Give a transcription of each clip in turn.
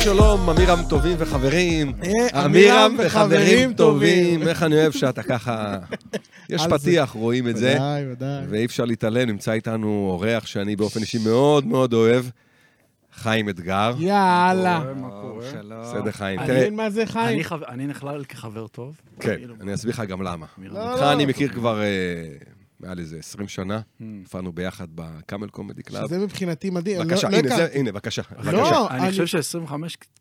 שלום, עמירם טובים וחברים. אה, עמירם וחברים טובים. איך אני אוהב שאתה ככה... יש על זה. פתיח, רואים את זה, ודאי, ודאי. ואי אפשר להתעלם. נמצא איתנו אורח שאני באופן אישי מאוד מאוד אוהב, חיים אתגר. יאללה. מה קורה? בסדר, חיים. תראה, מעניין מה זה חיים. אני חב- אני נכלל כחבר טוב? כן, כאילו, אני אסביר לך גם למה. מירב. לא, אותך לא. אני מכיר כבר אה, מעל איזה 20 שנה. Hmm. הופענו ביחד בקאמל קומדי קלאב. שזה מבחינתי מדהים. אני לא- בבקשה, לא הנה, הכרתי. זה- הנה, בבקשה. בבקשה, לא, אני חושב ש-25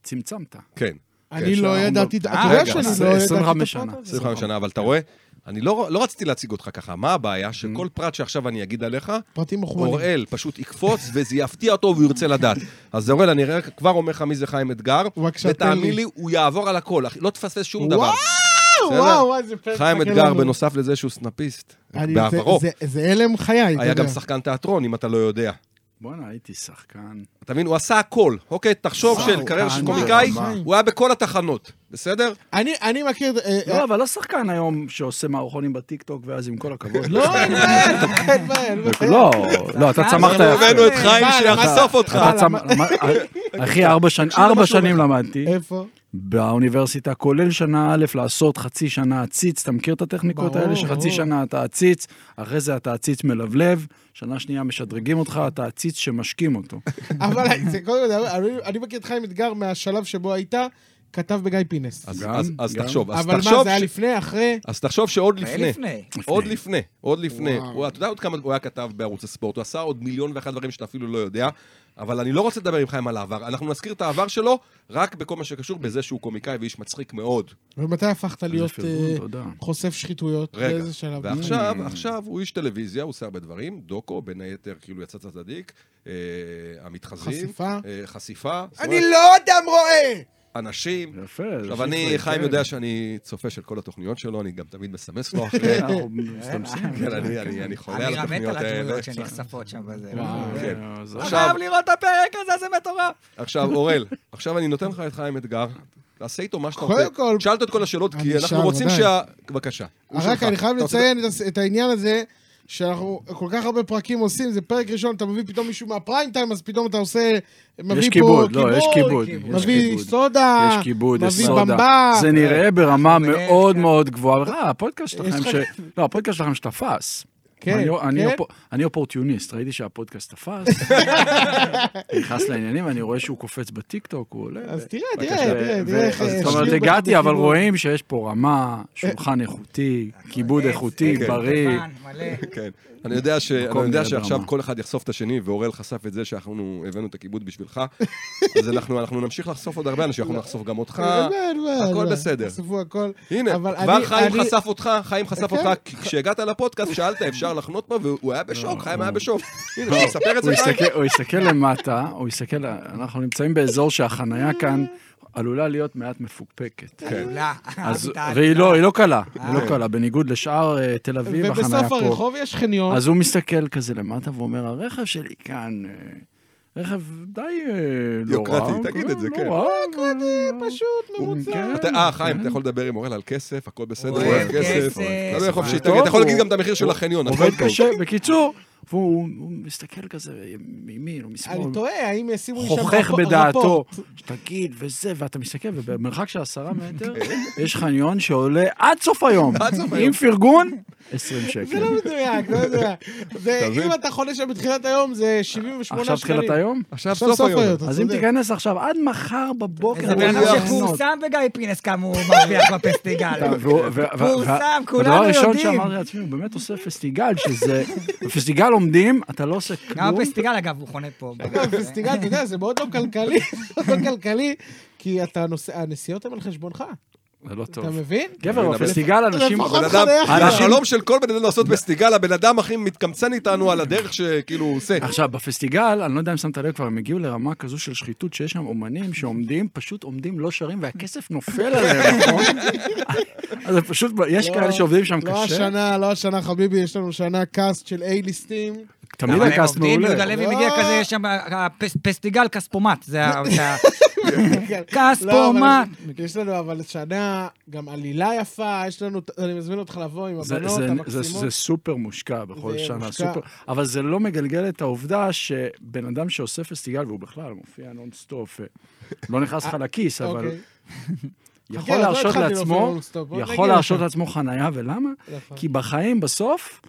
צמצמת. כן. אני כן, לא שם. ידעתי, אתה אה, יודע רגע, שאני אז לא ידעתי. את 25 הפרט שנה. הזה. 25 שנה, אבל כן. אתה רואה, אני לא לא רציתי להציג אותך ככה. מה Mm-hmm. הבעיה? שכל פרט שעכשיו אני אגיד עליך, פרטים מכוונים. אוראל פשוט יקפוץ וזה יפתיע אותו והוא ירצה לדעת. אז אוראל, אני רק- כבר אומר לך מי זה חיים אתגר, בבקשה, תן ותאמין לי. לי, הוא יעבור על הכל, אחי, לא תפספס שום וואו, דבר. בסדר? וואו, וואו, איזה פרק. חיים מחכה אתגר, לנו. בנוסף לזה שהוא סנאפיסט, אני- בעברו, זה- זה- זה הלם חיי. אתה היה יודע. גם שחקן תיאטרון, אם אתה לא יודע. בואנה, הייתי שחקן. אתה מבין? הוא עשה הכל, אוקיי? תחשוב וואו, של קריירה של אני קומיקאי, ברמה. הוא היה בכל התחנות, בסדר? אני- אני מכיר... אה, לא, אבל לא שחקן היום שעושה מערכונים בטיקטוק, ואז עם כל הכבוד. לא, אין בעיה, אין בעיה, אין בעיה. לא, לא, אתה צמחת אנחנו הבאנו את חיים יאללה, שיחשוף אותך. אתה צמ- מה- אחי, ארבע שנים- תקשיב ארבע למה שהוא שנים למדתי איפה? באוניברסיטה, כולל שנה א', לעשות חצי שנה עציץ, אתה מכיר את הטכניקות ברור, האלה? שחצי ברור. שנה אתה עציץ, אחרי זה אתה עציץ מלבלב, שנה שנייה משדרגים אותך, אתה עציץ שמשקים אותו. אבל זה קודם כל, אני- אני מכיר את חיים אתגר מהשלב שבו היית כתב בגיא פינס. אז- גם, אז- אז גם. תחשוב, אז אבל מה, תחשוב זה היה ש- לפני, אחרי? אז תחשוב שעוד לפני, לפני. עוד לפני, עוד לפני, וואו. הוא- אתה יודע עוד כמה הוא היה כתב בערוץ הספורט, הוא עשה עוד מיליון ואחד דברים שאתה אפילו לא יודע, אבל אני לא רוצה לדבר עם חיים על העבר, אנחנו נזכיר את העבר שלו רק בכל מה שקשור בזה שהוא קומיקאי ואיש מצחיק מאוד. ומתי הפכת להיות איזה פרגון, אה, תודה. חושף שחיתויות? רגע, באיזה שלב? ועכשיו, עכשיו הוא איש טלוויזיה, הוא עושה הרבה דברים, דוקו, בין היתר, כאילו יצאת צדיק, אה, המתחזים, חשיפה. אה, חשיפה, זאת אני אומרת, לא אדם רואה! אנשים. יפה. עכשיו, אני, כן. חיים יודע שאני צופה של כל התוכניות שלו, אני גם תמיד מסמס לו אחרי. כן, אנחנו מסתמסים. כן, אני- אני אני חולה על אני מת התוכניות על האלה. הדמויות שנחשפות שם בזה. וואו. כן. אה, אז אתה עכשיו- חייב לראות את הפרק הזה, זה מטורף. עכשיו, אורל, עכשיו אני נותן לך את חיים אתגר. תעשה איתו מה שאתה רוצה. קודם כל, שאלת את כל השאלות, אני כי אנחנו שם, רוצים ודאי. שה... בבקשה. הוא רק שלך. אני חייב אתה רוצה- לציין את- את העניין הזה, שאנחנו כל כך הרבה פרקים עושים, זה פרק ראשון, אתה מביא פתאום מישהו מהפריים טיים, אז פתאום אתה עושה... מביא יש פה כיבוד, לא, יש כיבוד. יש מביא כיבוד. סודה, יש כיבוד, יש מביא סודה. במבה. זה נראה ברמה כן. מאוד מאוד גבוהה. אה, הפודקאסט יש שלכם לך- ש... לא, הפודקאסט שלכם שתפס. כן, אני- לא, אני כן. אופ- אני אופורטיוניסט, ראיתי שהפודקאסט תפס. נכנס לעניינים, אני רואה שהוא קופץ בטיקטוק, הוא עולה. אז תראה, בבקשה. תראה, תראה, ו- תראה איך... אז איך כאילו. זאת אומרת, שיעור הגעתי, בכיבוד. אבל רואים שיש פה רמה, שולחן איכותי, אה, כיבוד איכותי, כן. בריא. פאן, מלא. כן. אני יודע ש- אני מקום יודע נראה שעכשיו ברמה. כל אחד יחשוף את השני, ואורל חשף את זה שאנחנו הבאנו את הכיבוד בשבילך. אז אנחנו אנחנו נמשיך לחשוף עוד הרבה אנשים, אנחנו נחשוף גם אותך. אין בעיה, הכל אין בעיה. בסדר. אה, תחשפו הכל. הנה, אבל כבר אני- חיים אני- חשף אותך, חיים חשף כן. אותך, כי כשהגעת לפודקאסט שאלת, אפשר לחנות פה, והוא היה בשוק, חיים היה בשוק. הנה, שיספר את זה לא הוא חיים. יסתכל- הוא יסתכל למטה, הוא יסתכל, אנחנו נמצאים באזור שהחנייה כאן עלולה להיות מעט אה, מפוקפקת. עלולה. אז, אהבת. והיא לא, היא לא קלה, היא לא קלה, בניגוד לשאר אה, תל אביב, החנייה ובסוף פה. הרחוב יש חניון. אז הוא מסתכל כזה למטה ואומר, הרכב שלי כאן, אה, רכב די אה, לא רע. יוקרתי, תגיד את זה, לא כן. רע, אבל- פשוט לא ממוצע. כן. אתה- אה, חיים, אתה יכול לדבר עם אורל על כסף, הכל בסדר, אוהב אוהב כסף. כסף. אתה לא יכול מה? חופשי, טוב, תגיד, אתה יכול הוא- להגיד גם את המחיר של החניון, הוא עובד הכל טוב. קשה, בקיצור, והוא הוא מסתכל כזה מימין ומשמאל. אני תוהה, האם ישימו לי שם חוכך רפו- בדעתו, רפורט? תגיד, וזה, ואתה מסתכל, ובמרחק של עשרה מטר, יש חניון שעולה עד סוף היום, עד סוף היום. עם פרגון, 20 זה שקל. לא מדויק, לא מדויק. זה, אתה מבין? אם אתה חולה שם בתחילת היום, זה 78 שקלים. עכשיו תחילת היום? עכשיו עכשיו סוף היום, אתה אז אם צודק. תיכנס עכשיו, עד מחר בבוקר, זה בן הוא אדם יחנות. שפורסם בגיא פינס כמה הוא מרוויח בפסטיגל. ו- ו- ו- פורסם, וה- כולנו הדבר הראשון יודעים. שאמרתי לעצמי, הוא באמת עושה פסטיגל, שזה... בפסטיגל עומדים, אתה לא עושה גם כלום. בפסטיגל, אגב, הוא חונה פה. אגב, לא, פסטיגל, אתה יודע, זה מאוד לא כלכלי, מאוד לא כלכלי, כי אתה נוסע, הנסיעות הן על חשבונך, זה לא אתה טוב. מבין? גבר, בפסטיגל אנשים... לפחות בן אדם, חניה זה חינם. החלום של כל בן אדם לעשות פסטיגל, הבן אדם הכי מתקמצן איתנו על הדרך שכאילו הוא עושה. עכשיו, בפסטיגל, אני לא יודע אם שמת לב, כבר הם הגיעו לרמה כזו של שחיתות, שיש שם אומנים שעומדים, פשוט עומדים, לא שרים, והכסף נופל עליהם, נכון? אז זה פשוט, יש לא, כאלה שעובדים שם לא קשה. השנה, לא השנה, חביבי, יש לנו שנה קאסט של A-ליסטים. תמיד אבל הם הכעס עובדים, מעולה. יהודה לוי לא. מגיע כזה, יש שם הפס- פסטיגל כספומט, זה ה... זה ה- כספומט. לא, אבל יש לנו אבל שנה, גם עלילה יפה, יש לנו, אני מזמין אותך לבוא עם זה- הבנות זה- זה- המקסימות. זה סופר מושקע בכל זה שנה, מושקע. סופר. אבל זה לא מגלגל את העובדה שבן אדם שעושה פסטיגל, והוא בכלל מופיע נונסטופ, אה, לא נכנס לך לכיס, אבל אוקיי. חכה, יכול עוד לא להרשות התחלתי להופיע לעצמו, נונסטופ, עוד נכון. יכול נגיע להרשות לשם. לעצמו חנייה, ולמה? יפה. כי בחיים בסוף,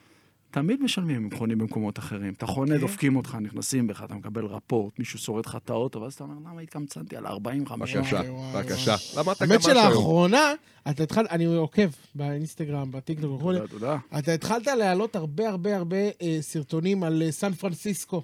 תמיד משלמים אם חונים במקומות אחרים. אתה כן. חונה, דופקים אותך, נכנסים בך, אתה מקבל רפורט, מישהו שורט לך את האוטו, ואז אתה אומר, למה התקמצנתי על 40 50 בבקשה, וואי, וואי, בבקשה. למדת גם האמת משהו היום. שלאחרונה, אתה התחלת, אני עוקב באינסטגרם, בטיקטוק וכולי, תודה, תודה. אתה התחלת להעלות הרבה הרבה הרבה אה, סרטונים על אה, סן פרנסיסקו,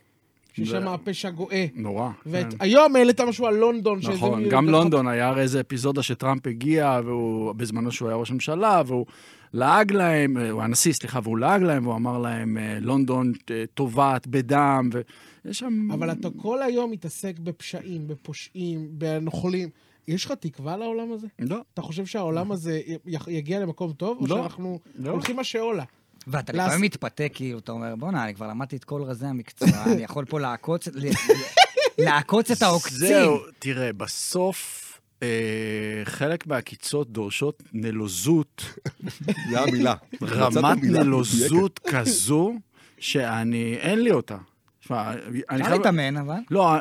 ששם זה- הפשע גואה. נורא. כן. והיום העלית משהו על לונדון. שזה נכון, מי- גם לונדון, היה הרי איזה אפיזודה שטראמפ הגיע, והוא, בזמנו שהוא היה ראש ממשלה, והוא לעג להם, אה, הוא היה נשיא, סליחה, והוא לעג להם, והוא אמר להם, אה, לונדון אה, טובעת בדם, ויש שם... אבל אתה כל היום מתעסק בפשעים, בפושעים, בנוכלים. יש לך תקווה לעולם הזה? לא, אתה חושב שהעולם הזה י- י- יגיע למקום טוב, או לא, שאנחנו לא. הולכים השאולה? ואתה לס- לפעמים מתפתה, כאילו, אתה אומר, בואנה, אני כבר למדתי את כל רזי המקצוע, אני יכול פה לעקוץ ל- ל- לעקוץ את העוקצים. זהו, תראה, בסוף אה, חלק מהעקיצות דורשות נלוזות, זה המילה. רמת מצאת מילה נלוזות כזו, שאני, אין לי אותה. תשמע, אני אפשר חייב... להתאמן, אבל. לא,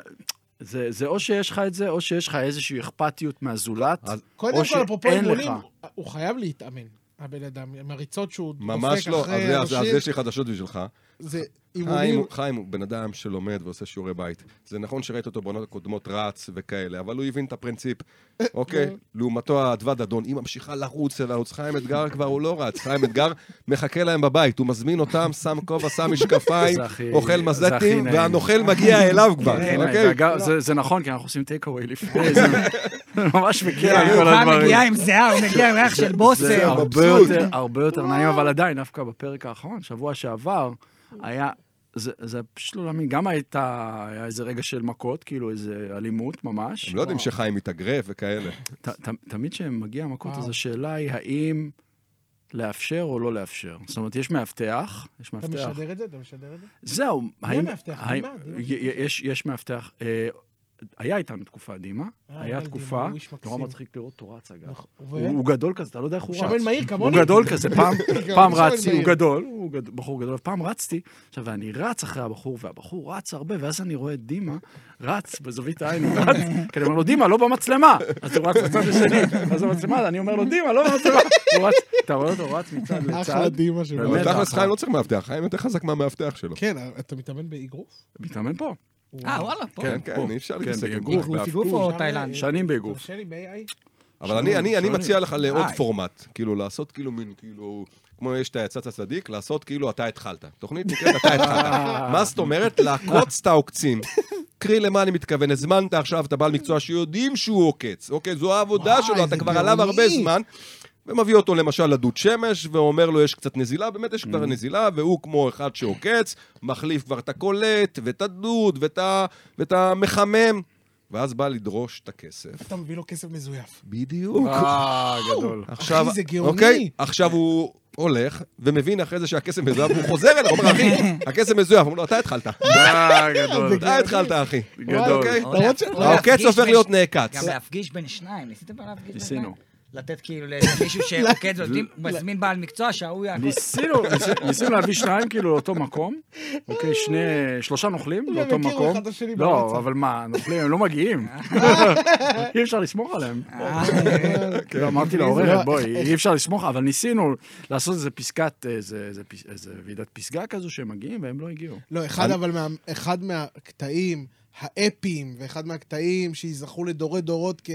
זה, זה או שיש לך את זה, או שיש לך איזושהי אכפתיות מהזולת. אז- קודם או כל, אפרופו שאין אימונים, לך. הוא חייב להתאמן, הבן אדם, עם הריצות שהוא דופק אחרי ממש לא, אז זה- אז- אז אנשים, יש לי אה, חדשות בשבילך. זה חיים, אימונים. הוא- חיים הוא בן אדם שלומד ועושה שיעורי בית. זה נכון שראית אותו בעונות הקודמות רץ וכאלה, אבל הוא הבין את הפרינציפ. אוקיי, לעומתו האדווה דדון, היא ממשיכה לרוץ ולרוץ. חיים אתגר כבר הוא לא רץ, חיים אתגר מחכה להם בבית, הוא מזמין אותם, שם כובע, שם משקפיים, זה הכי- אוכל זה הכי מזלתים, נעים. והנוכל מגיע אליו כבר, כן, אוקיי? ואגב, זה- זה נכון, כי אנחנו עושים טייק אווי לפני, זה זה ממש מקל כן, על כן, כל הוא הדברים. מגיע אה, עם זיעה, הוא מגיע עם ריח של זה בוסר. אה, הרבה יותר, הרבה יותר נעים, אבל עדיין, דווקא בפרק האחרון, שבוע שעבר, היה, זה זה פשוט לא להאמין, גם הייתה, היה איזה רגע של מכות, כאילו איזה אלימות ממש. הם לא יודעים שחיים מתאגרף וכאלה. ת- ת- תמיד כשמגיע המכות, אז וואו. השאלה היא האם לאפשר או לא לאפשר. זאת אומרת, יש מאבטח, יש אתה מאבטח. משדר את זה? אתה משדר את זה? זהו, מאבטח? האם- דימה, דימה. י- י- יש- יש מאבטח. אה, היה איתנו תקופה, דימה, אה, היה אבל תקופה, דימה, הוא איש מקסים. נורא מצחיק לראות אותו רץ, אגב. נכון, ו- הוא הוא גדול כזה, אתה לא יודע איך הוא רץ. שמן מהיר הוא כמוני. גדול כזה, פעם, גם פעם שמן רצתי, הוא מהיר. גדול, הוא גד... בחור גדול, פעם רצתי, עכשיו, ואני רץ אחרי הבחור, והבחור רץ הרבה, ואז אני רואה את דימה רץ בזווית העין, הוא רץ, כי אני אומר לו, דימה, לא במצלמה! אז הוא רץ בצד השני, אז במצלמה, אני אומר לו, דימה, לא במצלמה! הוא רץ, אתה רואה אותו רץ מצד אחלה לצד, דימה שלו. באמת. נכון. אבל תכלס חיים לא צריך מאבטח, חיים יותר חזק מהמאבטח שלו. כן, אתה מתאמן באגרוף? מתאמן פה. אה, וואלה, פה. כן, כן, פה. אי אפשר כן, להתעסק עם באגרוף, גוף, באף אגרוף או שם, תאילנד? אה, שנים באגרוף. תרשה לי ב-AI. אבל אני, אני, אני שונים. מציע לך לעוד איי. פורמט, כאילו לעשות כאילו מין, כאילו, כמו יש את היצאת הצדיק, לעשות כאילו אתה התחלת. תוכנית נקראת אתה התחלת. מה זאת אומרת? לעקוץ את העוקצים. קרי למה אני מתכוון, הזמנת עכשיו את הבעל מקצוע שיודעים שהוא עוקץ, אוקיי? זו העבודה וואי, שלו, אתה זה כבר עליו גאוני. הרבה זמן. ומביא אותו למשל לדוד שמש, ואומר לו, יש קצת נזילה, באמת יש Mm. כבר נזילה, והוא כמו אחד שעוקץ, מחליף כבר את הקולט, ואת הדוד, ואת ה- ואת המחמם, ואז בא לדרוש את הכסף. אתה מביא לו כסף מזויף. בדיוק. אה, גדול. עכשיו, אחי, זה גאוני. אוקיי, עכשיו הוא הולך, ומבין אחרי זה שהקסם מזויף, והוא חוזר אליו, אומר, אחי, הקסם מזויף. אומר לו, אתה התחלת. אה, גדול. אתה התחלת, אחי. גדול. וואי, אוקיי? או למרות ש- לא, להפ- או כן העוקץ להפגיש הופך בין- להיות נעקץ. גם להפגיש בין שניים, ניסיתם פעם להפגיש בין שניים? ניסינו. לתת כאילו למישהו שעוקד, נותנים- הוא מזמין בעל מקצוע שההוא יעקוד. ניסינו, ניס- ניסינו להביא שניים כאילו לאותו מקום, אוקיי, שני, שלושה נוכלים לאותו הכירו מקום. אחד את השני בוואטסאפ. לא, אבל מה, נוכלים, הם לא מגיעים. אי אפשר לסמוך עליהם. אה, לא, אמרתי זה לא- לעוררת, בואי, אי אפשר לסמוך, אבל ניסינו לעשות איזה פסקת, איזה איזה פס- איזה ועידת פסגה כזו שהם מגיעים והם לא הגיעו. לא, אחד אבל מה- אחד מהקטעים האפיים, ואחד מהקטעים שייזכרו לדורי דורות כ...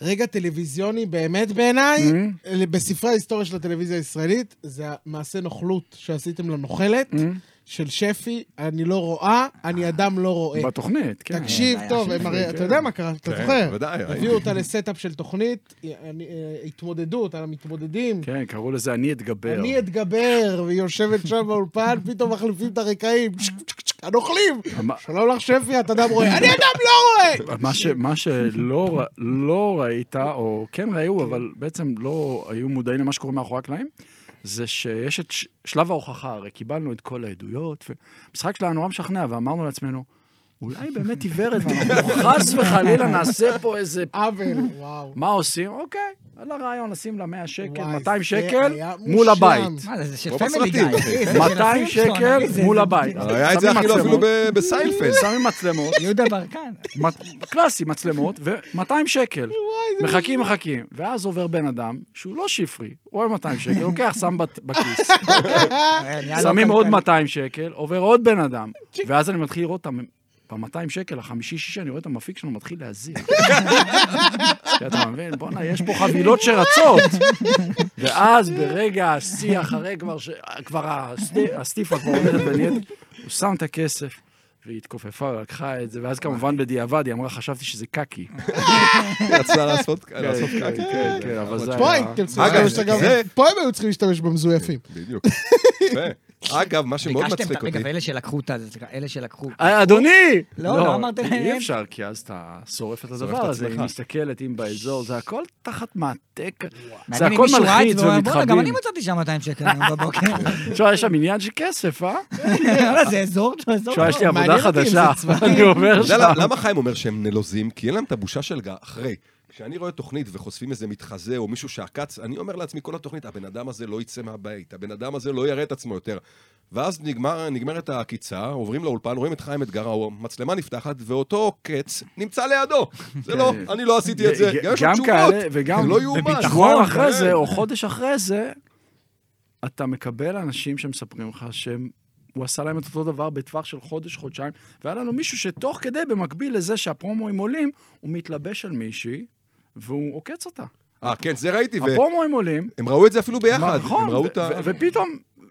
רגע טלוויזיוני באמת בעיניי, בספרי ההיסטוריה של הטלוויזיה הישראלית, זה המעשה נוכלות שעשיתם לנוכלת של שפי, אני לא רואה, אני אדם לא רואה. בתוכנית, כן. תקשיב היה טוב, שפי, הם הרי, אתה כן. יודע מה קרה, אתה כן, זוכר? בוודאי, ראיתי. הביאו אותה לסטאפ של תוכנית, אני- אה, התמודדות על המתמודדים, כן, קראו לזה אני אתגבר. אני אתגבר, והיא יושבת שם באולפן, פתאום מחליפים את הרקעים, הנוכלים. אמר- שלום לך שפי, את אדם רואה. אני אדם לא רואה! מה ש- מה שלא ר- לא ראית, או כן ראו, אבל בעצם לא היו מודעים למה שקורה מאחורי הקלעים, זה שיש את ש- שלב ההוכחה, הרי קיבלנו את כל העדויות, והמשחק שלה היה נורא משכנע, ואמרנו לעצמנו, אולי באמת עיוורת, ואנחנו חס וחלילה נעשה פה איזה... עוול, וואו. מה עושים? אוקיי, על הרעיון, נשים לה 100 כן, שקל, וואי, 200 זה שקל, היה מול מושלם. הבית. מה זה, זה של לא כמו פמילי גיא. בסרטים, אחי. אחי, זה של 200 הסימפסון, שקל אחי, זה- מול זה- הבית. היה את זה שמים אפילו אפילו מצלמות, ב- בסיינפלד. שמים מצלמות, יהודה ברקן. מת- קלאסי, מצלמות, ו-200 שקל. מחכים, מחכים. ואז עובר בן אדם, שהוא לא שפרי, הוא רואה 200 שקל, לוקח, שם בת- בכיס. אה, נהיה לו שמים כלכלי. עוד 200 שקל, עובר עוד בן אדם. ואז אני מתחיל לראות אותם. ב-200 שקל, החמישי-שישי, אני רואה את המפיק שלנו מתחיל להזיע. כי אתה מבין? בואנה, יש פה חבילות שרצות. ואז ברגע השיא, אחרי כבר ש... כבר הסטי- הסטיפה כבר עומדת ונהיית, הוא שם את הכסף, והיא התכופפה, לקחה את זה, ואז כמובן בדיעבד היא אמרה, חשבתי שזה קקי. רצה לעשות לעשות קקי, כן. כן, אבל זה פה היה- הייתם צריכים אגב, להשתמש, אגב, זה- פה הם היו צריכים להשתמש במזויפים. בדיוק. יפה. אגב, מה שמאוד ביקשתם, מצחיק את- רגע, אותי, ואלה שלקחו את ה... זה, סליחה, אלה שלקחו. אה, אדוני! לא, לא אמרת להם. אי אפשר, כי אז אתה שורף את שורף הדבר את הזה, היא עצמך. מסתכלת, אם באזור, זה הכל תחת מעטק, זה מעניין אם הכל מישהו ראה את מלחיץ זה והוא אמר, "בואנה, גם אני ומתחבאים. מצאתי שם 200 שקל היום בבוקר. תשמע, יש שם עניין של כסף, לא, אה? וואלה, זה אזור, זה אזור. תשמע, יש לי מעניין עבודה אותי אם זה חדשה, צבאי. אני אומר אתה יודע למה- שם. למה חיים אומר שהם נלוזים? כי אין להם את הבושה של גא- אחרי. כשאני רואה תוכנית וחושפים איזה מתחזה או מישהו שעקץ, אני אומר לעצמי כל התוכנית, הבן אדם הזה לא יצא מהבית, הבן אדם הזה לא יראה את עצמו יותר. ואז נגמר, נגמרת העקיצה, עוברים לאולפן, רואים את חיים אתגר, המצלמה נפתחת, ואותו קץ נמצא לידו. זה לא, אני לא עשיתי את זה. כן. ג- יש לו גם תשובות. כאלה, זה וגם לא יאומן. שבועיים אחרי כן. זה, או חודש אחרי זה, אתה מקבל אנשים שמספרים לך שהם... הוא עשה להם את אותו דבר בטווח של חודש, חודשיים, והיה לנו מישהו שתוך כדי, במקביל לזה שהפרומואים עולים, הוא מתלבש על מישהי, והוא עוקץ אותה. אה, כן, זה ראיתי, והם הפרומואים עולים, ראו את זה אפילו ביחד. נכון, הם ראו ו- את ה... ו- ופתאום,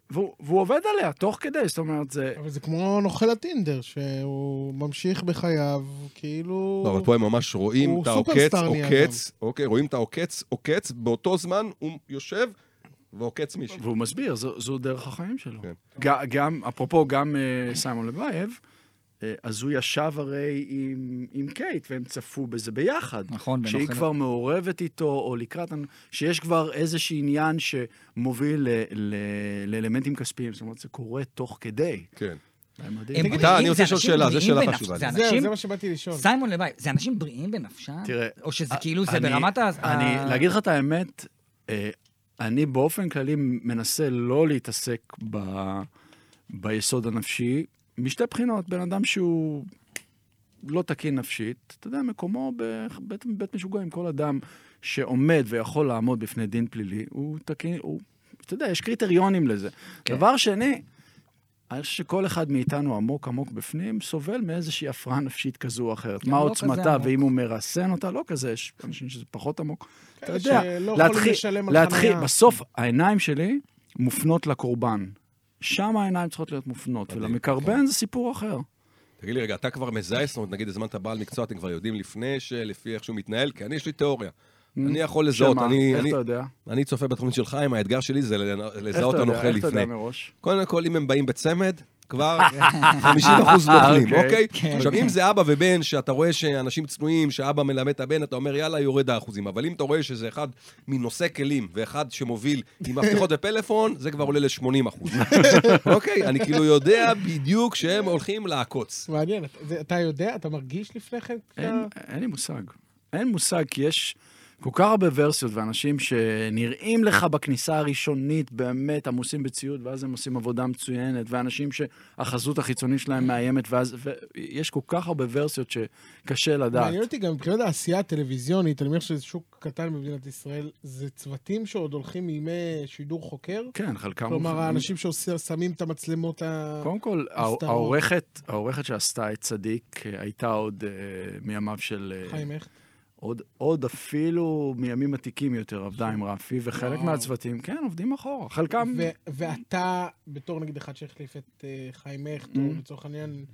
והוא והוא עובד עליה תוך כדי, זאת אומרת, זה... אבל זה כמו נוכל הטינדר, שהוא ממשיך בחייו, כאילו... לא, אבל פה הם ממש רואים הוא את העוקץ, סופרסטאר נהיה עוקץ, אוקיי, רואים את העוקץ, עוקץ, באותו זמן הוא יושב ועוקץ מישהו. והוא מסביר, זו, זו דרך החיים שלו. כן. ג- גם, אפרופו, גם אה, סיימון לבייב, אה, אז הוא ישב הרי עם, עם קייט, והם צפו בזה ביחד. נכון, שהיא בנוכל- כבר מעורבת איתו, או לקראת, הנ- שיש כבר איזשהו עניין שמוביל ל- ל- לאלמנטים כספיים, זאת אומרת, זה קורה תוך כדי. אוקיי. כן. זה מדהים. הם אתה, בריאים, אני רוצה לשאול זה אנשים שאלה, זו בריאים שאלה בנפש- חשובה. זה זהו, אנשים... זה מה שבאתי לשאול. סיימון לבייב, זה אנשים בריאים בנפשם? תראה, או שזה א- כאילו, זה אני- ברמת ה... ה- אני, להגיד לך את האמת, אה, אני באופן כללי מנסה לא להתעסק ב, ביסוד הנפשי, משתי בחינות. בן אדם שהוא לא תקין נפשית, אתה יודע, מקומו בבית, בבית משוגעים. כל אדם שעומד ויכול לעמוד בפני דין פלילי, הוא תקין, הוא, אתה יודע, יש קריטריונים לזה. כן. כן. דבר שני, אני חושב שכל אחד מאיתנו עמוק עמוק בפנים סובל מאיזושהי הפרעה נפשית כזו או אחרת. גם מה לא כזה עוצמתה, עמוק. ואם הוא מרסן אותה, לא כזה, יש אנשים שזה פחות עמוק. אתה כאלה יודע, שלא יכולים להתחיל, לשלם על להתחיל, חנייה. בסוף העיניים שלי מופנות לקורבן. שם העיניים צריכות להיות מופנות, מדהים, ולמקרבן זה סיפור אחר. תגיד לי רגע, אתה כבר מזהה, זאת אומרת, נגיד הזמנת בעל מקצוע, אתם כבר יודעים לפני, שלפי איך שהוא מתנהל, כי אני, יש לי תיאוריה. אני יכול לזהות, שמה, אני- איך אני- אתה יודע? אני צופה בתוכנית של חיים, האתגר שלי זה לנ- איך לזהות אתה יודע? הנוכל איך אתה יודע לפני. מראש? קודם כל, אם הם באים בצמד, כבר 50% נוכלים, אוקיי. אוקיי? עכשיו, אם זה אבא ובן, שאתה רואה שאנשים צנועים, שאבא מלמד את הבן, אתה אומר, יאללה, יורד האחוזים. אבל אם אתה רואה שזה אחד מנושא כלים, ואחד שמוביל עם מפתחות ופלאפון, זה כבר עולה ל-80%. אוקיי? אני כאילו יודע בדיוק שהם הולכים לעקוץ. מעניין, אתה- זה- אתה יודע? אתה מרגיש לפני כן? אין, אתה- אין לי מושג. אין מושג, כי יש כל כך הרבה ורסיות ואנשים שנראים לך בכניסה הראשונית באמת עמוסים בציוד, ואז הם עושים עבודה מצוינת, ואנשים שהחזות החיצונית שלהם מאיימת, ואז... ויש כל כך הרבה ורסיות שקשה לדעת. מעניין אותי גם מבחינת העשייה הטלוויזיונית, אני מניח שזה שוק קטן במדינת ישראל, זה צוותים שעוד הולכים מימי שידור חוקר? כן, חלקם... כלומר, האנשים ששמים את המצלמות ה... קודם כל, הסדרות. הא- העורכת, העורכת שעשתה את צדיק אה, הייתה עוד אה, מימיו של... אה, חיים, איך? עוד, עוד אפילו מימים עתיקים יותר עבדה עם רפי, וחלק וואו. מהצוותים, כן, עובדים אחורה. חלקם... ו- ואתה, בתור נגיד אחד שהחליף את אה, חיים הכט, Mm. או לצורך העניין,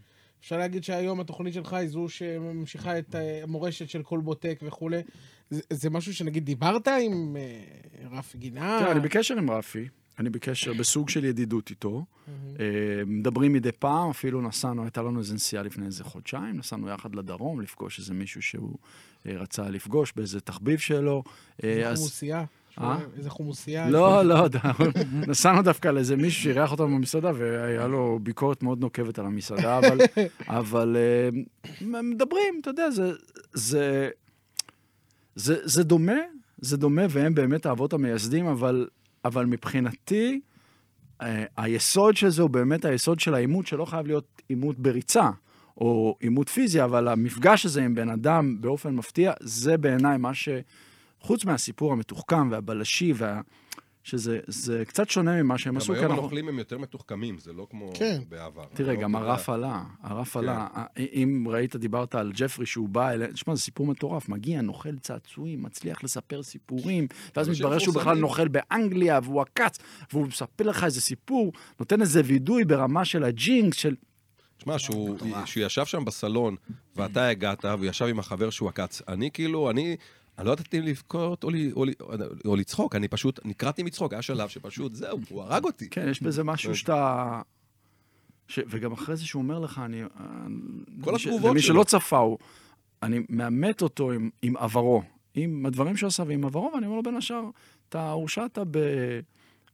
אפשר להגיד שהיום התוכנית שלך היא זו שממשיכה את אה, המורשת של כל בוטק וכולי. זה- זה משהו שנגיד דיברת עם אה, רף גינה? תראה, כן, אני בקשר עם רפי, אני בקשר, בסוג של ידידות איתו. אה, מדברים מדי פעם, אפילו נסענו, הייתה לנו איזו נסיעה לפני איזה חודשיים, נסענו יחד לדרום לפגוש איזה מישהו שהוא אה, רצה לפגוש באיזה תחביב שלו. אה, אז אוכלוסייה. אה? איזה חומוסייה. לא, לא, ד- נסענו דווקא לאיזה מישהו שאירח אותנו במסעדה, והיה לו ביקורת מאוד נוקבת על המסעדה, אבל, אבל אה, מ- מדברים, אתה יודע, זה, זה, זה, זה דומה, זה דומה, והם באמת האבות המייסדים, אבל, אבל מבחינתי, אה, היסוד של זה הוא באמת היסוד של העימות, שלא חייב להיות עימות בריצה. או עימות פיזי, אבל המפגש הזה עם בן אדם באופן מפתיע, זה בעיניי מה ש... חוץ מהסיפור המתוחכם והבלשי, וה... שזה זה קצת שונה ממה שהם גם עשו. כי כן, היום אנחנו- הנוכלים הם יותר מתוחכמים, זה לא כמו כן. בעבר. תראה, לא כן. גם יודע. הרף עלה, הרף עלה. אה, אם ראית, דיברת על ג'פרי שהוא בא אליהם, תשמע, זה סיפור מטורף. מגיע, נוכל צעצועים, מצליח לספר סיפורים, ואז אנשים מתברר שהוא בכלל מפורסמים. נוכל באנגליה, והוא עקץ, והוא מספר לך איזה סיפור, נותן איזה וידוי ברמה של הג'ינק, של... תשמע, שהוא שהוא ישב שם בסלון, ואתה הגעת, והוא ישב עם החבר שהוא עקץ. אני כאילו, אני... אני לא ידעתי אם לבכות או, ל- או, ל- או לצחוק, אני פשוט נקרעתי מצחוק, היה שלב שפשוט, זהו, הוא הרג אותי. כן, יש בזה משהו כן. שאתה... ש... וגם אחרי זה שהוא אומר לך, אני... למי ש- התגובות למי שלו. שלא צפה הוא, אני מאמת אותו עם, עם עברו, עם הדברים שהוא עשה ועם עברו, ואני אומר לו בין השאר, אתה הורשעת ב...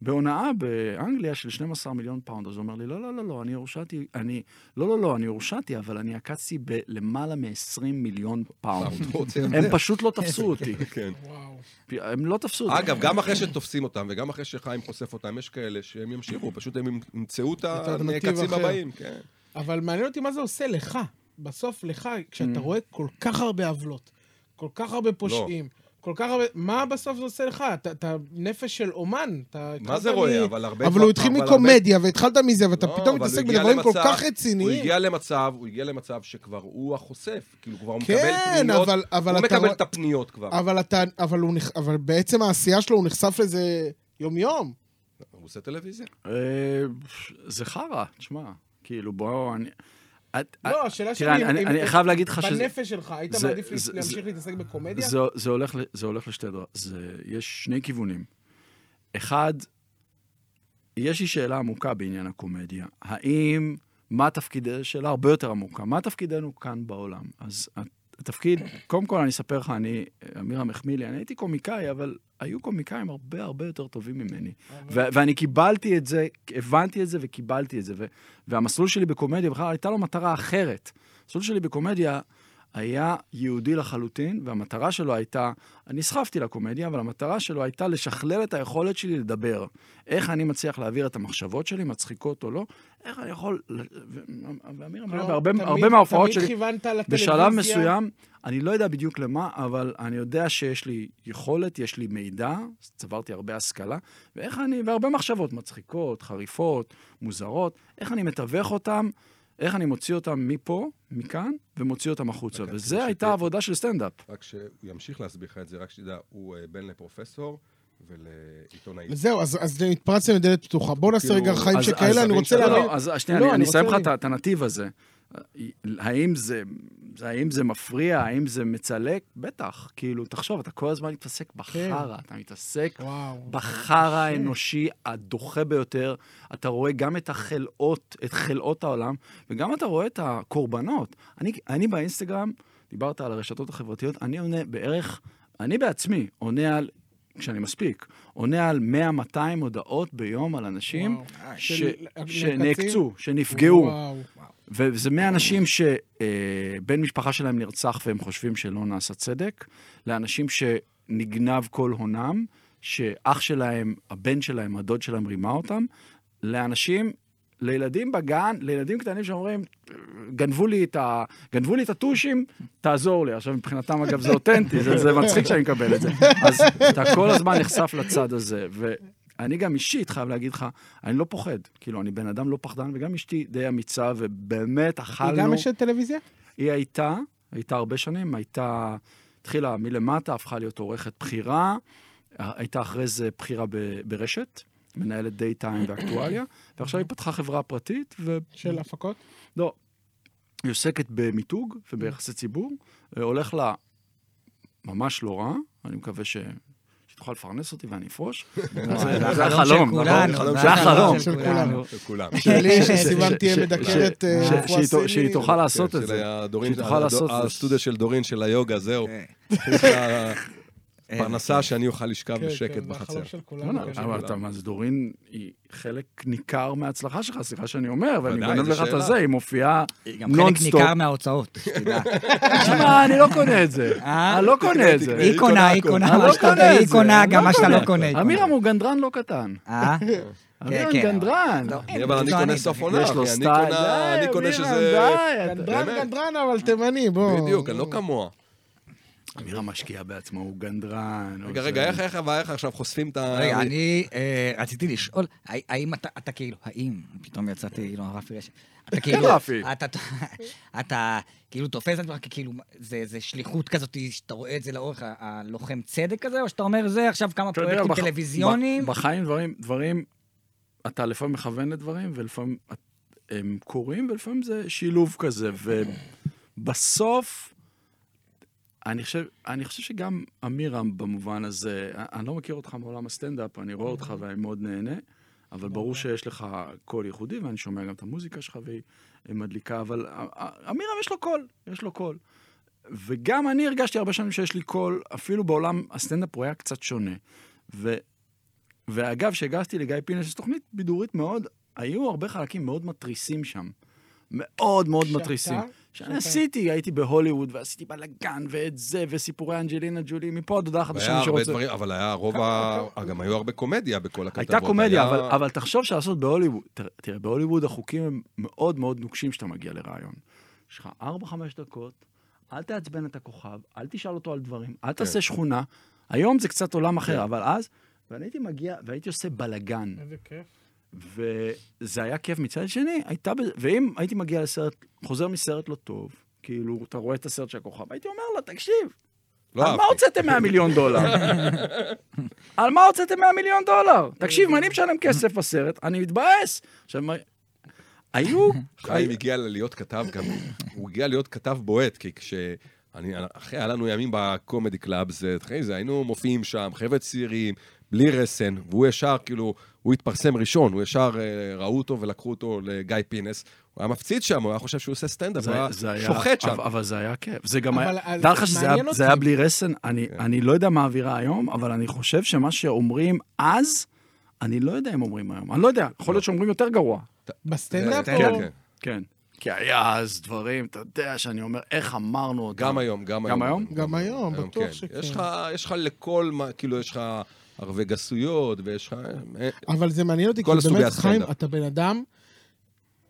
בהונאה באנגליה של 12 מיליון פאונד. אז הוא אומר לי, לא, לא, לא, לא, אני הורשעתי, אני, לא, לא, לא, אני הורשעתי, אבל אני עקצתי בלמעלה מ-20 מיליון פאונד. אתה רוצה את הם זה? פשוט לא תפסו אותי. כן. וואו. הם לא תפסו אותי. אגב, גם אחרי שתופסים אותם, וגם אחרי שחיים חושף אותם, יש כאלה שהם ימשיכו, פשוט הם ימצאו את את האלטרנטיבה הנעקצים אחרת. הבאים. כן. אבל מעניין אותי מה זה עושה לך. בסוף לך, Mm. כשאתה רואה כל כך הרבה עוולות, כל כך לא. הרבה פושעים, כל כך הרבה... מה בסוף זה עושה לך? אתה- אתה נפש של אומן. אתה מה התחלת זה רואה? מ- אבל הרבה... אבל הוא התחיל אבל הרבה- מקומדיה, והתחלת מזה, ואתה לא, פתאום אבל מתעסק הוא הגיע בדברים כל למצב- כך הוא רציניים. הגיע למצב, הוא הגיע למצב שכבר הוא החושף, כאילו כבר הוא כן, מקבל פניות, אבל- אבל הוא אתה מקבל רוא- את הפניות כבר. אבל אתה... אבל הוא נכ- אבל בעצם העשייה שלו, הוא נחשף לזה יום-יום. הוא עושה טלוויזיה. אה, זה חרא, תשמע, כאילו, בואו, אני... את- לא, השאלה שלי... אה, תראה, אם- אני- אם- אני חייב להגיד לך שזה... בנפש שלך, היית זה- מעדיף זה- להמשיך זה- להתעסק בקומדיה? זה, זה, הולך, ל- זה הולך לשתי דברים. זה- יש שני כיוונים. אחד, יש לי שאלה עמוקה בעניין הקומדיה. האם, מה תפקידנו, שאלה הרבה יותר עמוקה, מה תפקידנו כאן בעולם? אז התפקיד, קודם כל אני אספר לך, אני, אמירם החמיא לי, אני הייתי קומיקאי, אבל היו קומיקאים הרבה הרבה יותר טובים ממני. ו- ואני קיבלתי את זה, הבנתי את זה וקיבלתי את זה. ו- והמסלול שלי בקומדיה, בכלל הייתה לו מטרה אחרת. המסלול שלי בקומדיה היה יהודי לחלוטין, והמטרה שלו הייתה, אני נסחפתי לקומדיה, אבל המטרה שלו הייתה לשכלל את היכולת שלי לדבר. איך אני מצליח להעביר את המחשבות שלי, מצחיקות או לא, איך אני יכול... ל- ו- אמ- ואמיר אמר, לא, בהרבה תמיד- הרבה מההופעות שלי... תמיד כיוונת לטלוויזיה. בשלב מסוים, אני לא יודע בדיוק למה, אבל אני יודע שיש לי יכולת, יש לי מידע, צברתי הרבה השכלה, ואיך אני, והרבה מחשבות מצחיקות, חריפות, מוזרות, איך אני מתווך אותם, איך אני מוציא אותם מפה, מכאן, ומוציא אותם החוצה. רגע, וזו כדי הייתה שתהיה- עבודה של סטנדאפ. רק שהוא ימשיך להסביר לך את זה, רק שתדע, הוא אה, בן לפרופסור ולעיתונאי. זהו, אז, אז התפרצתם לדלת פתוחה. בואו נעשה כאילו, רגע חיים אז- אז שכאלה, אני תבין רוצה שאתה- לא, להבין. לא, אז שנייה, לא, אני- אני אני אסיים לך רוצה את ה- את הנתיב הזה. האם זה, זה- האם זה מפריע? האם זה מצלק? בטח. כאילו, תחשוב, אתה כל הזמן מתעסק בחרא, אתה מתעסק כן. וואו. בחר האנושי הדוחה ביותר. אתה רואה גם את החלאות, את חלאות העולם, וגם אתה רואה את הקורבנות. אני, אני באינסטגרם, דיברת על הרשתות החברתיות, אני עונה בערך, אני בעצמי עונה על, כשאני מספיק, עונה על 100-200 הודעות ביום על אנשים וואו. אה, ש, של- שנעקצו, שנפגעו. וואו. וזה מאנשים שבן אה, משפחה שלהם נרצח והם חושבים שלא נעשה צדק, לאנשים שנגנב כל הונם, שאח שלהם, הבן שלהם, הדוד שלהם רימה אותם, לאנשים, לילדים בגן, לילדים קטנים שאומרים, גנבו לי את, ה... גנבו לי את הטושים, תעזור לי. עכשיו, מבחינתם, אגב, זה אותנטי, זה, זה מצחיק שאני מקבל את זה. אז אתה כל הזמן נחשף לצד הזה, ואני גם אישית חייב להגיד לך, אני לא פוחד. כאילו, אני בן אדם לא פחדן, וגם אשתי די אמיצה, ובאמת אכלנו... היא גם אשת טלוויזיה? היא הייתה, הייתה הרבה שנים, הייתה, התחילה מלמטה, הפכה להיות עורכת בחירה, הייתה אחרי זה בחירה ב, ברשת, מנהלת דייטיים ואקטואליה, ועכשיו היא פתחה חברה פרטית, של הפקות? ולא, לא. היא עוסקת במיתוג וביחסי ציבור, אה, הולך לה ממש לא רע, אני מקווה ש... שתוכל לפרנס אותי ואני אפרוש. זה- זה החלום, נכון? נכון? זה החלום של של כולנו. כולנו. של כולם. שלי, ש- שסיוון ש- תהיה ש- מדקרת ש- אה, ש- רפואה שהיא תו- סינית. שהיא תוכל לעשות כן, את של זה. הדורין, שהיא תוכל הדו- לעשות את זה. הסטודיו של דורין, של היוגה, זהו. יש לה- פרנסה שאני אוכל לשכב בשקט זה בחצר. החלום כן, של בוא'נה, כולנו. כן. לא, אבל אתה, מה זה, דורין היא חלק ניכר מההצלחה שלך, סליחה שאני אומר, ואני ודאי, גונב זו לך את שאלה. הזה, היא מופיעה היא גם חלק נונסטופ. אה, ניכר מההוצאות, שתדע. שמע, אני לא קונה את זה. אה? אני לא קונה את זה. תקנה, היא קונה, היא הכל. קונה אני מה לא שאתה קונה את היא זה, קונה אני גם לא מה שאתה קונה. לא קונה. היא קונה. אמירם הוא גנדרן לא קטן. אה? אמירם כן. גנדרן. לא, אין, אבל אני לא, קונה אני- סוף עונה, יש לו אחי, אני סטייל. קונה, די, אני קונה אמירם, שזה... די, אתה- גנדרן, אה, באמת. גנדרן, אבל תימני, בוא. בדיוק, אני לא כמוה. אמירם משקיע בעצמו, הוא גנדרן. רגע, הוא רגע, לא, זה. איך איך הבעיה איך עכשיו חושפים את ה... רגע, אני אה, רציתי לשאול, הא- האם אתה, אתה כאילו, האם, פתאום יצאתי, אילון רפי רשת, אתה כאילו, רפי. אתה- אתה כאילו תופס את זה כאילו, זה זה שליחות כזאת, שאתה רואה את זה לאורך ה- הלוחם צדק הזה, או שאתה אומר, זה עכשיו כמה אתה יודע, פרויקטים בח- טלוויזיוניים? ב- בחיים דברים, דברים, אתה לפעמים מכוון לדברים, ולפעמים את- הם קורים, ולפעמים זה שילוב כזה, ובסוף, אני חושב, אני חושב שגם אמירם במובן הזה, אני- אני לא מכיר אותך מעולם הסטנדאפ, אני רואה אותך ואני מאוד נהנה, אבל ברור אוקיי. שיש לך קול ייחודי, ואני שומע גם את המוזיקה שלך והיא מדליקה, אבל א- א- אמירם יש לו קול, יש לו קול. וגם אני הרגשתי הרבה שנים שיש לי קול, אפילו בעולם הסטנדאפ הוא היה קצת שונה. ו, ואגב, כשהגשתי לגיא פינס, שזו תוכנית בידורית מאוד, היו הרבה חלקים מאוד מתריסים שם. מאוד מאוד שאתה- מתריסים. שאתה- שאני עשיתי, הייתי בהוליווד, ועשיתי בלאגן, ואת זה, וסיפורי אנג'לינה ג'ולי, מפה עד הודעה היה חדשה, מי הרבה שרוצה. דברים, אבל היה רוב ה... גם היו הרבה קומדיה בכל הכתבות. הייתה קומדיה, היה- אבל, אבל תחשוב שלעשות בהוליווד, תראה, תראה, בהוליווד החוקים הם מאוד מאוד נוקשים כשאתה מגיע לרעיון. יש לך 4-5 דקות, אל תעצבן את הכוכב, אל תשאל אותו על דברים, אל תעשה שכונה. היום זה קצת עולם אחר, אבל אז, ואני הייתי מגיע, והייתי עושה בלאגן. איזה כיף. וזה היה כיף. מצד שני, הייתה בזה, ואם הייתי מגיע לסרט, חוזר מסרט לא טוב, כאילו, אתה רואה את הסרט של הכוכב, הייתי אומר לה, תקשיב, לא על מה אהבתי. הוצאתם 100 מיליון דולר? על מה הוצאתם 100 מיליון דולר? תקשיב, אני משלם כסף בסרט, אני מתבאס. עכשיו, מה- היו... חיים הגיע להיות כתב גם, הוא הגיע להיות כתב בועט, כי כש... אני, אחרי, היה לנו ימים בקומדי קלאב, זה, אחרי זה היינו מופיעים שם, חבר'ה צעירים, בלי רסן, והוא ישר, כאילו, הוא התפרסם ראשון, הוא ישר אה, ראו אותו ולקחו אותו לגיא פינס, הוא היה מפציץ שם, הוא היה חושב שהוא עושה סטנדאפ, הוא זה- זה היה היה- שוחט שם. אבל- אבל זה היה כיף. זה גם אבל היה... אז דע לך שזה היה- מעניין זה היה אותי. בלי רסן, אני- אני לא יודע מה האווירה היום, אבל אני חושב שמה שאומרים אז, אני לא יודע אם אומרים היום. אני לא יודע, יכול להיות שאומרים יותר גרוע. בסטנדאפ כן, או... כן. כן. כי היה אז דברים, אתה יודע שאני אומר, איך אמרנו אותם. גם היום, גם היום. היום? גם היום, בטוח כן. שכן. יש לך, יש לך לכל מה, כאילו, יש לך ערבי גסויות, ויש לך... אה, אבל זה מעניין אותי, כי כל הסוגי באמת, חיים, הסטנדאפ. אתה בן אדם,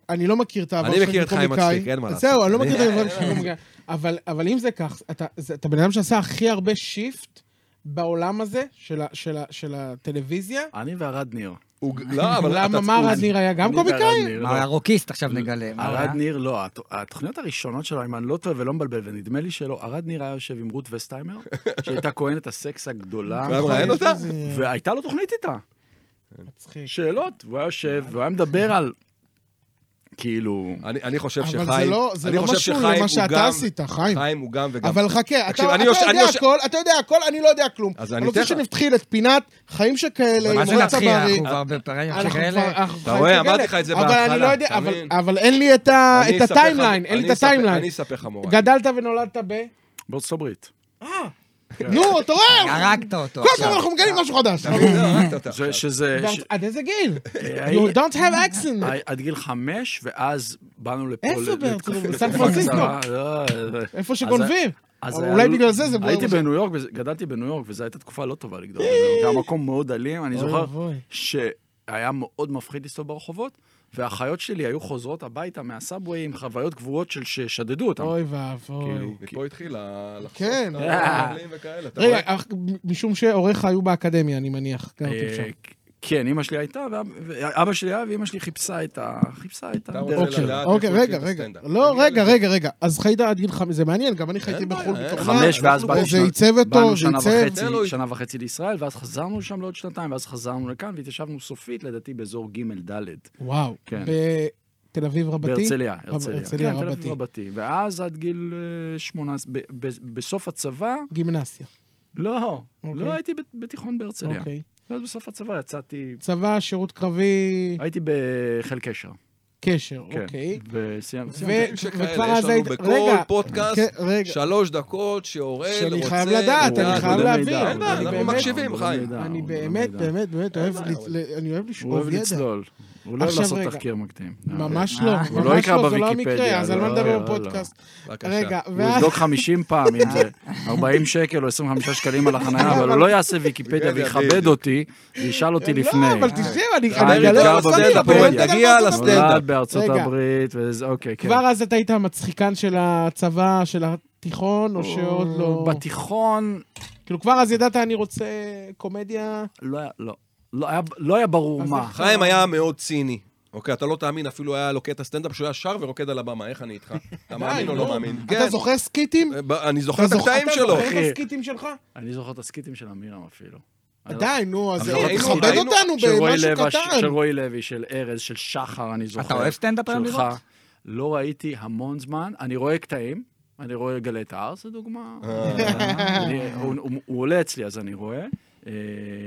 אני לא מכיר את העבר אני שלך מכיר את חיים כקומיקאי. מצחיק, אין מה אז לעשות. זהו, אני לא אני- מכיר את העבר שלך כקומיקאי. אבל- אבל אם זה כך, אתה- זה- אתה בן אדם שעשה הכי הרבה שיפט בעולם הזה, של ה- של ה- של הטלוויזיה. אני וערד ניר. הוא- לא, אבל... למה, אתה- מה הוא- רד ניר היה גם אני וערד קומיקאי? ניר, מה, לא. היה רוקיסט עכשיו נגלה. מה ארד היה? ניר, לא, הת- התוכניות הראשונות שלו, אם אני לא טועה ולא מבלבל, ונדמה לי שלא, ארד ניר היה יושב עם רות וסטהיימר, שהייתה כהנת הסקס הגדולה, הוא היה מראיין אותה? כן. והייתה לו תוכנית איתה, מצחיק. שאלות, והוא היה יושב, והוא היה מדבר על, כאילו, אני, אני חושב אבל שחיים... זה לא- זה אני לא חושב משול שחיים למה הוא שאתה גם- עשית, חיים. חיים הוא גם וגם... אבל חכה, תקשיב, אתה אני אתה יוש- אני יודע יוש- הכל, אתה יודע הכל, אני לא יודע כלום. אז אני אני רוצה אתן לך. שנתחיל את פינת חיים שכאלה, מה עם זה רצה נתחיל? אנחנו בריא. כבר בפרעים אה, אנחנו כבר- שכאלה? אנחנו אתה חיים רואה, שכאלה. אמרתי לך את זה אבל אני בהתחלה, לא יודע, אתה אבל- מבין? אבל אין לי את ה- אני אה, את אספר לך- הטיימליין, אין לי את אני אספר- הטיימליין. אני אספר לך מורה. גדלת ונולדת ב... בארצות הברית. כן. נו, אתה רואה? הרגת אותו כל פעם עכשיו. אנחנו מגלים משהו חדש. לא, הרגת אותה זה- עכשיו. שזה, אה, ש- ואתה- עד איזה גיל? אה, You don't have accent. אה, עד גיל חמש, ואז באנו לפה. איפה ל- בארצות לתקופה הברית? בסן קצרה, פרנסיסקו. לא, לא. איפה אז- שגונבים. אז אבל היה אולי לו- בגלל זה זה בוער הייתי לך. בניו יורק, וזה- גדלתי בניו יורק, וזו הייתה תקופה לא טובה לגדול בניו יורק. היה מקום מאוד אלים, אני אוי זוכר ואבוי. שהיה מאוד מפחיד להסתובב ברחובות, והאחיות שלי היו חוזרות הביתה מהסאבווי עם חוויות קבועות של ששדדו אותן. אוי ואבוי. כאילו, אה, מפה התחיל ה- לחשוף כן. את הרגלים וכאלה, אתה רגע, אה, רואה? אך- משום שהוריך היו באקדמיה, אני מניח. גרתם שם. אה, כן, אימא שלי הייתה, ואב- ואבא שלי היה, ואימא שלי חיפשה את ה... חיפשה את אתה הדרך. רוצה אוקיי, לא, לדעת אוקיי, איפה רגע, התחיל רגע. הסטנדאפ. לא, נגיע רגע, לזה. רגע, רגע. אז חיית עד גיל חמש, זה מעניין, גם אני חייתי אין בחו"ל בעיה, בתוכנה. חמש, ואז באנו זה שנה- עיצב אותו, באנו זה שנה עיצב. וחצי- אה, תן לו- שנה וחצי לישראל, ואז חזרנו שם לעוד שנתיים, ואז חזרנו לכאן, והתיישבנו סופית, לדעתי, באזור ג'-ד'. וואו. כן. בתל אביב רבתי? בהרצליה, רב- הרצליה. הרצליה כן, תל אביב רבתי. רבתי. ואז עד גיל אה, 18, ב- ב- בסוף הצבא, גימנסיה. לא, אוקיי. לא הייתי ב- בתיכון בהרצליה. אוקיי. ואז בסוף הצבא יצאתי, אוקיי. צבא, שירות קרבי, הייתי בחיל קשר. קשר, כן. אוקיי. וסיימנו. ו- וכבר סיימנו. שכאלה, יש אז לנו היית- בכל רגע, פודקאסט כן, רגע. שלוש דקות שאורל רוצה... שאני חייב לדעת, לדעת. אני חייב הוא יודע להבין. מידע, אין בעיה, אני אנחנו באמת- מקשיבים, הוא חיים. יודע, אני הוא יודע באמת, לא. מידע. באמת, באמת אוהב לצ- ל- אני אוהב הוא אוהב לשאוב ידע. לצלול. הוא לא אוהב עכשיו לעשות רגע. תחקיר מקדים. ממש לא, אה. הוא לא ממש יקרא לא, זה לא בוויקיפדיה, המקרה, אז על מה לא, נדבר לא, בפודקאסט? בבקשה. רגע, הוא לא ואז... יבדוק 50 פעם, אם זה 40 שקל או 25 שקלים על החנייה, אבל הוא לא יעשה ויקיפדיה ויקיפדיה, ויכבד בדיוק. אותי, וישאל אותי לפני. לא, אבל תשב, אני אה, אני אגלה גר לך לא בסטנדאפ, סטורי, אורן, אבל תגיע אה, אתה לסטנדאפ. נולד בארצות רגע. הברית, וזה, אוקיי, כן. כבר אז אתה היית המצחיקן של הצבא, של התיכון, או שעוד לא... בתיכון, כאילו, כבר אז ידעת, אני רוצה קומדיה... לא היה- לא. לא היה- לא היה ברור אז מה. איך- חיים היה מאוד ציני. אוקיי, אתה לא תאמין, אפילו היה לו קטע סטנדאפ שהוא היה שר ורוקד על הבמה, איך אני איתך? אתה מאמין או לא מאמין? אה, אה, אתה זוכר סקיטים? ב- אני זוכר אתה את זוכ- הקטעים שלו. אתה זוכר אחי. את הסקיטים שלך? אני זוכר את הסקיטים של אמירם אפילו. די, נו, אז אבל אה, היינו- תכבד היינו- אותנו של רועי במשהו לוי, קטן. של רועי לוי, של ארז, של שחר, אני זוכר. אוהב סטנדאפ היום שלך. לראות? לא ראיתי המון זמן, אני רואה קטעים, אני רואה גלי את ההר, זו דוגמה. אה. אני- הוא- הוא- הוא עולה אצלי, אז אני רואה. אה,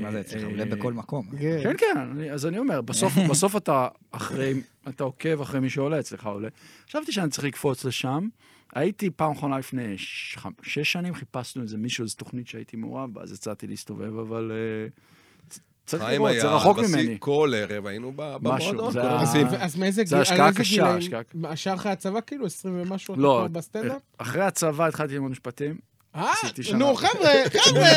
מה זה אצלך? אה, עולה בכל מקום. כן. כן, כן, אני- אז אני אומר, בסוף, בסוף אתה אחרי, אתה עוקב אחרי מי שעולה אצלך עולה. חשבתי שאני צריך לקפוץ לשם. הייתי פעם אחרונה לפני ש- חמ- שש שנים, חיפשנו איזה מישהו, איזו תוכנית שהייתי מעורב בה, אז יצאתי להסתובב, אבל אה, צ- צריך חיים לראות, היה זה רחוק בשיא ממני. כל ערב, היינו ב- במועדון. זה כל היה- הזמן. אז- אה, אז מאיזה זה גיל, השקעה על איזה קשה, גילאים? השקעה. השאר אחרי הצבא, כאילו, 20 ומשהו, אתה לא, כבר בסטנדאפ? אחרי הצבא התחלתי ללמוד משפטים, אה, עשיתי שנה. נו, חבר'ה, חבר'ה,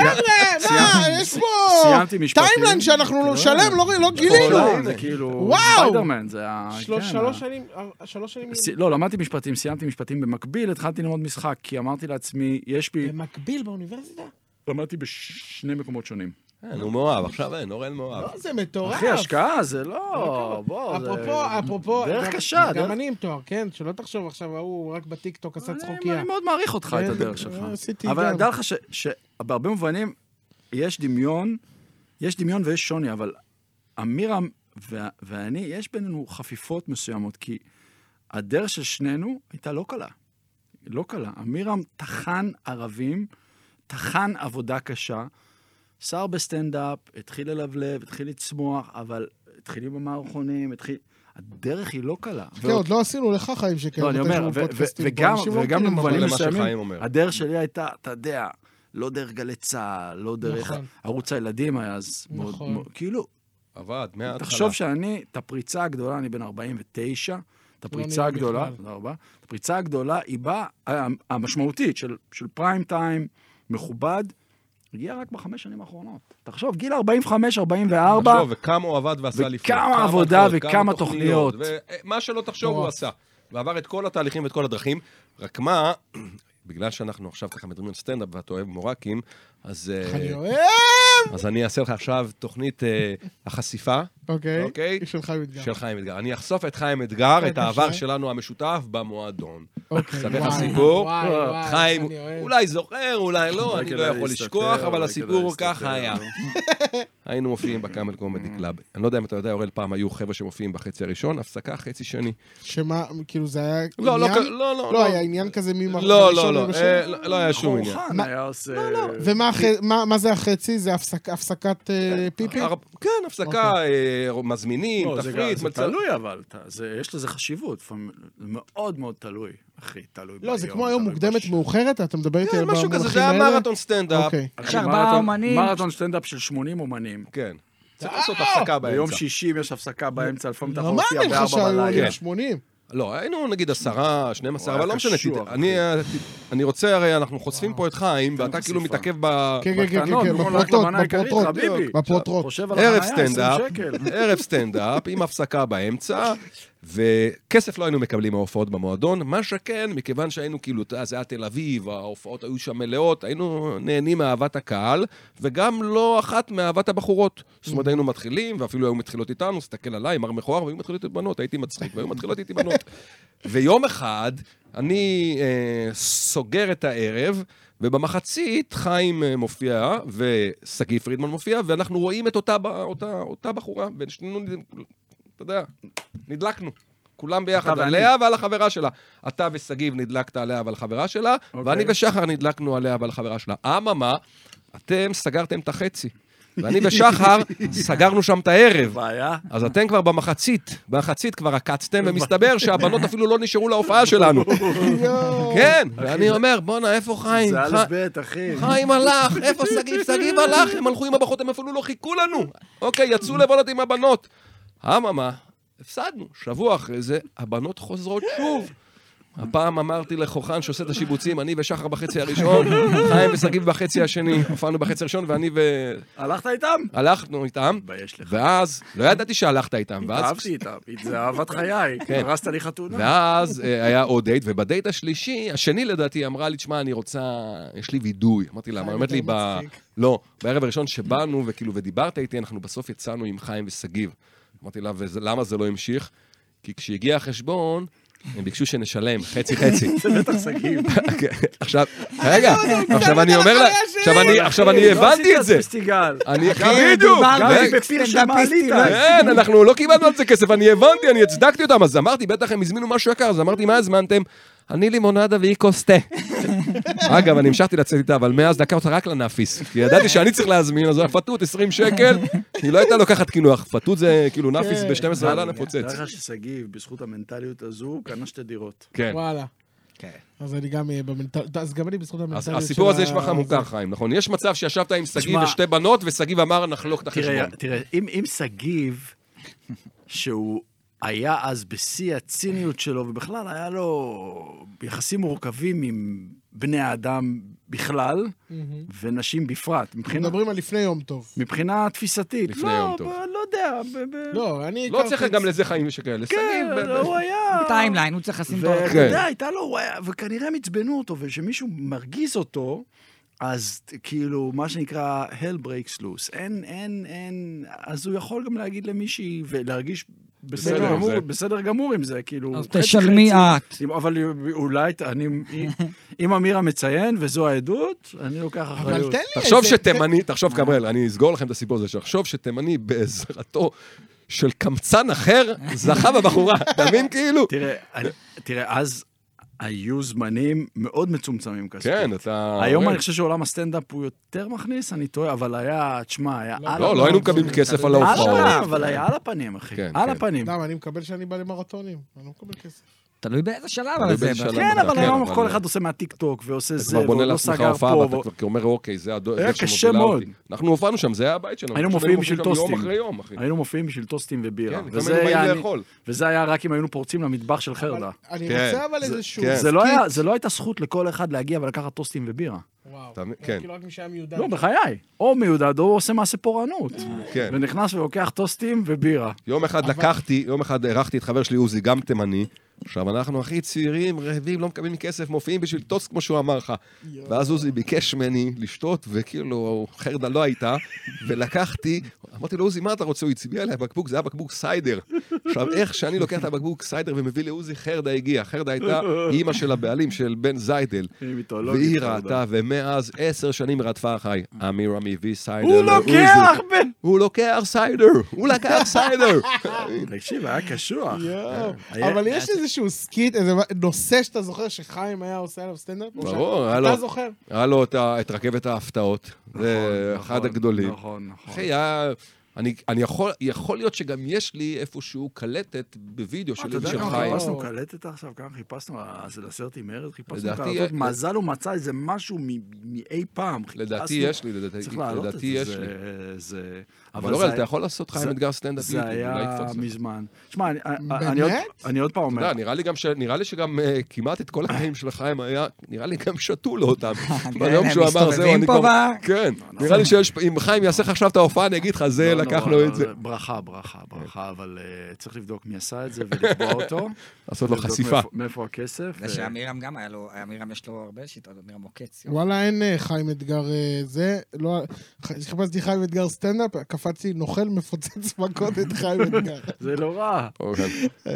חבר'ה, מה, יש פה סיימתי משפטים. טיימליין שאנחנו כן. שלם, לא- לא גילינו. נכון, זה כאילו, וואו! ספיידרמן, זה ה... שלוש כן, שלוש ה- שנים, אה, שלוש שנים. ס- לא, למדתי משפטים, סיימתי משפטים במקביל, התחלתי ללמוד משחק, כי אמרתי לעצמי, יש בי... במקביל באוניברסיטה? למדתי בשני מקומות שונים. כן, הוא מאוהב, עכשיו אין, אורן מאוהב. לא, זה מטורף. אחי, השקעה זה לא... בוא, זה... אפרופו, אפרופו, דרך גם- קשה, דרך- גם אני עם תואר, כן? שלא תחשוב עכשיו, ההוא רק בטיקטוק עשה אני- צחוקיה. אני מאוד מעריך אותך, את כן, הדרך שלך. עשיתי אבל גם. דע לך ש- שבהרבה מובנים יש דמיון, יש דמיון ויש שוני, אבל אמירם וה- ואני, יש בינינו חפיפות מסוימות, כי הדרך של שנינו הייתה לא קלה. לא קלה. אמירם טחן ערבים, טחן עבודה קשה, שר בסטנדאפ, התחיל ללבלב, התחיל לצמוח, אבל התחילים במערכונים, התחיל... הדרך היא לא קלה. כן, עוד לא עשינו לך חיים שכן. לא, אני אומר, ו- ו- וגם, לא וגם כאילו, במובנים למה שחיים מסוימים, אומר. הדרך שלי הייתה, אתה יודע, לא דרך גלי צהל, לא דרך נכון. ערוץ הילדים היה אז, מאוד- נכון. מאוד- כאילו, עבד, מההתחלה. תחשוב שאני, את הפריצה הגדולה, אני בן 49, את הפריצה לא נראה הגדולה, בכלל. תודה רבה, את הפריצה הגדולה היא באה, ה- המשמעותית של של פריים טיים, מכובד, הגיעה רק בחמש שנים האחרונות. תחשוב, גיל 45, 44, תחשוב, וכמה הוא עבד ועשה וכמה לפני. עבודה הלכות, וכמה תוכניות. ומה אה, שלא תחשוב הוא מטורף. עשה. ועבר את כל התהליכים ואת כל הדרכים, רק מה, בגלל שאנחנו עכשיו ככה מדברים על סטנדאפ ואתה אוהב מורקים, אז אה, אני אוהב! אז אני אעשה לך עכשיו תוכנית אה, החשיפה אוקיי. אוקיי. של חיים אתגר. של חיים אתגר. אני אחשוף את חיים אתגר, את בבקשה. העבר שלנו המשותף במועדון. אוקיי, ספר לך וואי, סיפור. וואי, וואי, אה, חיים, אני אוהב. אולי זוכר, אולי לא, אולי אני כדאי לא יכול להסתתר, לשכוח, אבל אולי הסיפור כדאי ככה היה. להסתתר. היינו מופיעים בקאמל קומדי Mm. קלאב. אני לא יודע אם אתה יודע, אורל, פעם היו חבר'ה שמופיעים בחצי הראשון, הפסקה חצי שני. שמה, כאילו זה היה לא, לא, עניין? כ- לא, לא, לא, לא. היה עניין כזה מי מר- לא, ראשון לא, לא, ובשני? אוקיי. אה, לא לא היה שום עניין. חורחן מה- לא, היה עושה... ומה אחרי- מה- מה זה החצי? זה הפסק- הפסקת אה, פיפי? ארבע- כן, הפסקה, אוקיי. אה, מזמינים, לא, זה תפריט, גם- זה מצב. תלוי אבל, אתה- זה- יש לזה חשיבות, לפעמים- זה מאוד מאוד תלוי, אחי, תלוי ביום. לא, זה כמו היום תלוי מוקדמת בשעה. מאוחרת? אתה מדבר איתי כן, על משהו כזה, זה היה האלה? מרתון סטנדאפ. אוקיי. אחי, עכשיו, מרתון- באו אומנים- מרתון סטנדאפ של 80 אומנים. כן. צריך לעשות הפסקה ביום באמצע. שישי יש הפסקה באמצע, לפעמים אתה לא יכול להופיע מאמין לך בארבע שהיו בלילה. עולים 80. לא, היינו נגיד עשרה, 12, הוא אבל היה לא משנה. קשוח, תת- אני אה, ת- אני רוצה, הרי אנחנו חושפים פה את חיים, ואתה כאילו חשיפה. מתעכב ב... כן, כן, כן, בקטנות, כן, במקום בפרוטרוט, ללכת למנה העיקרית, בפרוטרוט, כן, חביבי. בפרוטרוט. חושב על ערב החניה, 20 סטנדאפ, שקל. ערב סטנדאפ עם הפסקה באמצע, וכסף לא היינו מקבלים מההופעות במועדון, מה שכן, מכיוון שהיינו כאילו, אתה יודע, זה היה תל אביב, ההופעות היו שם מלאות, היינו נהנים מאהבת הקהל, וגם לא אחת מאהבת הבחורות. זאת Mm. אומרת, היינו מתחילים, ואפילו היו מתחילות איתנו, תסתכל עליי, מר מכוער, והיו מתחילות איתי בנות, הייתי מצחיק, והיו מתחילות איתי בנות. ויום אחד, אני אה, סוגר את הערב, ובמחצית חיים אה, מופיע, ושגיא פרידמן מופיע, ואנחנו רואים את אותה, ב- אותה, אותה בחורה, ושנינו, נד- אתה יודע, נדלקנו. כולם ביחד, אתה ואני. עליה ועל החברה שלה. אתה ושגיב נדלקת עליה ועל חברה שלה, אוקיי. ואני ושחר נדלקנו עליה ועל חברה שלה. אממה, אתם סגרתם את החצי. ואני ושחר סגרנו שם את הערב. בעיה. אז אתם כבר במחצית, במחצית כבר עקצתם, ומסתבר שהבנות אפילו לא נשארו להופעה שלנו. כן, ואני אומר, בואנה, איפה חיים? זה ח- א' ב', אחי. חיים הלך, איפה שגיב? שגיב הלך, הם הלכו עם הבחורות, הם אפילו לא חיכו לנו. אוקיי, יצאו לבלות עם הבנות. אממה, הפסדנו. שבוע אחרי זה, הבנות חוזרות שוב. הפעם אמרתי לחוכן שעושה את השיבוצים, אני ושחר בחצי הראשון, חיים ושגיב בחצי השני, הופענו בחצי הראשון, ואני הלכת איתם? והלכנו איתם, מתבייש לך. ואז, לא ידעתי שהלכת איתם, ואז אהבתי איתם, זה אהבת חיי, כן. הרסת לי חתונה. ואז אה, היה עוד דייט, ובדייט השלישי, השני לדעתי, היא אמרה לי, תשמע, אני רוצה, יש לי וידוי. אמרתי לה, חיים מה, אומרת לי, יותר ב... מצחיק. לא, בערב הראשון שבאנו, וכאילו, ודיברת איתי, אנחנו בסוף יצאנו עם חיים ושגיב. אמרתי לה, ולמה זה לא המשיך? כי כשהגיע החשבון, הם ביקשו שנשלם חצי-חצי. זה בטח שגיב. עכשיו, רגע, עכשיו אני אומר לה, החיה שלי. עכשיו אני- עכשיו אני אחי, לא הבנתי עשית את זה. פסטיגל. אני, גם אם בדיוק, מדובר רגע. גם בפיל שמעלית. כן, אנחנו לא קיבלנו על זה כסף, אני הבנתי, אני הצדקתי אותם, אז אמרתי, בטח הם הזמינו משהו יקר, אז אמרתי, מה הזמנתם? אני לימונדה והיא כוס תה. אגב, אני המשכתי לצאת איתה, אבל מאז דקה אותה רק לנאפיס. כי ידעתי שאני צריך להזמין, אז הפתות 20 שקל, היא לא הייתה לוקחת קינוח. פתות זה כאילו נאפיס כן. ב-12 עלה תאר נפוצץ. לך ששגיב, בזכות המנטליות הזו, קנה שתי דירות. כן. וואלה. כן. אז אני גם אהיה במנטליות, אז גם אני בזכות המנטליות אז של הסיפור הזה ה- נשמע לך מוכר, חיים, נכון? יש מצב שישבת עם שגיב תשמע- ושתי בנות, ושגיב אמר, נחלוק את החשבון. תראה, תראה, אם אם שגיב, שהוא היה אז בשיא הציניות שלו, ובכלל היה לו יחסים מורכבים עם בני האדם בכלל, מהמם. ונשים בפרט, מבחינה... מדברים על לפני יום טוב. מבחינה תפיסתית. לפני לא, יום טוב. ב- לא יודע. ב- ב- לא, אני... לא הכרתי צריך את- גם לזה חיים שכאלה. כן, שגיב, לא, הוא היה... טיימליין, הוא צריך לשים את ואתה האורך. כן. יודע, הייתה לו, הוא היה- וכנראה הם עצבנו אותו, ושמישהו מרגיז אותו, אז ת- כאילו, מה שנקרא, hell breaks loose. אין, אין, אין, אז הוא יכול גם להגיד למישהי, ולהרגיש בסדר בסדר עם גמור, זה. בסדר גמור עם זה, כאילו... אז חצי תשלמי חצי. את. אם- אבל אולי, ת- אני, אם אמירה מציין, וזו העדות, אני לוקח אבל אחריות. תן לי תחשוב איזה- שתימני, תחשוב, קברל, אני אסגור לכם את הסיפור הזה, שתחשוב שתימני בעזרתו של קמצן אחר, זכה בבחורה, אתה מבין כאילו? תראה, אני- תראה, אז היו זמנים מאוד מצומצמים כספית. כן, אתה... היום אני חושב שעולם הסטנדאפ הוא יותר מכניס, אני טועה, אבל היה, תשמע, היה על לא, לא היינו מקבלים כסף על על ההופעות. הפנים, אבל היה על הפנים, אחי. כן, על כן. הפנים. למה, אני מקבל שאני בא למרתונים, אני לא מקבל כסף. תלוי באיזה שלב, תלוי אבל זה... באיזה שלב. כן, אבל כן, היום אבל- כל אחד עושה מהטיק טוק, ועושה אתה זה, כבר בונה ועוד לא לעצמך סגר הופעה, פה. ואתה כבר אומר, אוקיי, זה הדרך היה שמובילה קשה מאוד. אותי." אנחנו הופענו שם, זה היה הבית שלנו. היינו פשוט מופיעים הופכים בשביל שם טוסטים. לא יום אחרי יום, אחי. היינו מופיעים בשביל טוסטים ובירה. כן, לפעמים וזה היינו היה- באים לאכול. וזה היה רק אם היינו פורצים למטבח של חרדה. אני כן. רוצה אבל איזשהו... כן. זה לא סקיט. היה- זה לא הייתה זכות לכל אחד להגיע ולקחת טוסטים ובירה. וואו. אתה מבין? כן. כאילו רק מי שהיה מיודע. לא, בחיי. או מיודד, או עושה מעשה פורענות. כן. ונכנס ולוקח טוסטים ובירה. יום אחד לקחתי, יום אחד אירחתי את חבר שלי עוזי, גם תימני. עכשיו, אנחנו הכי צעירים, רעבים, לא מקבלים כסף, מופיעים בשביל טוסט, כמו שהוא אמר לך. ואז עוזי ביקש ממני לשתות, וכאילו, חרדה לא הייתה, ולקחתי, אמרתי לו, עוזי, מה אתה רוצה? הוא הצביע עליי בקבוק, זה היה בקבוק סיידר. עכשיו, איך שאני לוקח את הבקבוק סיידר ומביא לעוזי, חרדה הגיעה. חרדה הייתה אימא של הבעלים, של בן זיידל. היא מיתולוגית, והיא חרדה. ראתה, ומאז עשר שנים רדפה אחריי. אמירה מביא סיידר הוא לוקח ב... הוא לוקח סיידר, הוא לקח סיידר. תקשיב, היה לא קשוח. יואו. היה- אבל יש איזשהו סקיט, איזה נושא שאתה זוכר שחיים היה עושה עליו סטנדאפ? ברור, למשל? היה לו- אתה זוכר? היה לו את ה- את רכבת ההפתעות, זה נכון, אה, אחד הגדולים. נכון, נכון. אחי, היה... אני, אני יכול, יכול להיות שגם יש לי איפשהו קלטת בווידאו אתה של יודע של כמה חיים. חיפשנו קלטת עכשיו? כמה חיפשנו? אה, זה לסרט עם ארז? חיפשנו לדעתי, קלטות? אה, מזל הוא מצא איזה משהו מ- מאי פעם. לדעתי חיפשנו- יש לי, לדעתי- צריך להעלות את זה. לדעתי יש זה- לי. זה... אבל זה אורל, אתה היה- יכול לעשות חיים זה- אתגר סטנדאפ זה יוטיוב, אולי היה יתפוס לך. מזמן. שמע, אני- אה, אני- אני עוד- באמת? אני עוד פעם אתה אומר, יודע, לא, נראה לי גם ש... נראה לי שגם אה, כמעט את כל הקטעים של חיים היה, נראה לי גם שתו לו אותם. כן, ביום הם שהוא אמר, זהו, מסתובבים אני פה כבר... ב- כן, נראה לי שיש... אם חיים יעשה לך עכשיו את ההופעה, אני אגיד לך, זה לא, לקח לא, לו לא, את זה. כן. ברכה, ברכה, ברכה, אבל אה, צריך לבדוק מי עשה את זה ולתבוע אותו. לעשות לו לבדוק חשיפה. מאיפה- מאיפה הכסף. זה אה, שאמירם גם היה לו, אמירם יש לו הרבה שיטות, אמירם עוקץ. יופי. וואלה, אין אה, חיים אתגר אה, זה. לא... ח- חיפשתי חיים אתגר סטנדאפ, קפצתי נוכל מפוצץ מכות את חיים אתגר. זה לא רע. אורן.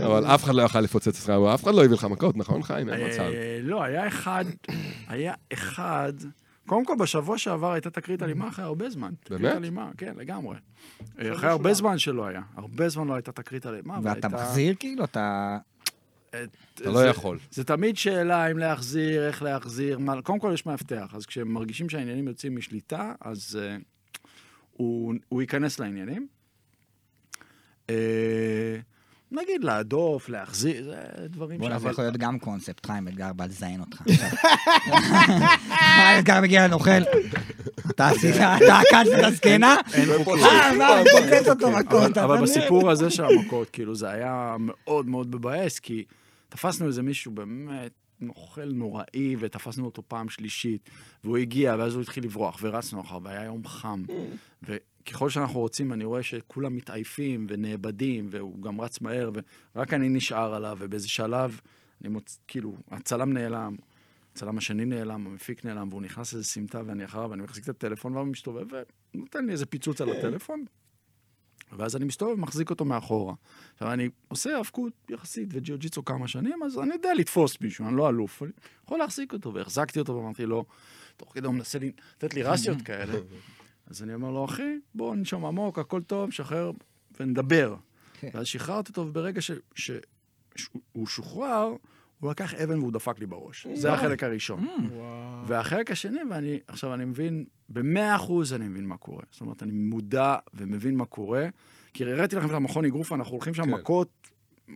אבל אף אחד לא יכל לפוצץ אותך, אבל אף אחד לא הביא לך מכות, נכון, חיים? אין מצב. אה, לא, היה אחד, היה אחד, קודם כל בשבוע שעבר הייתה תקרית אלימה אחרי הרבה זמן. באמת? תקרית אלימה, כן, לגמרי. אה, אחרי הרבה זמן שלא היה. הרבה זמן לא הייתה תקרית אלימה. ואתה והייתה- מחזיר כאילו, אתה... אה, אתה לא זה- יכול. זה תמיד שאלה אם להחזיר, איך להחזיר, מה... קודם כל יש מאבטח, אז כשהם מרגישים שהעניינים יוצאים משליטה, אז... אה, הוא, הוא ייכנס לעניינים. אה, נגיד להדוף, להחזיר, זה דברים בואנה, זה אבל- יכול להיות גם קונספט, חיים אתגר בא לזיין אותך. חיים אתגר מגיע לנוכל, אתה עשית, אתה עקדת את הזקנה? אה, מה, הוא פוצץ אותו מכות. כן, אבל, אבל בסיפור הזה של המכות, כאילו, זה היה מאוד מאוד מבאס, כי תפסנו איזה מישהו באמת נוכל נוראי, ותפסנו אותו פעם שלישית, והוא הגיע, ואז הוא התחיל לברוח, ורצנו אחריו, והיה יום חם. וככל שאנחנו רוצים, אני רואה שכולם מתעייפים ונאבדים, והוא גם רץ מהר, ורק אני נשאר עליו, ובאיזה שלב, אני מוצ... כאילו, הצלם נעלם. הצלם השני נעלם, המפיק נעלם, והוא נכנס לאיזה סמטה ואני אחריו, ואני מחזיק את הטלפון, והוא מסתובב ונותן לי איזה פיצוץ על הטלפון, ואז אני מסתובב ומחזיק אותו מאחורה. עכשיו, אני עושה האבקות יחסית וג'יוג'יצו כמה שנים, אז אני יודע לתפוס מישהו, אני לא אלוף, אני יכול להחזיק אותו, והחזקתי אותו ואמרתי לו, תוך כדי הוא מנסה לי- לתת לי רסיות כאלה. אז אני אומר לו, אחי, בוא נשום עמוק, הכל טוב, שחרר ונדבר. כן. ואז שחררתי אותו, וברגע ש- ש- שהוא שוחרר, הוא לקח אבן והוא דפק לי בראש. זה החלק הראשון. וואו. והחלק השני, ואני, עכשיו אני מבין, במאה אחוז אני מבין מה קורה. זאת אומרת, אני מודע ומבין מה קורה, כי הראיתי לכם את המכון אגרוף, אנחנו הולכים שם כן. מכות,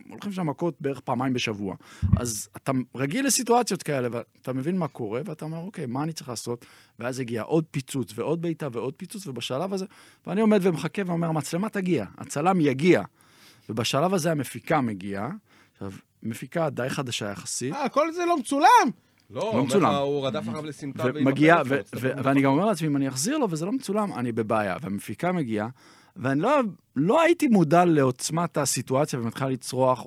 הולכים שם מכות בערך פעמיים בשבוע. אז אתה רגיל לסיטואציות כאלה, ואתה מבין מה קורה, ואתה אומר, אוקיי, מה אני צריך לעשות? ואז הגיע עוד פיצוץ, ועוד בעיטה, ועוד פיצוץ, ובשלב הזה, ואני עומד ומחכה ואומר, המצלמה תגיע, הצלם יגיע. ובשלב הזה המפיקה מגיעה, עכשיו, מפיקה די חדשה יחסית. אה, כל זה לא מצולם? לא, הוא אומר מצולם. לך, הוא רדף אחריו לסמטה ומגיע, והתנפל ו- עליו, ו- סתם. ואני גם אומר לעצמי, אם אני אחזיר לו וזה לא מצולם, אני בבעיה. והמפיקה מגיעה, ואני לא, לא הייתי מודע לעוצמת הסיטואציה ומתחילה לצרוח,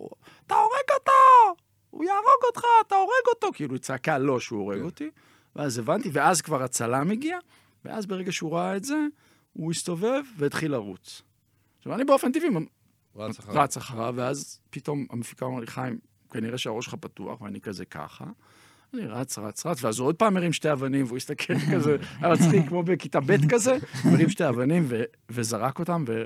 אתה הורג אותו! הוא יהרוג אותך, אתה הורג אותו! כאילו, היא צעקה לא שהוא הורג כן. אותי. ואז הבנתי, ואז כבר הצלם הגיע, ואז ברגע שהוא ראה את זה, הוא הסתובב והתחיל לרוץ. עכשיו, אני באופן טבעי רץ אחריו. רץ אחריו, ואז פתאום המפיקה אומר לי, חיים, כנראה שהראש שלך פתוח, ואני כזה ככה. אני רץ, רץ, רץ, ואז הוא עוד פעם הרים שתי אבנים, והוא הסתכל כזה, היה מצחיק, כמו בכיתה ב' כזה, הוא הרים שתי אבנים ו- וזרק אותם, ו...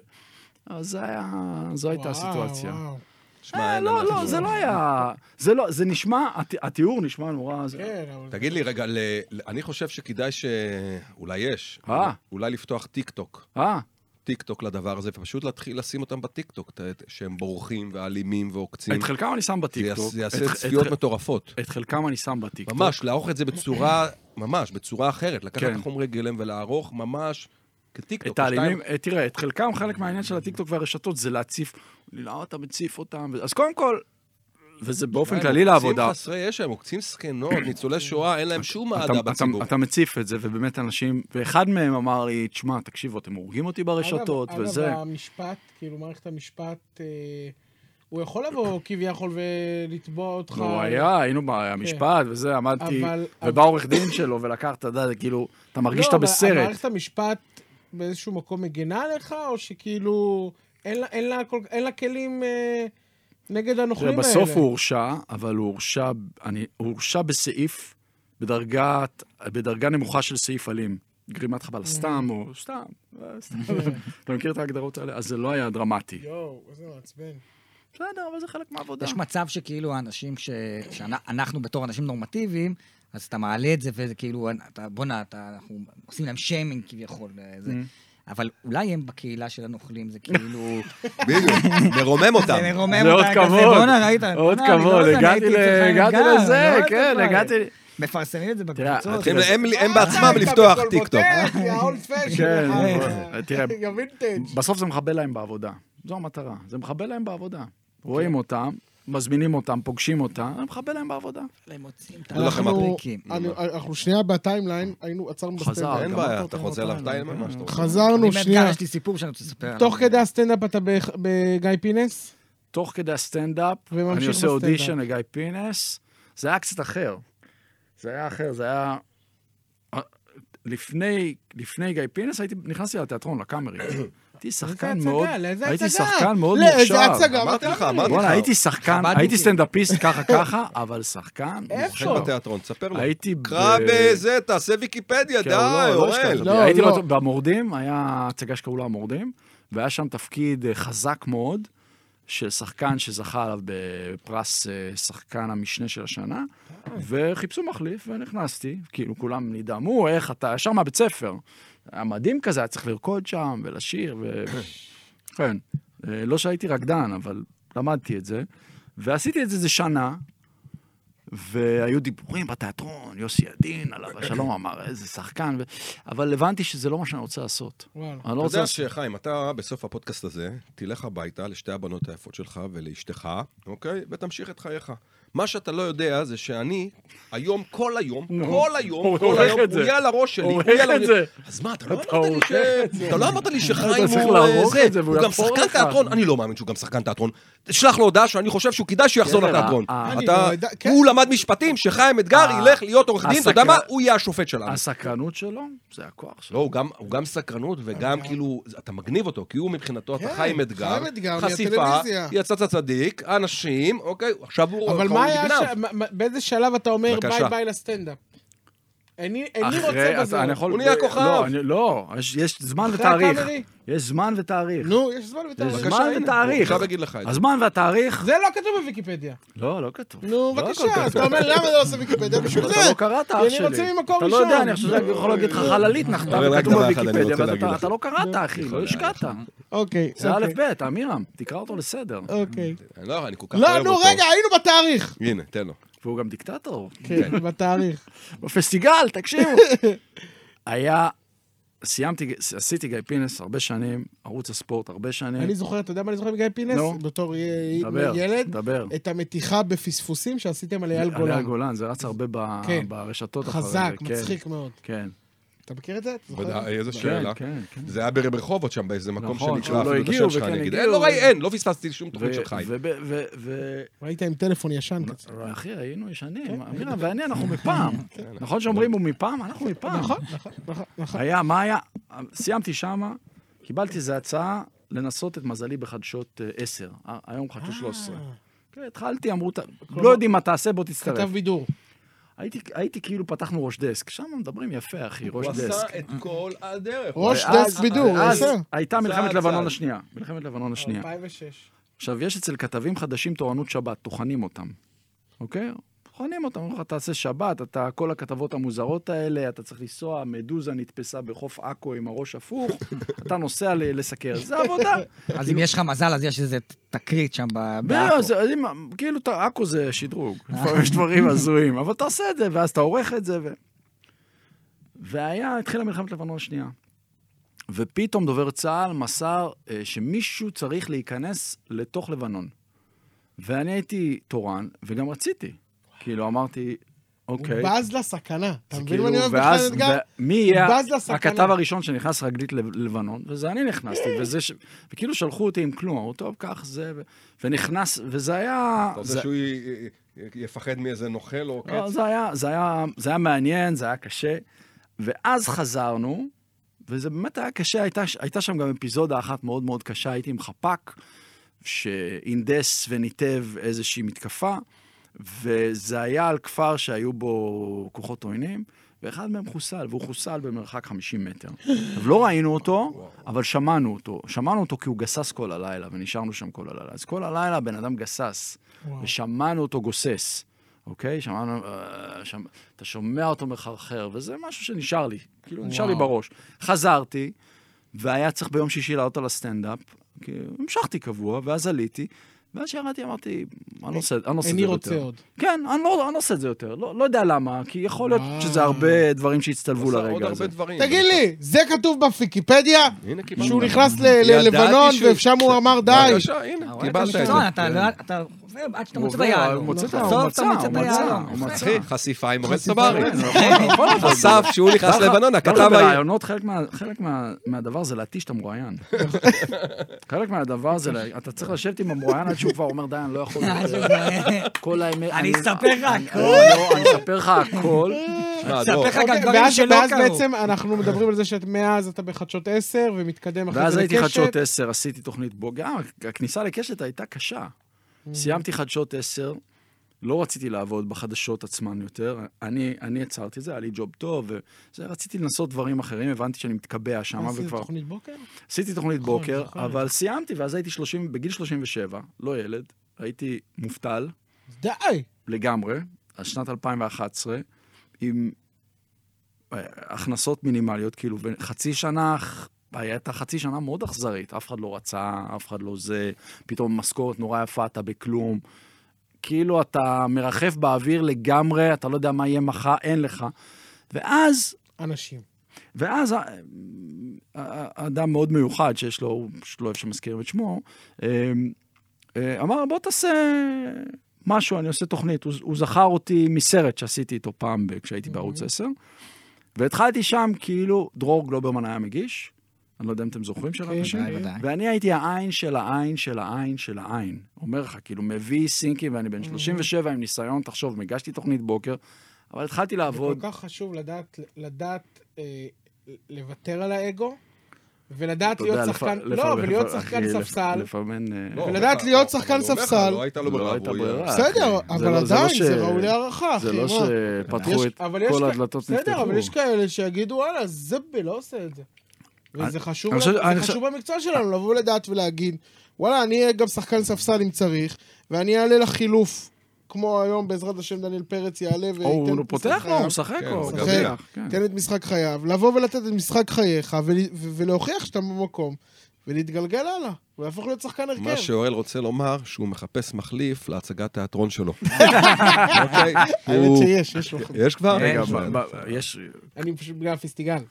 אז זה היה, זו הייתה וואו, הסיטואציה. וואו. שמע, אה, אין לא, עליך לא, שום זה דבר. לא היה... זה לא, זה נשמע, הת- התיאור נשמע נורא... זה- כן, אבל... תגיד לי, רגע, ל- ל- אני חושב שכדאי ש... אולי יש. אה. אולי לפתוח טיק טוק. אה, טיק טוק לדבר הזה, ופשוט להתחיל לשים אותם בטיק טוק, ת- ת- שהם בורחים ואלימים ועוקצים. את חלקם אני שם זה יעש- בטיקטוק. זה יעשה את ח- את צפיות ח- מטורפות. את חלקם אני שם בטיקטוק. ממש, לערוך את זה בצורה, ממש, בצורה אחרת. לקחת כן. את החומרי גלם ולערוך ממש כטיקטוק. את האלימים, אה, תראה, את חלקם, חלק מהעניין של הטיקטוק והרשתות זה להציף, למה אתה מציף אותם? אז קודם כל, וזה באופן כללי לעבודה. עוקצים חסרי ישע, הם עוקצים זקנות, ניצולי שואה, אין להם שום אתה- אהדה אתה- בציבור. אתה מציף את זה, ובאמת אנשים, ואחד מהם אמר לי, תשמע, תקשיבו, אתם הורגים אותי ברשתות, אגב, וזה. אגב, המשפט, כאילו, מערכת המשפט, אה, הוא יכול לבוא כביכול ולתבוע אותך. לא, הוא היה, היינו במשפט, וזה, עמדתי, כן. אבל- לא, ובא עורך דין שלו ולקח, אתה יודע, זה כאילו, אתה מרגיש שאתה אבל בסרט. המערכת המשפט באיזשהו מקום מגינה עליך, או שכאילו אין לה, אין לה, כל, אין לה כלים אה, נגד הנוכלים תראה, האלה? בסוף הוא הורשע, אבל הוא הורשע, אני, הוא הורשע בסעיף, בדרגת, בדרגה נמוכה של סעיף אלים. גרימת חבל סתם, או סתם, אה, סתם. אתה מכיר את ההגדרות האלה? אז זה לא היה דרמטי. יואו, איזה מעצבן. בסדר, אבל זה חלק מהעבודה. יש מצב שכאילו האנשים, ש- שאנחנו בתור אנשים נורמטיביים, אז אתה מעלה את זה, וזה כאילו, אתה- בוא'נה, אתה- אנחנו עושים להם שיימינג כביכול. אה, זה. Mm. אבל אולי הם בקהילה של הנוכלים, זה כאילו... בדיוק, מרומם אותם. זה מרומם זה עוד אותה, כזה, כבוד, בוא'נה, ראית? עוד בוא'נה, אני לא כבוד, יודע, אני הגעתי הייתי ל- אצלך עם הגעתי גל, לזה, לא יודע כן, כבר. הגעתי... מפרסמים את זה תראה, בקבוצות. מתחילים- הם- הם אה, בעצמם אתה לפתוח בכל טיק טוק. בוטט, יא אולד כן, פשן. אה, תראה, יא וינטג'. בסוף זה מחבל להם בעבודה. זו המטרה, זה מחבל להם בעבודה. כן. רואים אותם, מזמינים אותם, פוגשים אותם, זה מחבל להם בעבודה. הם מוצאים את לא לכם אנחנו- הפריקים. אני- אנחנו שנייה בטיימליין, היינו, עצרנו חזר. בסטנדאפ. אין גם בעיה, אותו אתה אותו חוזר אותו לטיים, אותו. מה שאתה רוצה. חזרנו, אני שנייה. מאתגר, יש לי סיפור שאני רוצה לספר עליו. תוך כדי הסטנדאפ אתה בח- בגיא פינס? תוך כדי הסטנדאפ, וממשיך אני עושה בסטנדאפ. אודישן לגיא פינס. זה היה קצת אחר. זה היה אחר, זה היה... אה, לפני, לפני גיא פינס הייתי, נכנסתי לתיאטרון, לקאמרי. הייתי שחקן איזה מאוד, הצגה, לאיזה הייתי הצגה? שחקן מאוד לאיזה מוכשר. הצגה? אמרתי לך, אמרתי וואלה, לך. הייתי שחקן, חבדניקים. הייתי סטנדאפיסט ככה ככה, אבל שחקן שחק מוכשר. בתיאטרון, תספר לו. הייתי ב... קרא בזה, תעשה ויקיפדיה, כן, די, לא, לא אורל. השקעת בי. לא, הייתי לא. בת- במורדים, היה הצגה שקראו לה המורדים, והיה שם תפקיד אה, חזק מאוד של שחקן שזכה עליו בפרס אה, שחקן המשנה של השנה, וחיפשו מחליף, ונכנסתי, כאילו כולם נדהמו, איך אתה, ישר מהבית ספר. היה מדהים כזה, היה צריך לרקוד שם ולשיר, ו... כן. אה, לא שהייתי רקדן, אבל למדתי את זה. ועשיתי את זה איזה שנה, והיו דיבורים בתיאטרון, יוסי ידין, עליו השלום אמר, איזה שחקן, ו... אבל הבנתי שזה לא מה שאני רוצה לעשות. וואלה. אני אתה לא רוצה... יודע לעשות- שחיים, אתה בסוף הפודקאסט הזה, תלך הביתה לשתי הבנות היפות שלך ולאשתך, אוקיי? ותמשיך את חייך. מה שאתה לא יודע זה שאני, היום, כל היום, נו. כל היום, הוא כל עורך היום, את הוא זה. יהיה על הראש שלי. עורך הוא יהיה על את הראש- זה. אז מה, אתה לא אתה אמרת לי ש... עורך את זה. אתה לא אמרת לי אתה שחיים צריך הוא אה, לערוך זה. את זה, והוא הוא גם יחפור שחקן לך. תיאטרון. אני לא מאמין שהוא גם שחקן תיאטרון. תשלח לו הודעה שאני חושב שהוא כדאי שהוא יחזור כן, לתיאטרון. אה, אה. אני אתה- לא יודע, כן. הוא למד משפטים, שחיים אתגר אה. ילך להיות עורך דין, אתה יודע הסקרן- מה? הוא יהיה השופט שלנו. הסקרנות שלו, זה הכוח שלו. לא, הוא גם, הוא גם סקרנות וגם כאילו, אתה מגניב אותו, כי הוא מבחינתו, אתה אה. כן, חי עם אתגר, חיים אתגר חשיפה, מהטלוויזיה. יצאת צדיק, אנשים, אוקיי, עכשיו הוא אבל כבר מה היה, נגנב. ש- מה- מה- באיזה שלב אתה אומר בבקשה. ביי ביי לסטנדאפ? איני איני רוצה אחרי, אז בזמן. אני יכול... הוא נהיה כוכב. לא, אני- לא, יש- יש זמן אחרי ותאריך. הקאמרי. יש זמן ותאריך. נו, יש זמן יש ותאריך. בבקשה, זמן הנה, ותאריך. עכשיו אגיד לך את זה. הזמן והתאריך... זה לא כתוב בוויקיפדיה. לא, לא כתוב. נו, לא בבקשה, הכל כתוב. אז אתה אומר למה לא עושה ויקיפדיה? בשביל זה. אתה לא קראת, אח כי שלי. אני רוצה ממקור אתה לא ראשון. יודע, אני חושב שאני יכול להגיד לך חללית נחתה אבל רק וכתוב דבר אחד אני בוויקיפדיה, רוצה אבל להגיד אתה- לך. אתה לא קראת, אחי, לא השקעת. אוקיי. זה א' אוקיי, ב', אמירם, תקרא אותו לסדר. אוקיי. אני לא, אני כל כך לא, אוהב נו, אותו. רגע, היינו בתאריך. הנה, תן לו. והוא גם דיקטטור. כן, בתאריך. בפסטיגל, תקשיבו. היה, סיימתי, עשיתי גיא פינס הרבה שנים, ערוץ הספורט הרבה שנים. אני זוכר, אתה יודע מה אני זוכר מגיא פינס? נו. בתור אה, דבר, ילד. דבר. את המתיחה בפספוסים שעשיתם על אייל עליה גולן. גולן, זה רץ הרבה ב- כן. ברשתות אחרי זה. חזק, כן, מצחיק מאוד. כן. אתה מכיר את זה? אתה זוכר? ודאי, איזה כן, שאלה. כן, כן. זה היה ברחובות שם, באיזה מקום נכון, שנקרא שלא אפילו את השם הגיעו שלך, וכן אני אגיד. הגיעו. אין, לא ראי, אין, לא פספסתי שום תוכנית ו- של חיים. ו- ו- ו- ו- ראית עם טלפון ישן כזה. אבל אחי, היינו ישנים, אמירה ואני, אנחנו מפעם. נכון שאומרים הוא מפעם? אנחנו מפעם. נכון, נכון, נכון. היה, מה היה? סיימתי שמה, קיבלתי איזו הצעה לנסות את מזלי בחדשות 10, היום חדשות 13. כן, התחלתי, אמרו, "ת- לא יודעים מה תעשה, בוא תצטרף. כתב בידור. הייתי- הייתי כאילו פתחנו ראש דסק, שם מדברים יפה, אחי, ראש הוא דסק. עשה את כל הדרך. ראש ואז- דסק בידור, כן. אז יפה. הייתה מלחמת צעד, לבנון צעד. השנייה. מלחמת לבנון השנייה. 2006. עכשיו, יש אצל כתבים חדשים תורנות שבת, טוחנים אותם, אוקיי? טוחנים אותם, אומרים לך, תעשה שבת, אתה, כל הכתבות המוזרות האלה, אתה צריך לנסוע, מדוזה נתפסה בחוף עכו עם הראש הפוך, אתה נוסע ל- לסקר, זה עבודה. אז אם יש לך מזל, אז יש איזה תקרית שם ב- לא, בעכו. זה- אז אם- כאילו, אתה- עכו זה שדרוג, לפעמים יש דברים הזויים, אבל אתה עושה את זה, ואז אתה עורך את זה, ו... והיה, התחילה מלחמת לבנון השנייה. ופתאום דובר צה"ל מסר אה, שמישהו צריך להיכנס לתוך לבנון. ואני הייתי תורן, וגם רציתי. כאילו, אמרתי, הוא אוקיי. בז לסכנה. אתה זה מבין כאילו, מה אני אוהב ואז- בכלל אתגר? ו- מי יהיה הוא בז לסכנה. הכתב הראשון שנכנס רגלית לב- ללבנון, וזה אני נכנסתי, אה. וזה ש... וכאילו שלחו אותי עם כלום, אמרו, טוב, קח זה, ו- ונכנס, וזה היה... אתה זה- רוצה שהוא י- י- יפחד מאיזה נוכל או לא, קץ? זה היה, זה, היה, זה היה מעניין, זה היה קשה. ואז חזרנו, וזה באמת היה קשה, הייתה, הייתה שם גם אפיזודה אחת מאוד מאוד קשה, הייתי עם חפ"ק, שהנדס וניתב איזושהי מתקפה, וזה היה על כפר שהיו בו כוחות עוינים, ואחד מהם חוסל, והוא חוסל במרחק 50 מטר. אבל לא ראינו אותו, אבל שמענו אותו. שמענו אותו כי הוא גסס כל הלילה, ונשארנו שם כל הלילה. אז כל הלילה בן אדם גסס, וואו. ושמענו אותו גוסס. אוקיי? שמענו, אה, שם, אתה שומע אותו מחרחר, וזה משהו שנשאר לי, כאילו, נשאר לי וואו. בראש. חזרתי, והיה צריך ביום שישי לעלות על הסטנדאפ, כי המשכתי קבוע, ואז עליתי, ואז כשירדתי אמרתי, אני לא עושה אני לא עושה את זה איני יותר. רוצה עוד. כן, אני לא, אני לא עושה את זה יותר, לא, לא יודע למה, כי יכול להיות וואו. שזה הרבה דברים שהצטלבו הוא עשה עוד לרגע הזה. הרבה דברים. תגיד לי, זה כתוב בוויקיפדיה? הנה קיבלנו. שהוא נכנס ל- ל- ידעתי לבנון, שהוא- ושם הוא אמר די. בבקשה, הנה, אבל קיבלת אתה את זה. מקצוען, אתה לא- אתה עובר עד שאתה הוא מוצא את עובר, היהלום. הוא מוצא את בסוף היהלום, אתה הוא מוצא את מצא, הוא היהלום. מצא, הוא מצא. אחי, חשיפה עם אורן חשיפה צברי. עם כן, חשף שהוא נכנס נכון. לבנון, נכון, ככה לא הכתב היה... ברעיונות, חלק, מה, חלק מה, מהדבר זה להתיש את המרואיין. חלק מהדבר זה, לה- אתה צריך לשבת עם המרואיין עד שהוא כבר אומר, די, אני לא יכול. כל האמת... אני אספר לך הכל. לא, אני אספר לך הכל. שמע, אספר דרור, לך גם אוקיי, דברים ואז- שלא ואז קרו. בעצם אנחנו מדברים על זה שמאז אתה בחדשות 10 ומתקדם אחרי ואז אוקיי, זה הייתי לקשת. חדשות 10, עשיתי תוכנית בו. גם הכניסה לקשת הייתה קשה. Mm. סיימתי חדשות 10, לא רציתי לעבוד בחדשות עצמן יותר. אני, אני עצרתי את זה, היה לי ג'וב טוב, וזה, רציתי לנסות דברים אחרים, הבנתי שאני מתקבע שם, עשית וכבר... תוכנית בוקר? עשיתי תוכנית בוקר, נכון. אבל סיימתי, ואז הייתי 30, בגיל 37, לא ילד, הייתי מובטל די. לגמרי, אז שנת 2011, עם... אה, הכנסות מינימליות, כאילו, וחצי שנה, ח- הייתה חצי שנה מאוד אכזרית, אף אחד לא רצה, אף אחד לא זה, פתאום משכורת נורא יפה, אתה בכלום. כאילו אתה מרחף באוויר לגמרי, אתה לא יודע מה יהיה מחר, אין לך. ואז אנשים. ואז ה- ה- ה- האדם מאוד מיוחד, שיש לו, הוא פשוט לא אוהב שמזכירים את שמו, אמ, אה, אמר, בוא תעשה משהו, אני עושה תוכנית. הוא, הוא זכר אותי מסרט שעשיתי איתו פעם ב- כשהייתי אוקיי. בערוץ 10, והתחלתי שם כאילו, דרור גלוברמן היה מגיש, אני לא יודע אם אתם זוכרים של האנשים, אוקיי. ודאי, ודאי. ואני הייתי העין של העין של העין של העין. אומר לך, כאילו, מביא סינקי ואני אוקיי. בן 37 עם ניסיון, תחשוב, הגשתי תוכנית בוקר, אבל התחלתי כל לעבוד. כך חשוב לדעת, לדעת אה, לוותר על האגו, ולדעת אתה יודע, להיות לפ- שחקן, לפ- לא, ולהיות אחי, שחקן לפ- ספסל. לפעמים... אה, לא, ולדעת אבל- להיות לא, שחקן אבל הוא אומר לך, ספסל. לא הייתה לו לא ברירה. הייתה והוא- ברירה. בסדר, אחי, אבל זה לא- זה לא עדיין, ש- זה ראוי להערכה, אחי. זה לא מה? שפתחו יש- את אבל יש כל כ- הדלתות בסדר, נפתחו. אבל יש כאלה שיגידו, וואלה, זבל, לא עושה את זה. וזה חשוב, אני חושב- זה אני חשוב במקצוע שלנו, לבוא לדעת ולהגיד, וואלה, אני אהיה גם שחקן ספסל אם צריך, ואני אעלה לחילוף, כמו היום, בעזרת השם, דניאל פרץ יעלה או, וייתן הוא לא את פותח משחק לו, הוא חייו. משחק כן, לו. הוא הוא משחק. פותח, כן. תן את משחק חייו, לבוא ולתת את משחק חייך, ול- ו- ולהוכיח שאתה במקום, ולהתגלגל הלאה, ולהפוך להיות שחקן מה הרכב. שאוראל רוצה לומר, שהוא מחפש מחליף להצגת תיאטרון שלו. אוקיי? האמת הוא- שיש, יש לו. יש כבר? רגע, יש. אה, ב- ב- יש... אני פשוט בגלל הפסטיגל.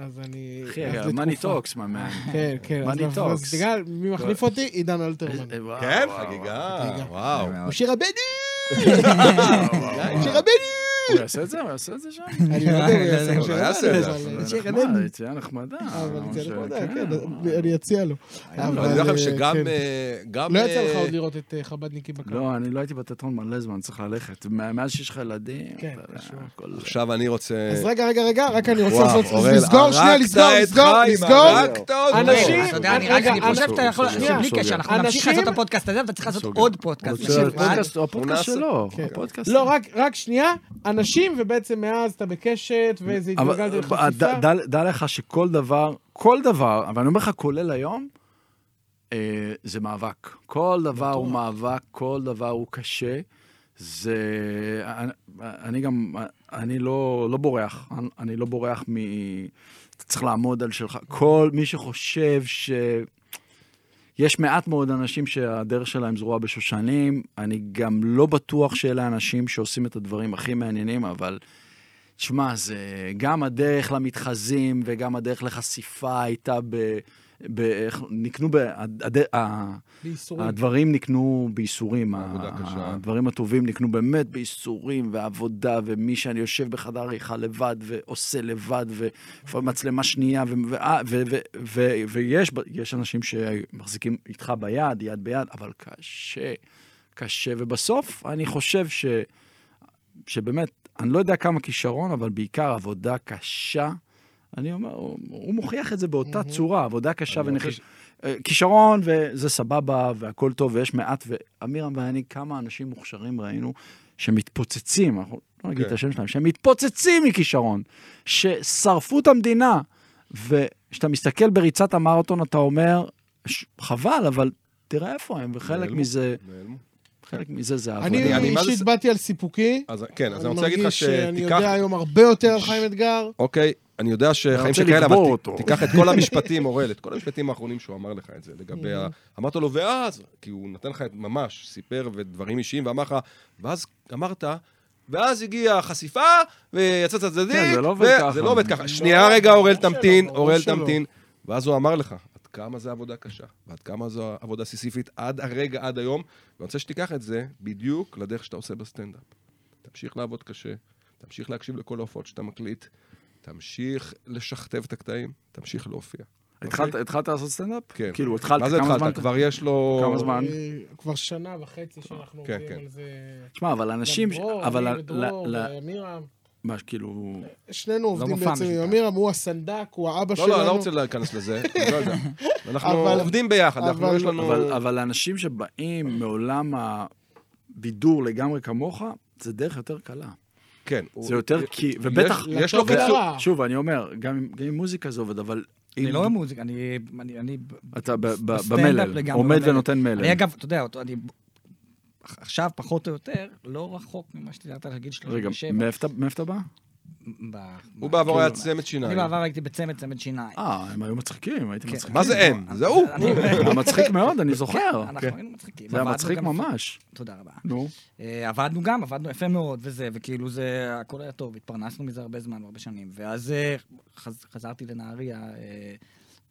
אז אני... אחי, אז זה מאני תקופה. טוקס, מה... מה- כן, כן. מאני אז טוקס. הפסטיגל, מי מחליף לא. אותי? עידן אלתרמן. וואו, כן, אה, וואו, חגיגה, חגיגה. וואו. מאוד. משה רבנו! וואו, וואו, וואו. משה רבנו! הוא יעשה את זה? הוא יעשה את זה שם? אני לא יודע אם הוא יעשה הוא את זה, לא יעשה את זה, אבל- אבל- משה נחמד, רבנו. יציאה נחמדה. אה, אבל ממש, זה נחמדה, כן. כן, אני אציע לו. אבל אבל, אני אומר לכם אה, שגם... כן. אה, גם, לא יצא אה, לך עוד לראות את אה, חבדניקים בקרב. לא, אני לא הייתי בתיאטרון מלא זמן, צריך ללכת. מה- מאז שיש לך ילדים, כן, אתה יודע, קשור. הכל- עכשיו אני רוצה... אז רגע, רגע, רגע, רק אני רוצה וואו, לעשות... אוראל, לסגור, שנייה, הרגת לסגור, את לסגור, חיים, לסגור. הרגת אותו. אנשים- אתה יודע, אני- רגע, רגע, אני חושב אנשים- שאתה יכול, שנייה. בלי קשר, אנחנו נמשיך אנשים- לעשות את הפודקאסט הזה, ואתה צריך לעשות סוגר. עוד פודקאסט. רוצה נשב לעשות פעם. הפודקאסט- הפודקאסט הוא שלו, כן. הפודקאסט לא, רק- רק שנייה, אנשים, ובעצם מאז אתה בקשת, וזה התגלגלת אבל אה, לחשיפה. ד- ד- דע לך שכל דבר, כל דבר, אבל אני אומר לך, כולל היום, אה, זה מאבק. כל דבר הוא מאבק, כל דבר הוא קשה. זה... אני- אני גם, אני לא, לא בורח, אני- אני לא בורח מ... אתה צריך לעמוד על שלך. כל מי שחושב ש... יש מעט מאוד אנשים שהדרך שלהם זרועה בשושנים, אני גם לא בטוח שאלה האנשים שעושים את הדברים הכי מעניינים, אבל תשמע, זה גם הדרך למתחזים וגם הדרך לחשיפה הייתה ב... ב... איך- נקנו ב... הד... ה- בייסורים. הדברים נקנו בייסורים, ה- עבודה קשה. הדברים הטובים נקנו באמת בייסורים ועבודה, ומי שאני יושב בחדר עריכה לבד ועושה לבד, ומצלמה שנייה, ו- ו- ו- ו- ו- ויש ב- יש אנשים שמחזיקים איתך ביד, יד ביד, אבל קשה, קשה, ובסוף אני חושב ש... שבאמת, אני לא יודע כמה כישרון, אבל בעיקר עבודה קשה. אני אומר, הוא, הוא מוכיח את זה באותה צורה, עבודה קשה אני ונחיש... אה, כישרון, וזה סבבה, והכל טוב, ויש מעט, ואמירם ואני, כמה אנשים מוכשרים ראינו שמתפוצצים, אנחנו לא נגיד כן. את השם שלהם, שמתפוצצים מכישרון, ששרפו את המדינה, וכשאתה מסתכל בריצת המרתון, אתה אומר, "ש- חבל, אבל תראה איפה הם, וחלק נעלמו. מזה, נעלמו. חלק מזה זה העבודה. אני אני- מה זה- אישית באתי על סיפוקי. אז כן, אז אני אני רוצה להגיד לך מרגיש שאני שתיקח... יודע היום הרבה יותר על חיים אתגר. אוקיי, אני יודע אני שחיים רוצה שכאלה, אבל לקבור ת- אותו. תיקח את כל המשפטים, אורל, את כל המשפטים האחרונים שהוא אמר לך את זה, לגבי ה... אמרת לו, ואז, כי הוא נתן לך את ממש, סיפר ודברים אישיים, ואמר לך, ואז אמרת, ואז הגיעה החשיפה, ויצאת צדדי, כן, זה לא עובד ככה. זה לא עובד ככה. שנייה רגע, אורל, ברור תמתין, שלא, לא ברור אורל, שלא. תמתין. ואז הוא אמר לך, עד כמה זה עבודה קשה, ועד כמה זו עבודה סיסיפית עד הרגע, עד היום, ואני רוצה שתיקח את זה בדיוק לדרך שאתה עושה בסטנדאפ. תמשיך לעבוד קשה, תמשיך להקשיב לכל ההופעות שאתה מקליט, תמשיך לשכתב את הקטעים, תמשיך להופיע. התחלת, התחלת לעשות סטנדאפ? אוקיי. כן. כאילו, התחלת, מה זה כמה זמן? התחלת? כבר יש לו... כמה זמן? אה, כבר שנה וחצי שאנחנו כן, עובדים כן. על זה. תשמע, אבל אנשים... גם דרור, אבל... אני ל- ודרור, ל- ומירם. מה, כאילו... שנינו עובדים מופע בעצם עם משותף. אמירם, הוא הסנדק, הוא האבא לא, שלנו. לא, אני לא רוצה להיכנס לזה, אני לא יודע. אנחנו אבל- עובדים ביחד, אנחנו אבל- יש לנו... אבל, אבל אנשים שבאים מעולם הבידור לגמרי כמוך, זה דרך יותר קלה. כן. זה הוא- יותר כי... ובטח... יש- יש לו לטוב קיצור... ולרע. שוב, אני אומר, גם עם- גם עם מוזיקה זה עובד, אבל... אני אם- לא מוזיקה, אני... אני- אני אתה ב- ב- בסטנדאפ במלל, לגמרי, עומד במלל. ונותן מלל. אני אגב, אתה יודע, אותו- אני עכשיו פחות או יותר לא רחוק ממה שתיארת על גיל רגע, 37. מאיפה אתה- מאיפה אתה בא? ב- הוא ב- בעבור היה כאילו, צמד אני שיניים. בעבר הייתי בצמד צמד שיניים. אה, הם היו מצחיקים, הייתם כן. מצחיקים. מה זה הם? זה הוא. אני- היה מצחיק מאוד, אני זוכר. כן, אנחנו היינו מצחיקים. זה היה עבדנו מצחיק גם- ממש. תודה רבה. נו. אה, עבדנו גם, עבדנו יפה מאוד וזה, וכאילו זה, הכל היה טוב, התפרנסנו מזה הרבה זמן, הרבה שנים. ואז אה, חז, חזרתי לנהריה אה,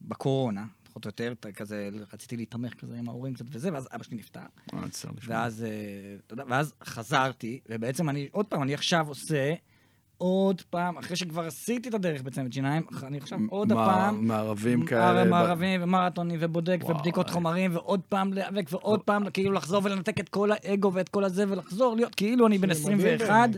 בקורונה, פחות או יותר, ת- כזה, רציתי להתמך כזה עם ההורים קצת וזה, ואז אבא שלי נפטר. אה, צר לי לשמוע. ואז, אה, אתה יודע, ואז חזרתי, ובעצם אני, עוד פעם, אני עכשיו עושה... עוד פעם, אחרי שכבר עשיתי את הדרך בצמד שיניים, אני עכשיו עוד מה- הפעם, מערבים כאלה. הרי ב- מערבים ומרתונים ובודק וואי. ובדיקות חומרים ועוד פעם להיאבק ועוד פעם כאילו לחזור ולנתק את כל האגו ואת כל הזה ולחזור להיות כאילו אני בן זה מדהים 21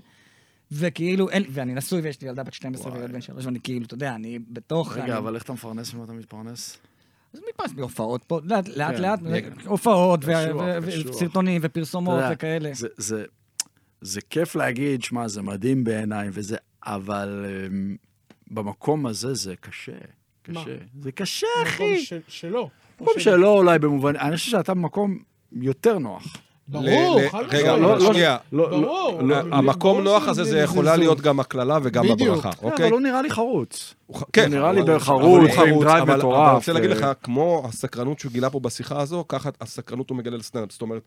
וכאילו אין ואני נשוי ויש לי ילדה בת 12 וואי. וילד בן 3 ואני כאילו אתה יודע אני בתוך אני- רגע, אבל איך אתה מפרנס אם אתה מתפרנס? אז מפעם מהופעות פה לאט לאט כן, לאט רגע. הופעות קשוח, ו- ו- קשוח. וסרטונים ופרסומות אתה יודע, וכאלה זה- זה- זה כיף להגיד, שמע, זה מדהים בעיניי וזה, אבל אמ, במקום הזה זה קשה. מה? קשה. זה קשה, מקום אחי. של- שלו. מקום שלא אולי במובן, אני חושב שאתה במקום יותר נוח. ברור, ל- ל- חד רגע, משמעית. לא, שנייה. לא, לא, ברור. לא, אבל המקום ברור נוח שזה הזה, זה זלזול. יכולה להיות גם הקללה וגם בדיוק. הברכה, כן, אוקיי? אבל הוא נראה לי חרוץ. הוא- כן. נראה לי אבל- בערך אבל חרוץ, הוא עם דרייב אבל- אבל מטורף, אני רוצה להגיד אה. לך, כמו הסקרנות שהוא גילה פה בשיחה הזו, ככה הסקרנות הוא מגלה לסטנדאפ. זאת אומרת,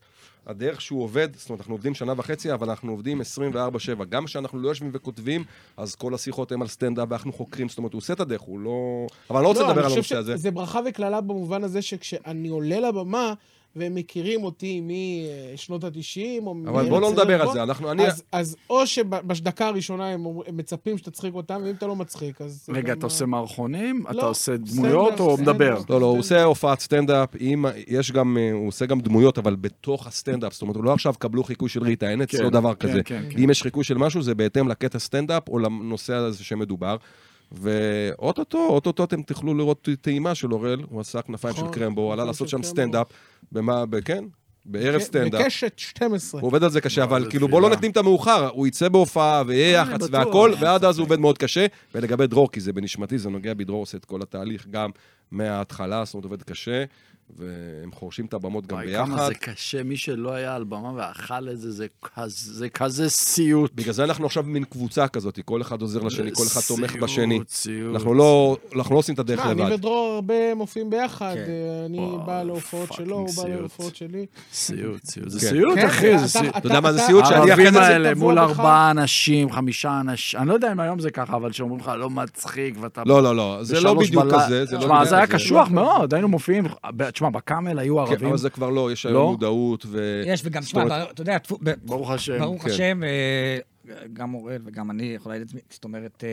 הדרך שהוא עובד, זאת אומרת, אנחנו עובדים שנה וחצי, אבל אנחנו עובדים 24-7. גם כשאנחנו לא יושבים וכותבים, אז כל השיחות הן על סטנדאפ ואנחנו חוקרים, זאת אומרת, הוא עושה את הדרך, הוא לא... אבל אני לא רוצה לא, לדבר אני על חושב הנושא הזה. שזה ברכה וקללה במובן הזה שכשאני עולה לבמה, והם מכירים אותי משנות ה-90, או... אבל בוא לא מארץ נדבר על הירקון, זה, אנחנו... אני... אז, אז או שבדקה הראשונה הם, אומר- הם מצפים שתצחיק אותם, ואם אתה לא מצחיק, אז... רגע, גם, אתה עושה מערכונים? אתה לא, עושה סטנדאפ, דמויות או סטנדאפ. מדבר? לא, לא, הוא עושה הופעת סטנדאפ, עם- יש גם, אה, הוא עושה גם דמויות, אבל בתוך הסטנדאפ. זאת אומרת, הוא לא עכשיו קבלו חיקוי של ריטה, אין אצלו כן, דבר כן, כזה. כן, כן. אם יש חיקוי של משהו, זה בהתאם לקטע סטנדאפ או לנושא הזה שמדובר. ואו-טו-טו, אוטוטו אתם תוכלו לראות טעימה של אוראל, הוא עשה כנפיים של נכון, קרמבו, הוא עלה כנפיים לעשות של שם קרמבו. סטנדאפ. במה, ב- כן, בערב ב- סטנדאפ. בקשת 12. הוא עובד על זה קשה, אבל זה כאילו בוא לא תפילה. נקדים את המאוחר, הוא יצא בהופעה ויהיה אה, יח"צ בטוח. והכל, ועד אז הוא עובד מאוד קשה. ולגבי דרור, כי זה בנשמתי, זה נוגע בי, דרור עושה את כל התהליך גם מההתחלה, זאת אומרת עובד קשה, והם חורשים את הבמות גם וואי, כמה ביחד. זה קשה, מי שלא היה על במה ואכל את זה, זה כזה- זה כזה סיוט. בגלל זה אנחנו עכשיו מין קבוצה כזאת, כל אחד עוזר לשני, כל אחד תומך סיוט, בשני. סיוט. אנחנו לא אנחנו לא עושים את הדרך שמע, אני לבד. ודרור הרבה מופיעים ביחד, כן. אה, אני וואו, בא להופעות שלו, הוא בא פאקינג סיוט. להופעות שלי. סיוט, סיוט. זה כן. סיוט, כן, אחי, אתה- זה סיוט. אתה יודע מה זה אתה- סיוט? שאני אחרי הערבים זה האלה תבוא מול מחר. ארבעה אנשים, חמישה אנשים, אני לא יודע אם היום זה ככה, אבל שאומרים לך, לא מצחיק, ואתה... לא, לא, לא, זה לא בשלוש בדיוק בלילה." כזה, זה לא תשמע, בדיוק זה היה כזה. קשוח מאוד, היינו מופיעים, ב- תשמע, בקאמל היו כן, ערבים, אבל זה כבר לא, יש לא? היום מודעות ו... יש וגם זאת שמע אומרת- בר- אתה יודע טפו- ב- ברוך השם. ברוך כן. השם, אה, גם אוראל וגם אני יכולה להגיד את זה, זאת אומרת, אה,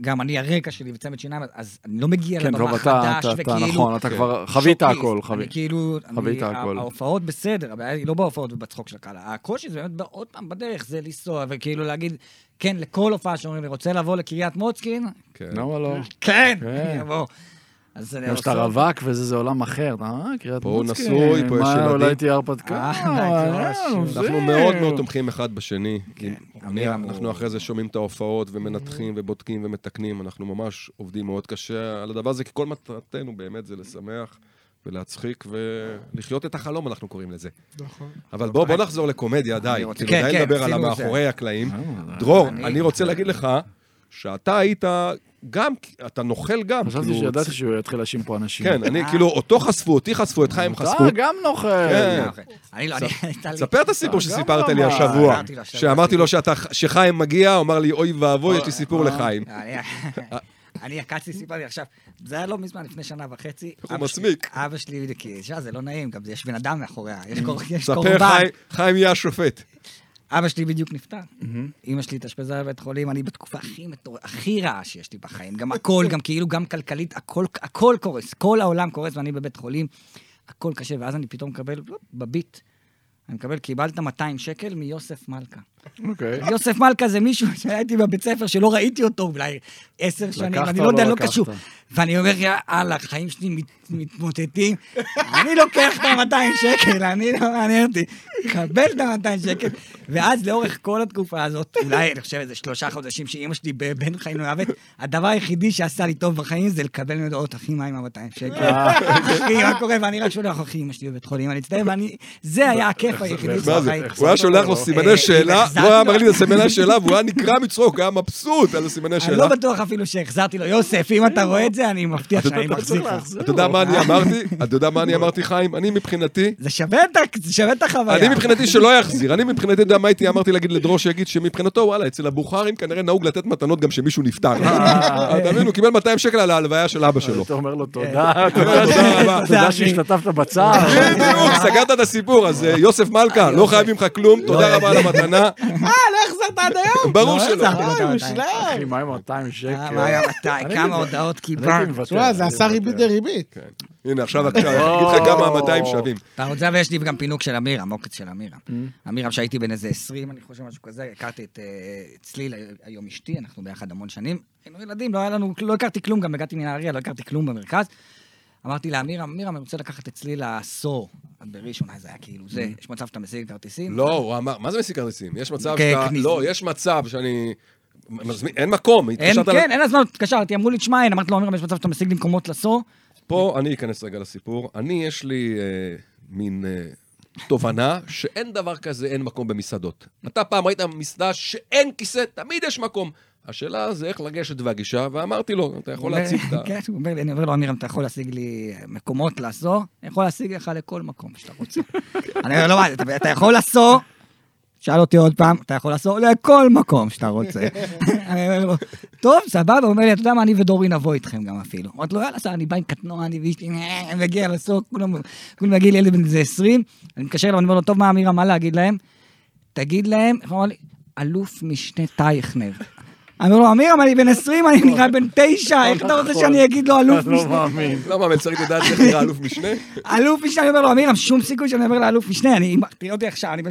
גם אני הרקע שלי וצמד שיניים, אז אני לא מגיע כן, טוב, לבמה אתה, חדש, אתה- אתה, וכאילו... נכון, אתה כן. כבר חווית שוקליסט. הכל, אני חווית. כאילו, אני- חווית ה- הכל. ההופעות בסדר, הבעיה היא לא בהופעות ובצחוק של הקהל. הקושי זה באמת בא עוד פעם בדרך, זה לנסוע, וכאילו להגיד, כן, לכל הופעה שאומרים לי, רוצה לבוא לקריית מוצקין? כן. למה לא? כן, כן. אני אבוא. אז אני גם כשאתה עושה- רווק וזה, זה עולם אחר, אתה אה, קריית פה הוא מוצקין, נשוי, פה יש מה, ילדים. אולי תהיה הרפתקה, אה, אה, אנחנו זה- אנחנו מאוד מאוד תומכים אחד בשני. כן, אני- אמיר אמור. אנחנו אחרי זה שומעים את ההופעות ומנתחים ובודקים ומתקנים, אנחנו ממש עובדים מאוד קשה על הדבר הזה, כי כל מטרתנו באמת זה לשמח ולהצחיק ולחיות את החלום, אנחנו קוראים לזה. נכון. אבל בוא בוא נחזור לקומדיה, די. אוקיי. רוצה- כאילו, כן, די כן, לדבר על עשינו את המאחורי הקלעים. אה, דרור, אני- אני רוצה להגיד לך שאתה היית גם, אתה נוכל גם. חשבתי כאילו, שידעתי שהוא יתחיל להאשים פה אנשים. כן, אה. אני כאילו, אותו חשפו, אותי חשפו, את חיים חשפו. אתה גם נוכל. כן. אני לא, אני... הייתה לי- ספר את הסיפור גם שסיפרת לי ממש. השבוע, אה, אמרתי לו השבוע. שאמרתי לו שאתה- שחיים מגיע, הוא אמר לי, אוי ואבוי, אה, יש לי סיפור לחיים. אני- אה. אני עקצתי, סיפרתי עכשיו, זה היה לא מזמן, לפני שנה וחצי. הוא אבא שלי- מסמיק. Mm-hmm. אבא שלי, כי שמע, זה לא נעים, גם יש בן אדם מאחוריה, יש קור- יש ספר, קורבן. חיים- חיים יהיה השופט. אבא שלי בדיוק נפטר. Mm-hmm. אימא שלי התאשפזה בבית חולים, אני בתקופה הכי מטור... הכי רעה שיש לי בחיים. גם הכל, גם כאילו, גם כלכלית, הכל, הכל קורס. כל העולם קורס ואני בבית חולים. הכל קשה, ואז אני פתאום מקבל, לא, בביט. אני מקבל, קיבלת 200 שקל מיוסף מלכה. אוקיי. יוסף מלכה זה מישהו שהיה איתי בבית ספר שלא ראיתי אותו אולי עשר שנים, לקחת אני או לא יודע, לא לא לקחת? קשור. ואני אומר, יאללה, החיים שלי מת- מתמוטטים, אני לוקח את ה-200 שקל, אני לא מעניין אותי, קבל את ה-200 שקל. ואז לאורך כל התקופה הזאת, אולי, אני חושב, איזה שלושה חודשים שאימא שלי ב- בין חיים למוות, הדבר היחידי שעשה לי טוב בחיים זה לקבל ממנו הודעות, אחי, מה עם ה-200 שקל? אחי, מה קורה? ואני רק שולח, אחי, אמא שלי בבית חולים, אני אצטער, ואני, זה היה הכיף היחידי של מה זה? החיים. הוא היה שולח לו סימני אה, שאלה, החזרתי הוא היה לו- מראה לי את הסימני השאלה, והוא היה נקרע מצחוק, הוא היה מבסוט על הסימני אני השאלה. לא בטוח אפילו שהחזרתי לו. יוסף, אם אתה רואה את זה, אני מבטיח שאני אתה מחזיק צריך לך. להחזיר אתה יודע לו. מה אני אמרתי? אתה יודע מה אני אמרתי, חיים? אני מבחינתי... אה, זה לא שווה את ה- זה שווה את החוויה. אני מבחינתי שלא יחזיר, אני מבחינתי יודע מה הייתי אמרתי להגיד לדרור שיגיד שמבחינתו וואלה אצל הבוכרים כנראה נהוג לתת מתנות גם שמישהו נפטר. אה, אתה מבין, הוא קיבל 200 שקל על ההלוויה של אבא שלו. אתה אומר לו תודה, כן. תודה רבה. כן. תודה שהשתתפת בצער. לא, בדיוק, סגרת את הסיפור, אז אה, יוסף מלכה, לא חייבים לך כלום, תודה רבה על המתנה, אה, לא החזרת עד היום? ברור לא שלא. החזרתי לו את אוי, ה- 200. מושלם. אחי, מה עם 200 שקל? אה, מה היה מתי? כמה הודעות קיבלת? קיבלת? תשמע, לא, זה עשה ריבית דריבית. הנה עכשיו עכשיו, אני אגיד לך כמה ה-200 שווים. אתה רוצה, ויש לי גם פינוק של אמירם, עוקץ של אמירם. אמירם, שהייתי בן איזה 20, אני חושב, משהו כזה, הכרתי את אה, צליל, היום אשתי, אנחנו ביחד המון שנים. היינו ילדים, לא היה לנו, לא הכרתי כלום, גם הגעתי מנהריה, לא הכרתי כלום במרכז. אמרתי לאמירם, אמירם, אני רוצה לקחת את צליל לעשור. בראשון, אז זה היה כאילו זה, יש מצב שאתה משיג כרטיסים? לא, הוא אמר, מה זה מסיק כרטיסים? יש מצב כן, שאתה... כניס- לא, יש מצב שאני... מזמין- אין מקום, אין, התקשרת ל- כן, אין הזמן, התקשרתי, אמרו לי, תשמע, אין, אמרתי לו, אמירם, יש מצב שאתה משיג לי מקומות לעשור? פה אני אכנס רגע לסיפור. אני, יש לי אה, מין אה, תובנה שאין דבר כזה אין מקום במסעדות. אתה פעם ראית מסעדה שאין כיסא, תמיד יש מקום. השאלה זה איך לגשת והגישה, ואמרתי לו, אתה יכול להציג את ה... כן, הוא אומר לי, אני אומר לו, אמירם, אתה יכול להשיג לי מקומות לעשור? אני יכול להשיג לך לכל מקום שאתה רוצה. אני אומר לו, מה, אתה- אתה יכול לעשור? שאל אותי עוד פעם, אתה יכול לעשור לכל מקום שאתה רוצה. אני אומר לו, טוב, סבבה, הוא אומר לי, אתה יודע מה, אני ודורי נבוא איתכם גם אפילו. אמרתי לו, יאללה, סבבה, אני בא עם קטנוע, אני ואשתי, אני מגיע לעשור, כולם כולם מגיעים לילד בן איזה 20, אני מתקשר אליו, אני אומר לו, טוב, מה אמירם, מה להגיד להם? תגיד להם, איך הוא אמר לי? אלוף משנה טייכנר. אני אומר לו, אמירם, אני בן 20, אני נראה בן 9, איך אתה נכון. רוצה שאני אגיד לו אלוף לא משנה? מאמין. למה המלצרית יודעת איך נראה אלוף משנה? אלוף משנה, אני אומר לו, אמירם, שום סיכוי שאני אומר לאלוף משנה, אני, תראה אותי עכשיו, אני בן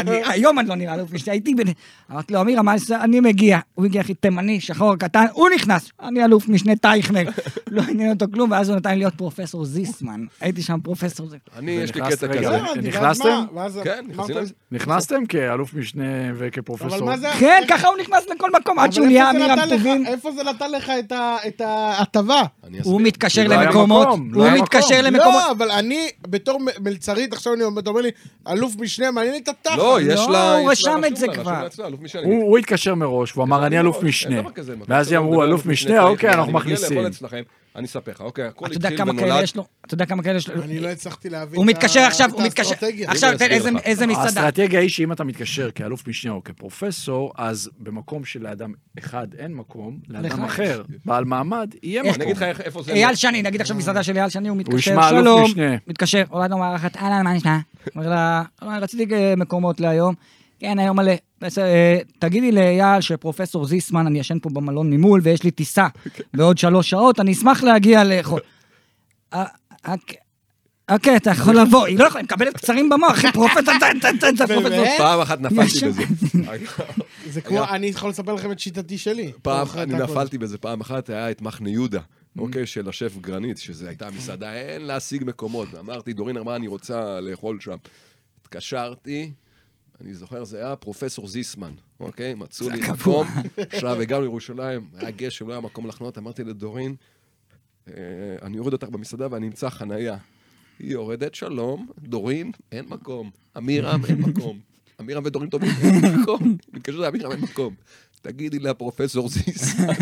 אני- היום אני לא נראה אלוף משנה, הייתי בן... אמרתי לו, אמירם, מה זה- אני מגיע, הוא הגיע הכי תימני, שחור, קטן, הוא נכנס, אני אלוף משנה טייכנר, לא עניין אותו כלום, ואז הוא נתן לי להיות פרופסור זיסמן, הייתי שם פרופסור זיסמן. אני, יש לי ונכנס קטע רגע, כזה. לא, אבל- נכנסתם? כן, נכנסים לזה. נכנסתם כאלוף משנה אבל וכפרופסור. מה זה... כן, ככה הוא נכנס לכל מקום, עד אבל שהוא איפה נהיה זה אמירם נתן לך- טובין. איפה זה נתן לך את ה- את ההטבה? אני אסביר. הוא מתקשר לא היה למקומות, מקום, לא הוא היה מתקשר מקום. למקומות. לא, אבל אני, בתור מ- מלצרית, עכשיו אני אומר, אתה אומר לי, אלוף משנה, מעניין לי את התחת. לא, יש לא, לה... הוא יש לה- רשם את רשום זה לה, רשום כבר. לה אצלה, אלוף משנה. הוא הוא התקשר מראש, הוא אמר, אני אלוף אין משנה. דבר כזה, מקום ואז שלא יאמרו, מדבר אלוף משנה, צריך, אוקיי, אנחנו אני מגיע מכניסים. לאכול אצלכם, אני אספר לך, אוקיי, הכל אתה יודע כאילו, התחיל כמה כאלה ונולד. יש לו? אתה יודע כמה כאלה יש לו? אני לא הצלחתי להבין הוא את ה- מתקשר עכשיו, את הוא מתקשר... האסטרטגיה. עכשיו, תן אני איזה- אסביר לך. איזה מסעדה. האסטרטגיה היא שאם אתה מתקשר כאלוף משנה או כפרופסור, אז במקום שלאדם אחד אין מקום, לאדם לך אחר, בעל מעמד, יהיה אני מקום. אגיד לך איך- איפה זה... לא- אייל שני, נגיד עכשיו מסעדה של אייל שני, הוא מתקשר, ישמע אלוף שלום, משנה. מתקשר, עולה לו מערכת, אהלן, מה נשמע? אומר לה, "לא, רציתי אה, מקומות להיום. כן, היום מלא. בסדר, אה, תגידי לאייל שפרופסור זיסמן, אני ישן פה במלון ממול, ויש לי טיסה בעוד שלוש שעות, אני אשמח להגיע לאכול. אה, אה, אוקיי, אתה יכול לבוא, היא לא יכולה, היא מקבלת קצרים במוח, היא פרופסור, אתה- אתה- אתה- אתה פרופסור. באמת? פעם אחת נפלתי ישר. בזה. זה כמו, אני יכול לספר לכם את שיטתי שלי. פעם, אורך אני את הכל. נפלתי בזה פעם אחת, היה את מחנה יהודה, אוקיי, של השף גרנית, שזו הייתה מסעדה, אין להשיג מקומות. אמרתי, דורין אמרה, אני רוצה לאכול שם. התקשרתי, אני זוכר, זה היה פרופסור זיסמן, אוקיי? מצאו לי מקום, עכשיו הגענו לירושלים, היה גשם, לא היה מקום לחנות, אמרתי לדורין, "אה, אני אוריד אותך במסעדה ואני אמצא חנייה. היא יורדת, שלום, דורין, אין מקום. אמירם, אין מקום. אמירם ודורין טובים, אין מקום. אני מתקשר לאמירם, אין מקום. תגידי לה, פרופסור זיסמן.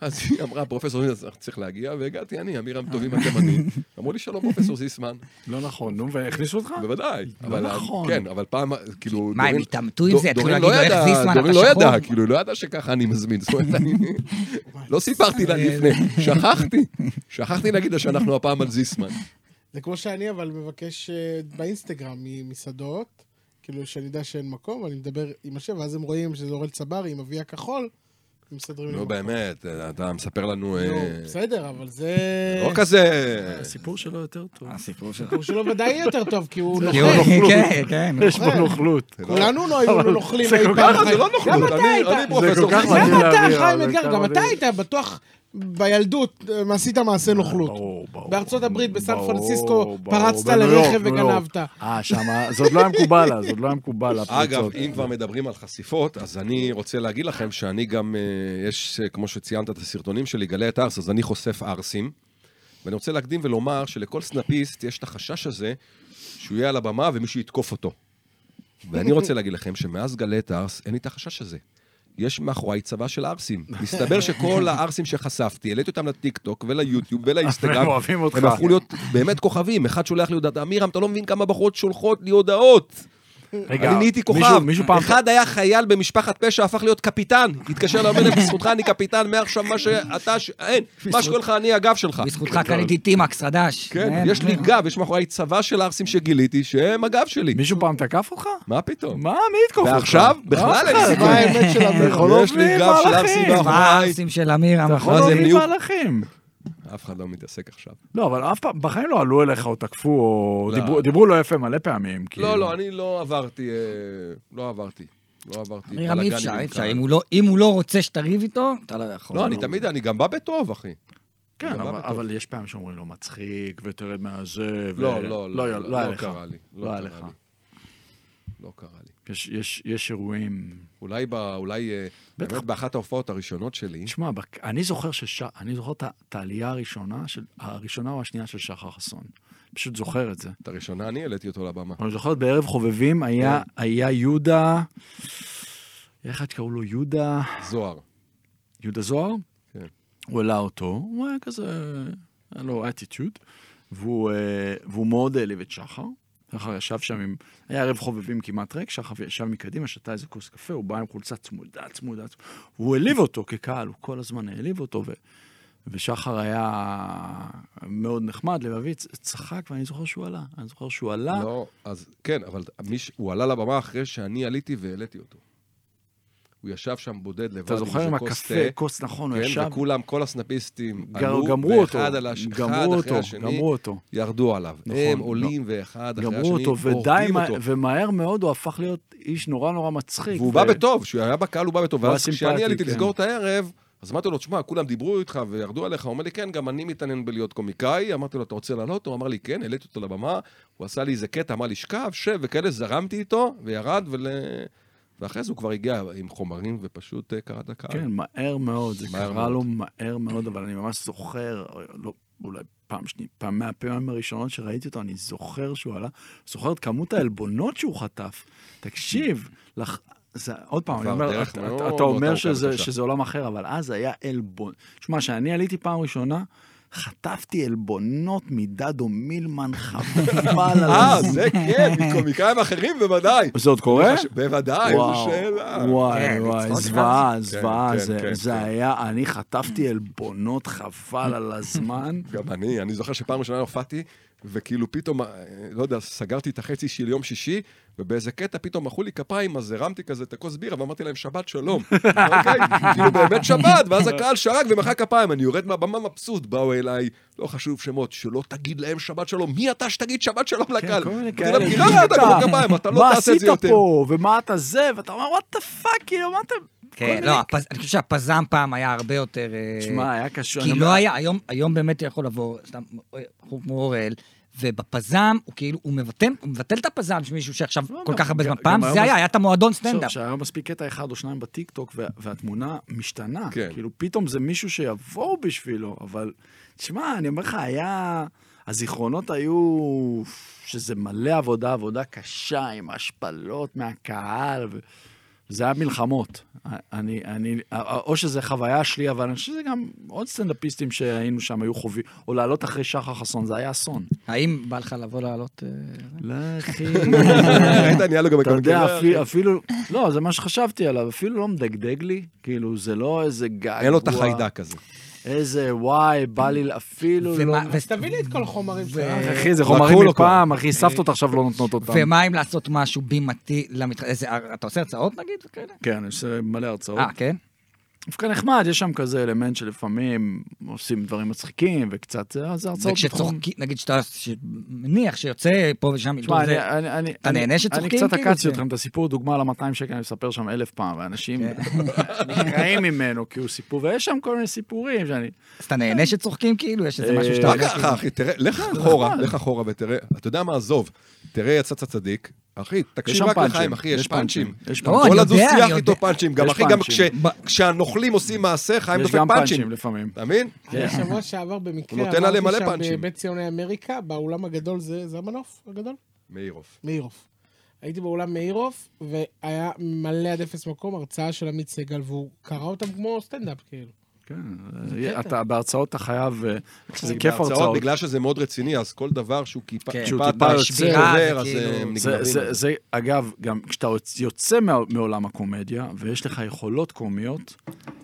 אז היא אמרה, פרופסור זיסמן, אז צריך להגיע, והגעתי אני, אמירם טובים התימני. אמרו לי, שלום, פרופסור זיסמן. לא נכון, נו, והכניסו אותך? בוודאי. אבל- נכון. כן, אבל פעם, כאילו... אה, לא מה, הם דורין- התעמתו עם דורין זה? התחילו לא להגיד לו, איך ידעה- זיסמן, דורין אתה לא שחור? ידעה, כאילו, לא ידעה שככה אני מזמין. זאת אומרת, אני... לא סיפרתי לה אה, לפני, שכחתי. שכחתי להגיד לה שאנחנו הפעם על זיסמן. זה כמו שאני, אבל מבקש אה, באינסטגרם ממסעדות, כאילו, שאני יודע שאין מקום, אני מדבר עם השם, ואז הם רואים שזה אורל צברי עם אבי הכחול, ומסדרים לי נו, מקום. באמת, אתה מספר לנו... אה, נו, בסדר, אה, אבל זה... לא כזה... הסיפור שלו יותר טוב. הסיפור שלו. הוא שלו ודאי יהיה יותר טוב, כי הוא כן, נוכל. כן, כן. יש פה נוכלות. כולנו לא היינו לא אבל נוכלים זה אי כל פעם כך- בחיים. זה לא גם נוכלות, אתה אני- היית. אני פרופסור כל כך זיסמן. מדהים. גם אתה, להעביר, חיים אבל אתגר, כמה גם אתה זה- היית בטוח בילדות, אה, עשית מעשה נוכלות. ברור, ברור. בארצות הברית, בסן ברור, פרנסיסקו, ברור, פרצת בניו יורק, לרכב ניו יורק. וגנבת. אה, שמה, זה עוד לא היה מקובל אז, עוד לא היה מקובל. אגב, הפריצות. אם כבר מדברים על חשיפות, אז אני רוצה להגיד לכם שאני גם, אה, יש, אה, כמו שציינת את הסרטונים שלי, גלי את ארס, אז אני חושף ארסים. ואני רוצה להקדים ולומר שלכל סנאפיסט יש את החשש הזה שהוא יהיה על הבמה ומישהו יתקוף אותו. ואני רוצה להגיד לכם שמאז גלית הארס, אין לי את החשש הזה. יש מאחוריי צבא של ערסים. מסתבר שכל הערסים שחשפתי, העליתי אותם לטיקטוק וליוטיוב ולאינסטגרם. הם אוהבים אותך. הם הפכו להיות באמת כוכבים. אחד שולח לי הודעת, אמירם, אתה לא מבין כמה בחורות שולחות לי הודעות. רגע, אני נהייתי מישהו- כוכב. מישהו פעם... אחד היה חייל במשפחת פשע, הפך להיות קפיטן. התקשר לעובדת, בזכותך אני קפיטן, מעכשיו מה שאתה... ש- אין, מה שקורה לך, אני הגב שלך. בזכותך קניתי טימקס חדש. כן, יש לי גב, יש מאחוריי צבא של ערסים שגיליתי, שהם הגב שלי. מישהו פעם תקף אותך? מה פתאום? מה, מי יתקוף אותך? לא, ועכשיו? בכלל אין מה סיכוי. האמת של אביר? לא יכול יש לי להוביל גב של מהלכים. ערסים מה מאחוריי. הערסים של אמיר? אתה יכול אז הם להוביל נהיו- לא מהלכים. אף אחד לא מתעסק עכשיו. לא, אבל אף פעם, בחיים לא עלו אליך או תקפו, או לא. דיברו- דיברו לא יפה מלא פעמים. כאילו. לא, לא, אני לא עברתי, אה, לא עברתי. לא עברתי. אמיר, אמיר, אי בלאגנים אפשר, עם אי אפשר. קהל. אם הוא לא- אם הוא לא רוצה שתריב איתו, אתה לא יכול. לא, אני תמיד, אני גם בא בטוב, אחי. כן, גם אבל- בטוב. אבל יש פעמים שאומרים לו מצחיק, ותרד מהזה, ו... לא, לא, לא, לא, לא היה לא לך. קרה לי. לא לא היה קרה לך. לי. לא קרה לי. יש- יש- יש אירועים... אולי ב... אולי... אה, בטח. באמת באחת ההופעות הראשונות שלי, תשמע, בק- אני זוכר שש... אני זוכר את ה- את העלייה הראשונה, של... הראשונה או השנייה של שחר חסון. פשוט זוכר את זה. את הראשונה אני העליתי אותו לבמה. אני זוכר בערב חובבים היה, כן. היה יהודה, איך את קראו לו? יהודה, זוהר. יהודה זוהר? כן. הוא העלה אותו, הוא היה כזה, היה לו אטיטיוד, והוא, אה, והוא מאוד העליב את שחר. שחר ישב שם עם, היה ערב חובבים כמעט ריק, שחר ישב מקדימה, שתה איזה כוס קפה, הוא בא עם חולצה צמודה, צמודה, צמודה. והוא העליב אותו כקהל, הוא כל הזמן העליב אותו, ו... ושחר היה מאוד נחמד, לבבי, צ- צחק, ואני זוכר שהוא עלה. אני זוכר שהוא עלה, לא, אז כן, אבל מי ש... הוא עלה לבמה אחרי שאני עליתי והעליתי אותו. הוא ישב שם בודד לבד. אתה זוכר עם איזה כוס הקפה, תה. כוס נכון, הוא כן, ישב, וכולם, כל הסנאפיסטים גר- עלו, גמרו אותו, ואחד על הש... אחד גמרו אחרי אותו, השני גמרו אותו. ירדו עליו. נכון, הם לא. עולים ואחד אחרי השני, גמרו אותו, ודי, הורגים מה- אותו. ומהר מאוד הוא הפך להיות איש נורא נורא מצחיק. והוא ו- בא בטוב, כשהוא היה בקהל הוא בא בטוב. הוא ואז היה כשאני סימפטי, עליתי כן. לסגור את הערב, אז אמרתי לו, תשמע, כולם דיברו איתך וירדו עליך. הוא אומר לי, כן, גם אני מתעניין בלהיות קומיקאי. אמרתי לו, אתה רוצה לעלות? הוא אמר לי, כן, העליתי אותו לבמה. הוא עשה לי איזה קטע, אמר לי, שכב, שב, וכאלה, זרמתי איתו, וירד, ול... ואחרי זה הוא כבר הגיע עם חומרים, ופשוט אה, קרע את הקהל. כן, מהר מאוד, זה מהר קרה מאוד. לו מהר מאוד, אבל אני ממש זוכר, או- לא, אולי פעם שנייה, פעם מהפעמים הראשונות שראיתי אותו, אני זוכר שהוא עלה, זוכר את כמות העלבונות שהוא חטף. תקשיב, לח... זה, עוד פעם, אני עבר אומר, דרך אתה, מאוד אתה, מאוד אתה אומר ארוכה שזה, וקשה. שזה עולם אחר, אבל אז היה עלבון. שמע, כשאני עליתי פעם ראשונה, חטפתי עלבונות מדדו מילמן חבל על אה, הזמן. זה כן, מקומיקאים אחרים בוודאי. זה עוד קורה? בוודאי, איזו שאלה. וואי, כן, וואי, לצחוק זוועה, כן, זוועה, זה- כן, זה כן. היה, אני חטפתי עלבונות חבל על הזמן. גם אני, אני זוכר שפעם ראשונה הופעתי, וכאילו פתאום, אה, לא יודע, סגרתי את החצי של יום שישי, ובאיזה קטע פתאום מחאו לי כפיים, אז הרמתי כזה את הכוס בירה, ואמרתי להם, שבת שלום. אוקיי? כאילו באמת שבת, ואז הקהל שרק ומחא כפיים, אני יורד מהבמה מבסוט, באו אליי, לא חשוב שמות, שלא תגיד להם שבת שלום, מי אתה שתגיד שבת שלום לקהל? כן, כל מיני אמרתי כאלה, להם, "כי לא ראית אתה- כמו כפיים, אתה לא מה תעשה את עשית זה יותר. פה, ומה אתה זה, ואתה אומר, וואט דה פאק, כאילו, מה אתה... כן, לא, הפז- אני חושב שהפזם פעם היה הרבה יותר... אה, תשמע, היה קשור. כי אני לא אומר, היה, היום, היום באמת יכול לבוא, סתם, אה, בחור כמו אוראל, ובפזם, הוא כאילו, הוא מבטל, הוא מבטל את הפזם של מישהו שעכשיו לא, כל גם- כך הרבה גם- זמן. גם פעם היום זה היה, אז- היה את המועדון עכשיו, סטנדאפ. שהיה מספיק קטע אחד או שניים בטיקטוק, וה- והתמונה משתנה. כן. כאילו, פתאום זה מישהו שיבואו בשבילו, אבל... תשמע, אני אומר לך, היה... הזיכרונות היו שזה מלא עבודה, עבודה קשה, עם השפלות מהקהל, ו... זה היה מלחמות. אני, אני, או שזה חוויה שלי, אבל אני חושב שזה גם עוד סטנדאפיסטים שהיינו שם היו חווים, או לעלות אחרי שחר חסון, זה היה אסון. האם בא לך לבוא לעלות... אה, לא, אחי. ראית, נהיה לו גם אתה יודע, הקונקרנר. אפילו- אפילו, לא, זה מה שחשבתי עליו, אפילו לא מדגדג לי, כאילו, זה לא איזה געגוע. אין לו את החיידק הזה. איזה וואי, בא לי, אפילו לא... ומה- אז תביא לי את כל החומרים שלך. אחי, זה לקחו חומרים לו מפעם, אחי, סבתות עכשיו לא נותנות אותם. ומה אם לעשות משהו בימתי למתח... איזה- אה, אתה עושה הרצאות נגיד? וכאלה? כן, אני עושה מלא הרצאות. אה, כן? דווקא נחמד, יש שם כזה אלמנט שלפעמים עושים דברים מצחיקים וקצת, אה, זה הרצאות בתחום. וכשצוחקים, נגיד שאתה ש- מניח שיוצא פה ושם, תשמע, זה- אני- אני- אני- אתה אני- נהנה שצוחקים, אני קצת כאילו, עקצתי זה- אתכם את הסיפור, דוגמה על ה-200 שקל, אני מספר שם אלף פעם, ואנשים נקרעים ממנו, כי הוא סיפור, ויש שם כל מיני סיפורים שאני... אז אתה נהנה שצוחקים כאילו? יש איזה משהו אה, שאתה... מה יודע, ככה, אחי? תראה, לך אחורה, נכון. לך אחורה ותראה, אתה יודע מה, עזוב, תראה יצאת צדיק, אחי, יש תקשיב שם רק פאנצ'ים. לחיים, אחי, יש פאנצ'ים. יש לא, אני כל יודע, אני הדו-שיח יודע. איתו פאנצ'ים, גם יש אחי, גם פאנצ'ים. כש- כשהנוכלים עושים מעשה, חיים יש דופק גם פאנצ'ים פאנצ'ים. לפעמים. אתה מבין? כן. בשבוע שעבר במקרה, הוא נותן עליהם מלא עברתי שם אה, פאנצ'ים. בבית ציוני אמריקה, באולם הגדול, זה זה המנוף הגדול? מאירוף. מאירוף. הייתי באולם מאירוף, והיה מלא עד אפס מקום, הרצאה של עמית סגל, והוא קרא אותם כמו סטנדאפ, כאילו. כן, אתה בהרצאות אתה חייב, אה, זה כי כיף הרצאות. בגלל שזה מאוד רציני, אז כל דבר שהוא כיפה- כן. טיפה שהוא טיפה יותר יוצא, עובר, אז אה, וכאילו- הם זה, נגמרים. זה, זה, אגב, גם כשאתה יוצא מה- מעולם הקומדיה, ויש לך יכולות קומיות,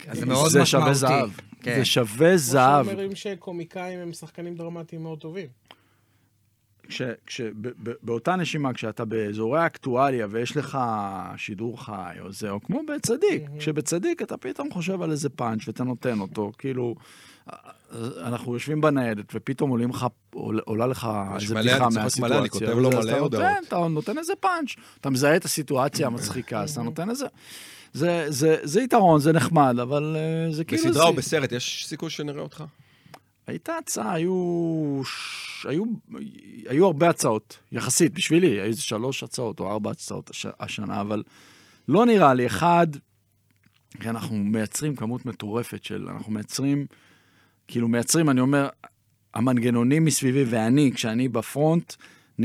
אז זה מאוד זה שווה משמעותי. זהב. כן. זה שווה זהב. זהב. כמו שאומרים שקומיקאים הם שחקנים דרמטיים מאוד טובים. כש, כש, ב, ב, באותה נשימה, כשאתה באזורי האקטואליה ויש לך שידור חי או זה, או כמו בצדיק, כשבצדיק אתה פתאום חושב על איזה פאנץ' ואתה נותן אותו, כאילו, אז אנחנו יושבים בניידת ופתאום עולים לך, עול- עולה לך יש איזה מלא, בדיחה אני צריך מלא, מהסיטואציה. אני כותב לו וזה, מלא אז אתה הודעות. נותן, כן, אתה נותן איזה פאנץ', אתה מזהה את הסיטואציה המצחיקה, אז אתה נותן איזה... זה, זה, זה יתרון, זה נחמד, אבל אה, זה כאילו... בסדרה או זה- בסרט, יש סיכוי שנראה אותך? הייתה הצעה, היו, ש- היו, היו הרבה הצעות, יחסית, בשבילי, היו איזה שלוש הצעות או ארבע הצעות הש, השנה, אבל לא נראה לי. אחד, כי אנחנו מייצרים כמות מטורפת של, אנחנו מייצרים, כאילו מייצרים, אני אומר, המנגנונים מסביבי ואני, כשאני בפרונט, נ,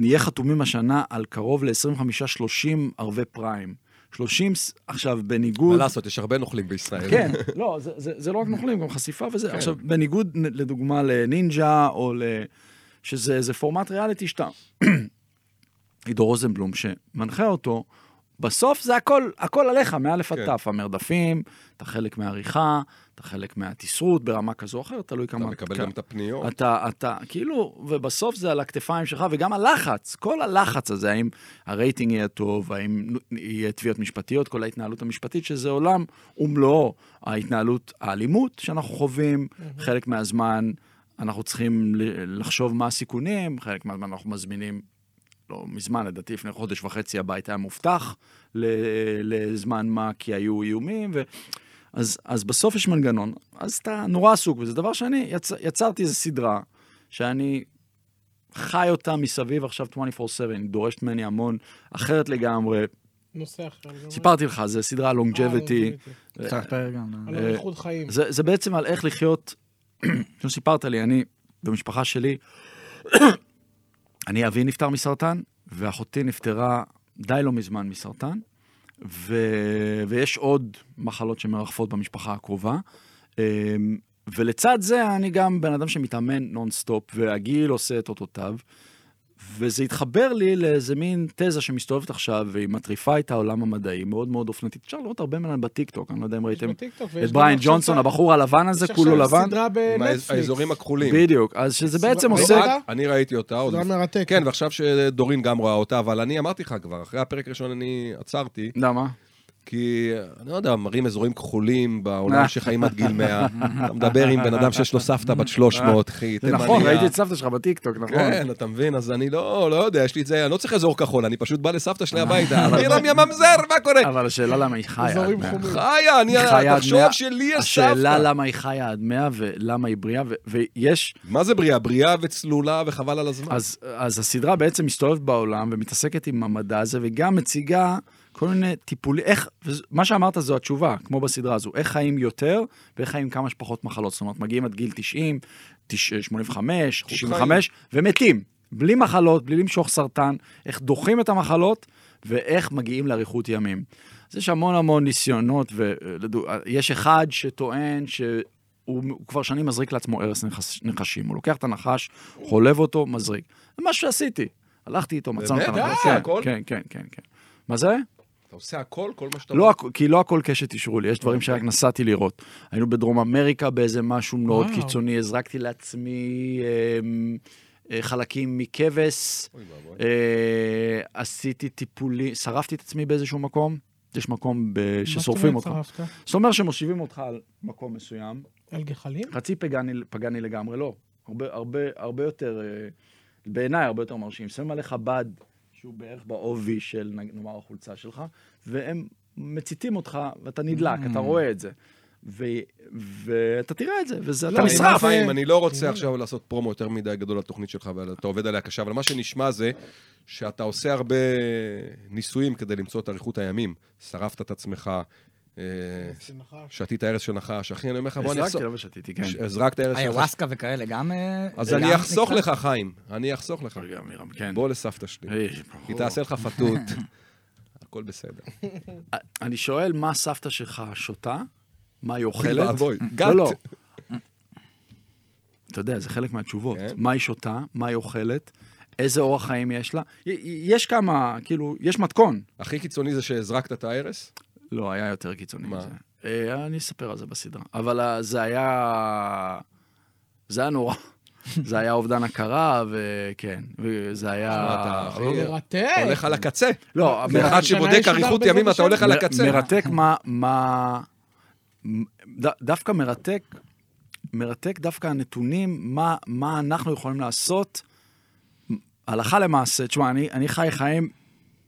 נהיה חתומים השנה על קרוב ל-25-30 ערבי פריים. 30, ס- עכשיו, מה בניגוד... לעשות, יש הרבה נוכלים בישראל. כן, לא, זה, זה, זה לא רק נוכלים, גם חשיפה כן. וזה. עכשיו, בניגוד נ- לדוגמה לנינג'ה, או ל... שזה איזה פורמט ריאליטי שאתה... עידו רוזנבלום, שמנחה אותו, בסוף זה הכל, הכל עליך, מאלף עד כן. תף, המרדפים, אתה חלק מהעריכה, אתה חלק מהתסרות ברמה כזו או אחרת, תלוי כמה... אתה מקבל גם את הפניות. אתה, אתה, כאילו, ובסוף זה על הכתפיים שלך, וגם הלחץ, כל הלחץ הזה, האם הרייטינג יהיה טוב, האם יהיה תביעות משפטיות, כל ההתנהלות המשפטית, שזה עולם ומלואו. ההתנהלות, האלימות שאנחנו חווים, חלק מהזמן אנחנו צריכים ל- לחשוב מה הסיכונים, חלק מהזמן אנחנו מזמינים, לא מזמן, לדעתי לפני חודש וחצי הבית היה מובטח ל- לזמן מה, כי היו איומים, ו... אז, אז בסוף יש מנגנון, אז אתה נורא עסוק בזה. דבר שני, יצ, יצרתי איזו סדרה שאני חי אותה מסביב עכשיו 24/7, היא דורשת ממני המון, אחרת לגמרי. נושא אחר. לגמרי. סיפרתי לך, זו סדרה אה, לונג'ביטי. longevity. צריך לספר גם. על אה, איכות חיים. זה, זה בעצם על איך לחיות, כמו שסיפרת לי, אני, במשפחה שלי, אני אבי נפטר מסרטן, ואחותי נפטרה די לא מזמן מסרטן, ו... ויש עוד מחלות שמרחפות במשפחה הקרובה. אמ, ולצד זה, אני גם בן אדם שמתאמן נונסטופ, והגיל עושה את אותותיו. וזה התחבר לי לאיזה מין תזה שמסתובבת עכשיו, והיא מטריפה את העולם המדעי, מאוד מאוד אופנתית. אפשר לראות הרבה ממנה בטיקטוק, אני לא יודע אם יש ראיתם בטיקטוק, ויש את גם בריין עכשיו ג'ונסון, ס- הבחור הלבן הזה, יש כולו עכשיו לבן. סדרה מהאז- האזורים בנטפליקס. הכחולים. אה, בדיוק, אז שזה בעצם סדרה- לא, עושה... ראית? את- אני ראיתי אותה עוד. סדרה לפ- מרתקת. כן, ועכשיו שדורין גם רואה אותה, אבל אני אמרתי לך כבר, אחרי הפרק הראשון אני עצרתי, למה? כי, אני לא יודע, מראים אזורים כחולים בעולם אה. שחיים עד גיל 100. אתה מדבר עם בן אדם שיש לו סבתא בת 300, אחי, זה תימניה. נכון, ראיתי את סבתא שלך בטיקטוק, נכון. כן, אתה מבין? אז אני לא, לא יודע, יש לי את זה, אני לא צריך אזור כחול, אני פשוט בא לסבתא שלי הביתה. אני לא רמי הממזר, מה קורה? אבל השאלה למה היא חיה עד אזורים 100. חומים. חיה, אני, היא חיה עד תחשוב 100. שלי יש השאלה סבתא. למה היא חיה עד 100 ולמה היא בריאה, ו- ויש... מה זה בריאה? בריאה וצלולה וחבל על הזמן. אז, אז הסדרה בעצם מסתובבת בעולם ומתעסקת עם המדע הזה, וגם מציגה כל מיני טיפולים, איך, וז- מה שאמרת זו התשובה, כמו בסדרה הזו, איך חיים יותר ואיך חיים כמה שפחות מחלות. זאת אומרת, מגיעים עד גיל 90, 90 85, 95, ומתים. בלי מחלות, בלי למשוך סרטן, איך דוחים את המחלות ואיך מגיעים לאריכות ימים. אז יש המון המון ניסיונות, ויש אחד שטוען ש... הוא, הוא כבר שנים מזריק לעצמו הרס נחש, נחשים. הוא לוקח את הנחש, חולב אותו, מזריק. זה מה שעשיתי. הלכתי איתו, מצאנו את באמת? הנחש. אה, כן, הכל? כן, כן, כן, כן. מה זה? אתה עושה הכל, כל מה שאתה לא, הכ- כי לא הכל קשת אישרו לי, יש דברים אוקיי. שרק נסעתי לראות. היינו בדרום אמריקה באיזה משהו מאוד וואו. קיצוני, הזרקתי לעצמי אמ, אה, חלקים מכבש, אוי ואבוי. אה, עשיתי טיפולי, שרפתי את עצמי באיזשהו מקום. יש מקום ב- מה זאת ששורפים אומרת, אותך. שרפת? זאת אומרת שמושיבים אותך על מקום מסוים, על גחלים? חצי פגני, פגני לגמרי, לא. הרבה, הרבה, הרבה יותר, אה, בעיניי הרבה יותר מרשים. שמים עליך בד שהוא בערך בעובי של נג- נאמר החולצה שלך, והם מציתים אותך ואתה נדלק, אתה רואה את זה. ו, ואתה תראה את זה, וזה, אתה לא, נשרף. אה? חיים, חיים, אני לא כן. רוצה עכשיו לעשות פרומו יותר מדי גדול לתוכנית שלך, אבל אתה עובד עליה קשה, אבל מה שנשמע זה שאתה עושה הרבה ניסויים כדי למצוא את אריכות הימים. שרפת את עצמך, אה, שמחה. שתית ארץ של נחש. אחי, אני אומר לך, בוא אני הזרקתי אחסוך... אבל שתיתי, כן. הזרקת ארץ של נחש. איוואסקה וכאלה גם... אה, אז גם אני אחסוך נקרא? לך, חיים. אני אחסוך לך. גם מרם, כן. בוא לסבתא שלי. היי, היא תעשה לך פתות. הכל בסדר. אני שואל מה סבתא שלך שותה, מה בואי, היא אוכלת. בואי, גת. לא, לא. אתה יודע, זה חלק מהתשובות. כן. מה היא שותה, מה היא אוכלת, איזה אורח חיים יש לה. י- י- יש כמה, כאילו, יש מתכון. הכי קיצוני זה שהזרקת את הארס? לא, היה יותר קיצוני מה? מזה. אה, אני אספר על זה בסדרה. אבל אה, זה היה... זה היה נורא. זה היה אובדן הכרה, וכן, וזה שמע, היה... אתה אחי, מרתק. אתה הולך על הקצה. לא, אה. אוקיי. זה כאחד מרתק- השנה שבודק יש עוד אריכות הרבה ימים, זמן אתה הולך על מר- הקצה. מרתק מה... מה... ד, דווקא מרתק, מרתק דווקא הנתונים, מה, מה אנחנו יכולים לעשות הלכה למעשה. תשמע, אני, אני חי חיים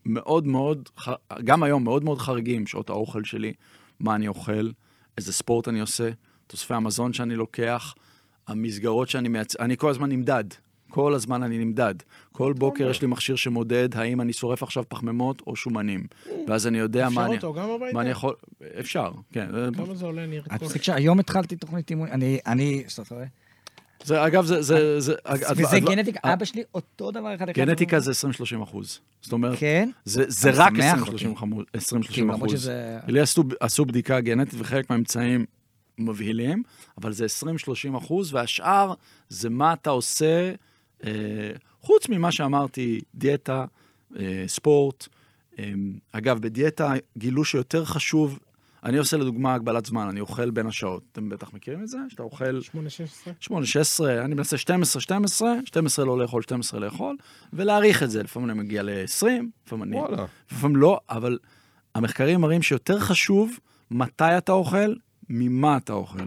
מאוד מאוד, ח- גם היום, מאוד מאוד חריגים, שעות האוכל שלי, מה אני אוכל, איזה ספורט אני עושה, תוספי המזון שאני לוקח, המסגרות שאני מייצר, אני כל הזמן נמדד. כל הזמן אני נמדד. כל בוקר יש לי מכשיר שמודד האם אני שורף עכשיו פחמימות או שומנים. ואז אני יודע מה Mm. אפשר אני... אותו גם מה אני הביתה? יכול... אפשר, כן. זה- כמה זה עולה, ניר? את פסיק שהיום התחלתי תוכנית אימון, אני, אני, שאתה רואה? זה, אגב, זה... זה, זה וזה הדבר- גנטיקה, אבא שלי אותו דבר אחד. אחד. לא- אה, גנטיקה זה 20-30 אחוז. זאת אומרת, כן? זה, זה אני רק שמח 20-30 אותי. חמו- 20-30 כאילו, למרות אחוז. שזה... לי עשו, עשו בדיקה גנטית וחלק מהאמצעים מבהילים, אבל זה 20-30 אחוז, והשאר זה מה אתה עושה, אה, חוץ ממה שאמרתי, דיאטה, אה, ספורט. אה, אגב, בדיאטה גילו שיותר חשוב, אני עושה לדוגמה הגבלת זמן, אני אוכל בין השעות. אתם בטח מכירים את זה? שאתה אוכל 8-16? 8, 16, אני מנסה 12, 12, 12 לא לאכול, 12 לאכול, ולהעריך את זה. לפעמים אני מגיע ל-20, לפעמים אני... וואלה. לפעמים לא, אבל המחקרים מראים שיותר חשוב מתי אתה אוכל, ממה אתה אוכל.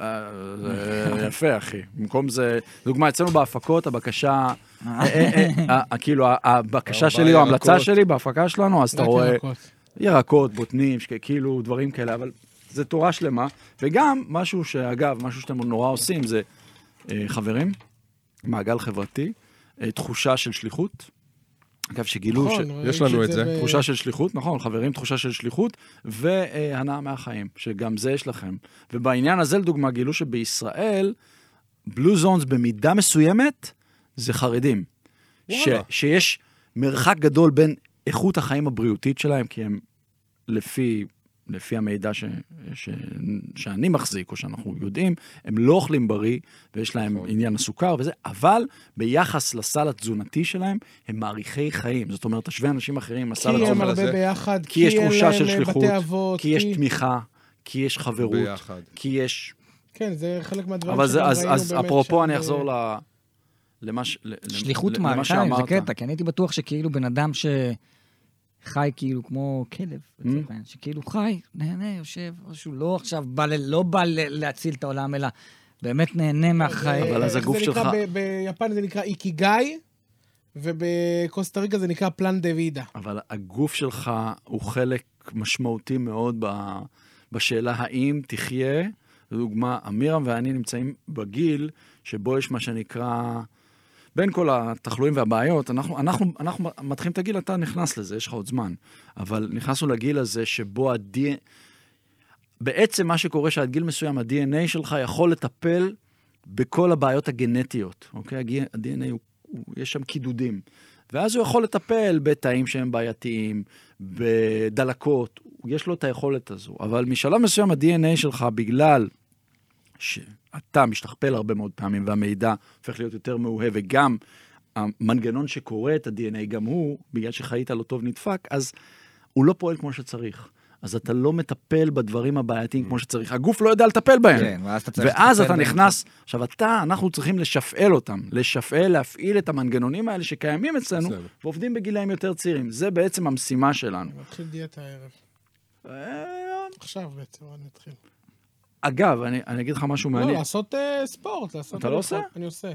אה, זה אוקיי. יפה, אחי. במקום זה, דוגמה, אצלנו בהפקות, הבקשה, אה, אה, אה, אה, כאילו, ה- הבקשה ארבעה שלי או ההמלצה ירקות. שלי בהפקה שלנו, אז אתה רואה... רק ירקות. ירקות, בוטנים, שכ- כאילו דברים כאלה, אבל זה תורה שלמה. וגם משהו שאגב, משהו שאתם נורא עושים זה אה, חברים, מעגל חברתי, אה, תחושה של שליחות. אגב, שגילו ש... נכון, יש ראיתי לנו את זה. ב- תחושה של שליחות, נכון, חברים, תחושה של שליחות, והנאה מהחיים, שגם זה יש לכם. ובעניין הזה, לדוגמה, גילו שבישראל, בלו זונס במידה מסוימת, זה חרדים. ש, וואלה. שיש מרחק גדול בין איכות החיים הבריאותית שלהם, כי הם לפי, לפי המידע ש, ש, שאני מחזיק, או שאנחנו יודעים, הם לא אוכלים בריא, ויש להם נכון. עניין הסוכר וזה, אבל ביחס לסל התזונתי שלהם, הם מעריכי חיים. זאת אומרת, תשווה אנשים אחרים עם כי הסל הם התזונתי. אבל זה- הרבה ביחד, כי יש אין תחושה להם אה, של שליחות, בתי אבות, כי יש תמיכה, כי יש חברות, ביחד. כי יש... כן, זה חלק מהדברים אבל זה, שגם אז, ראינו אז באמת אפרופו, שם, אני אה, אחזור ל... למה ש... ל- ל- שליחות למה מערכה, זה שאמרת. כן. קטע, כי אני הייתי בטוח שכאילו בן אדם שחי כאילו כמו כלב, Mm. לצורך העניין, שכאילו חי, נהנה, יושב, או שהוא לא עכשיו בא, ל- לא בא ל- להציל את העולם, אלא באמת נהנה מהחיים. אבל אה, אז איך הגוף זה נקרא שלך- ב- ביפן זה נקרא איקיגאי, ובקוסטה ריקה זה נקרא פלן דה וידה. אבל הגוף שלך הוא חלק משמעותי מאוד ב... בשאלה האם תחיה, לדוגמה, אמירם ואני נמצאים בגיל שבו יש מה שנקרא, בין כל התחלואים והבעיות, אנחנו, אנחנו, אנחנו מתחילים את הגיל, אתה נכנס לזה, יש לך עוד זמן. אבל נכנסנו לגיל הזה שבו ה-DNA, בעצם מה שקורה שעד גיל מסוים ה-DNA שלך יכול לטפל בכל הבעיות הגנטיות, אוקיי? הגי- ה-DNA, הוא, הוא, יש שם קידודים. ואז הוא יכול לטפל בתאים שהם בעייתיים, בדלקות, יש לו את היכולת הזו. אבל משלב מסוים ה-DNA שלך, בגלל שאתה משתכפל הרבה מאוד פעמים והמידע הופך להיות יותר מאוהב, וגם המנגנון שקורא את ה-DNA, גם הוא, בגלל שחיית לא טוב נדפק, אז הוא לא פועל כמו שצריך. אז אתה לא מטפל בדברים הבעייתיים כמו שצריך. הגוף לא יודע לטפל בהם. כן, ואז אתה צריך... ואז לטפל אתה בהם. נכנס, עכשיו אתה, אנחנו צריכים לשפעל אותם, לשפעל, להפעיל את המנגנונים האלה שקיימים אצלנו, בסדר. ועובדים בגילאים יותר צעירים. זה בעצם המשימה שלנו. אני מתחיל דיאטה הערב. אה, עכשיו בעצם, אני מתחיל. אגב, אני, אני אגיד לך משהו לא, מעניין. לעשות אה, ספורט, לעשות... אתה לא הליכות. עושה? אני עושה.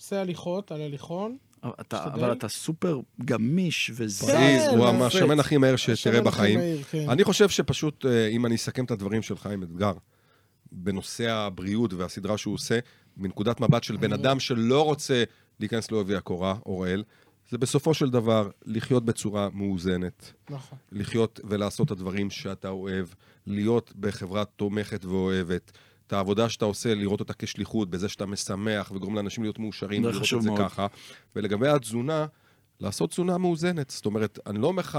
עושה הליכות על הליכון. אבל אתה, תשתדל. אבל אתה סופר גמיש וזה. פריז כן, הוא יפה. השמן הכי מהר שתראה השמן הכי בחיים. מהיר, כן. אני חושב שפשוט, אה, אם אני אסכם את הדברים של חיים אתגר, בנושא הבריאות והסדרה אוקיי. שהוא עושה, מנקודת מבט של בן אדם שלא רוצה להיכנס לעובי הקורה, אוראל, זה בסופו של דבר לחיות בצורה מאוזנת, נכון. לחיות ולעשות את הדברים שאתה אוהב, להיות בחברה תומכת ואוהבת. את העבודה שאתה עושה, לראות אותה כשליחות, בזה שאתה משמח וגורם לאנשים להיות מאושרים, זה לראות חשוב את זה מאוד. ככה. ולגבי התזונה, לעשות תזונה מאוזנת. זאת אומרת, אני לא אומר לך,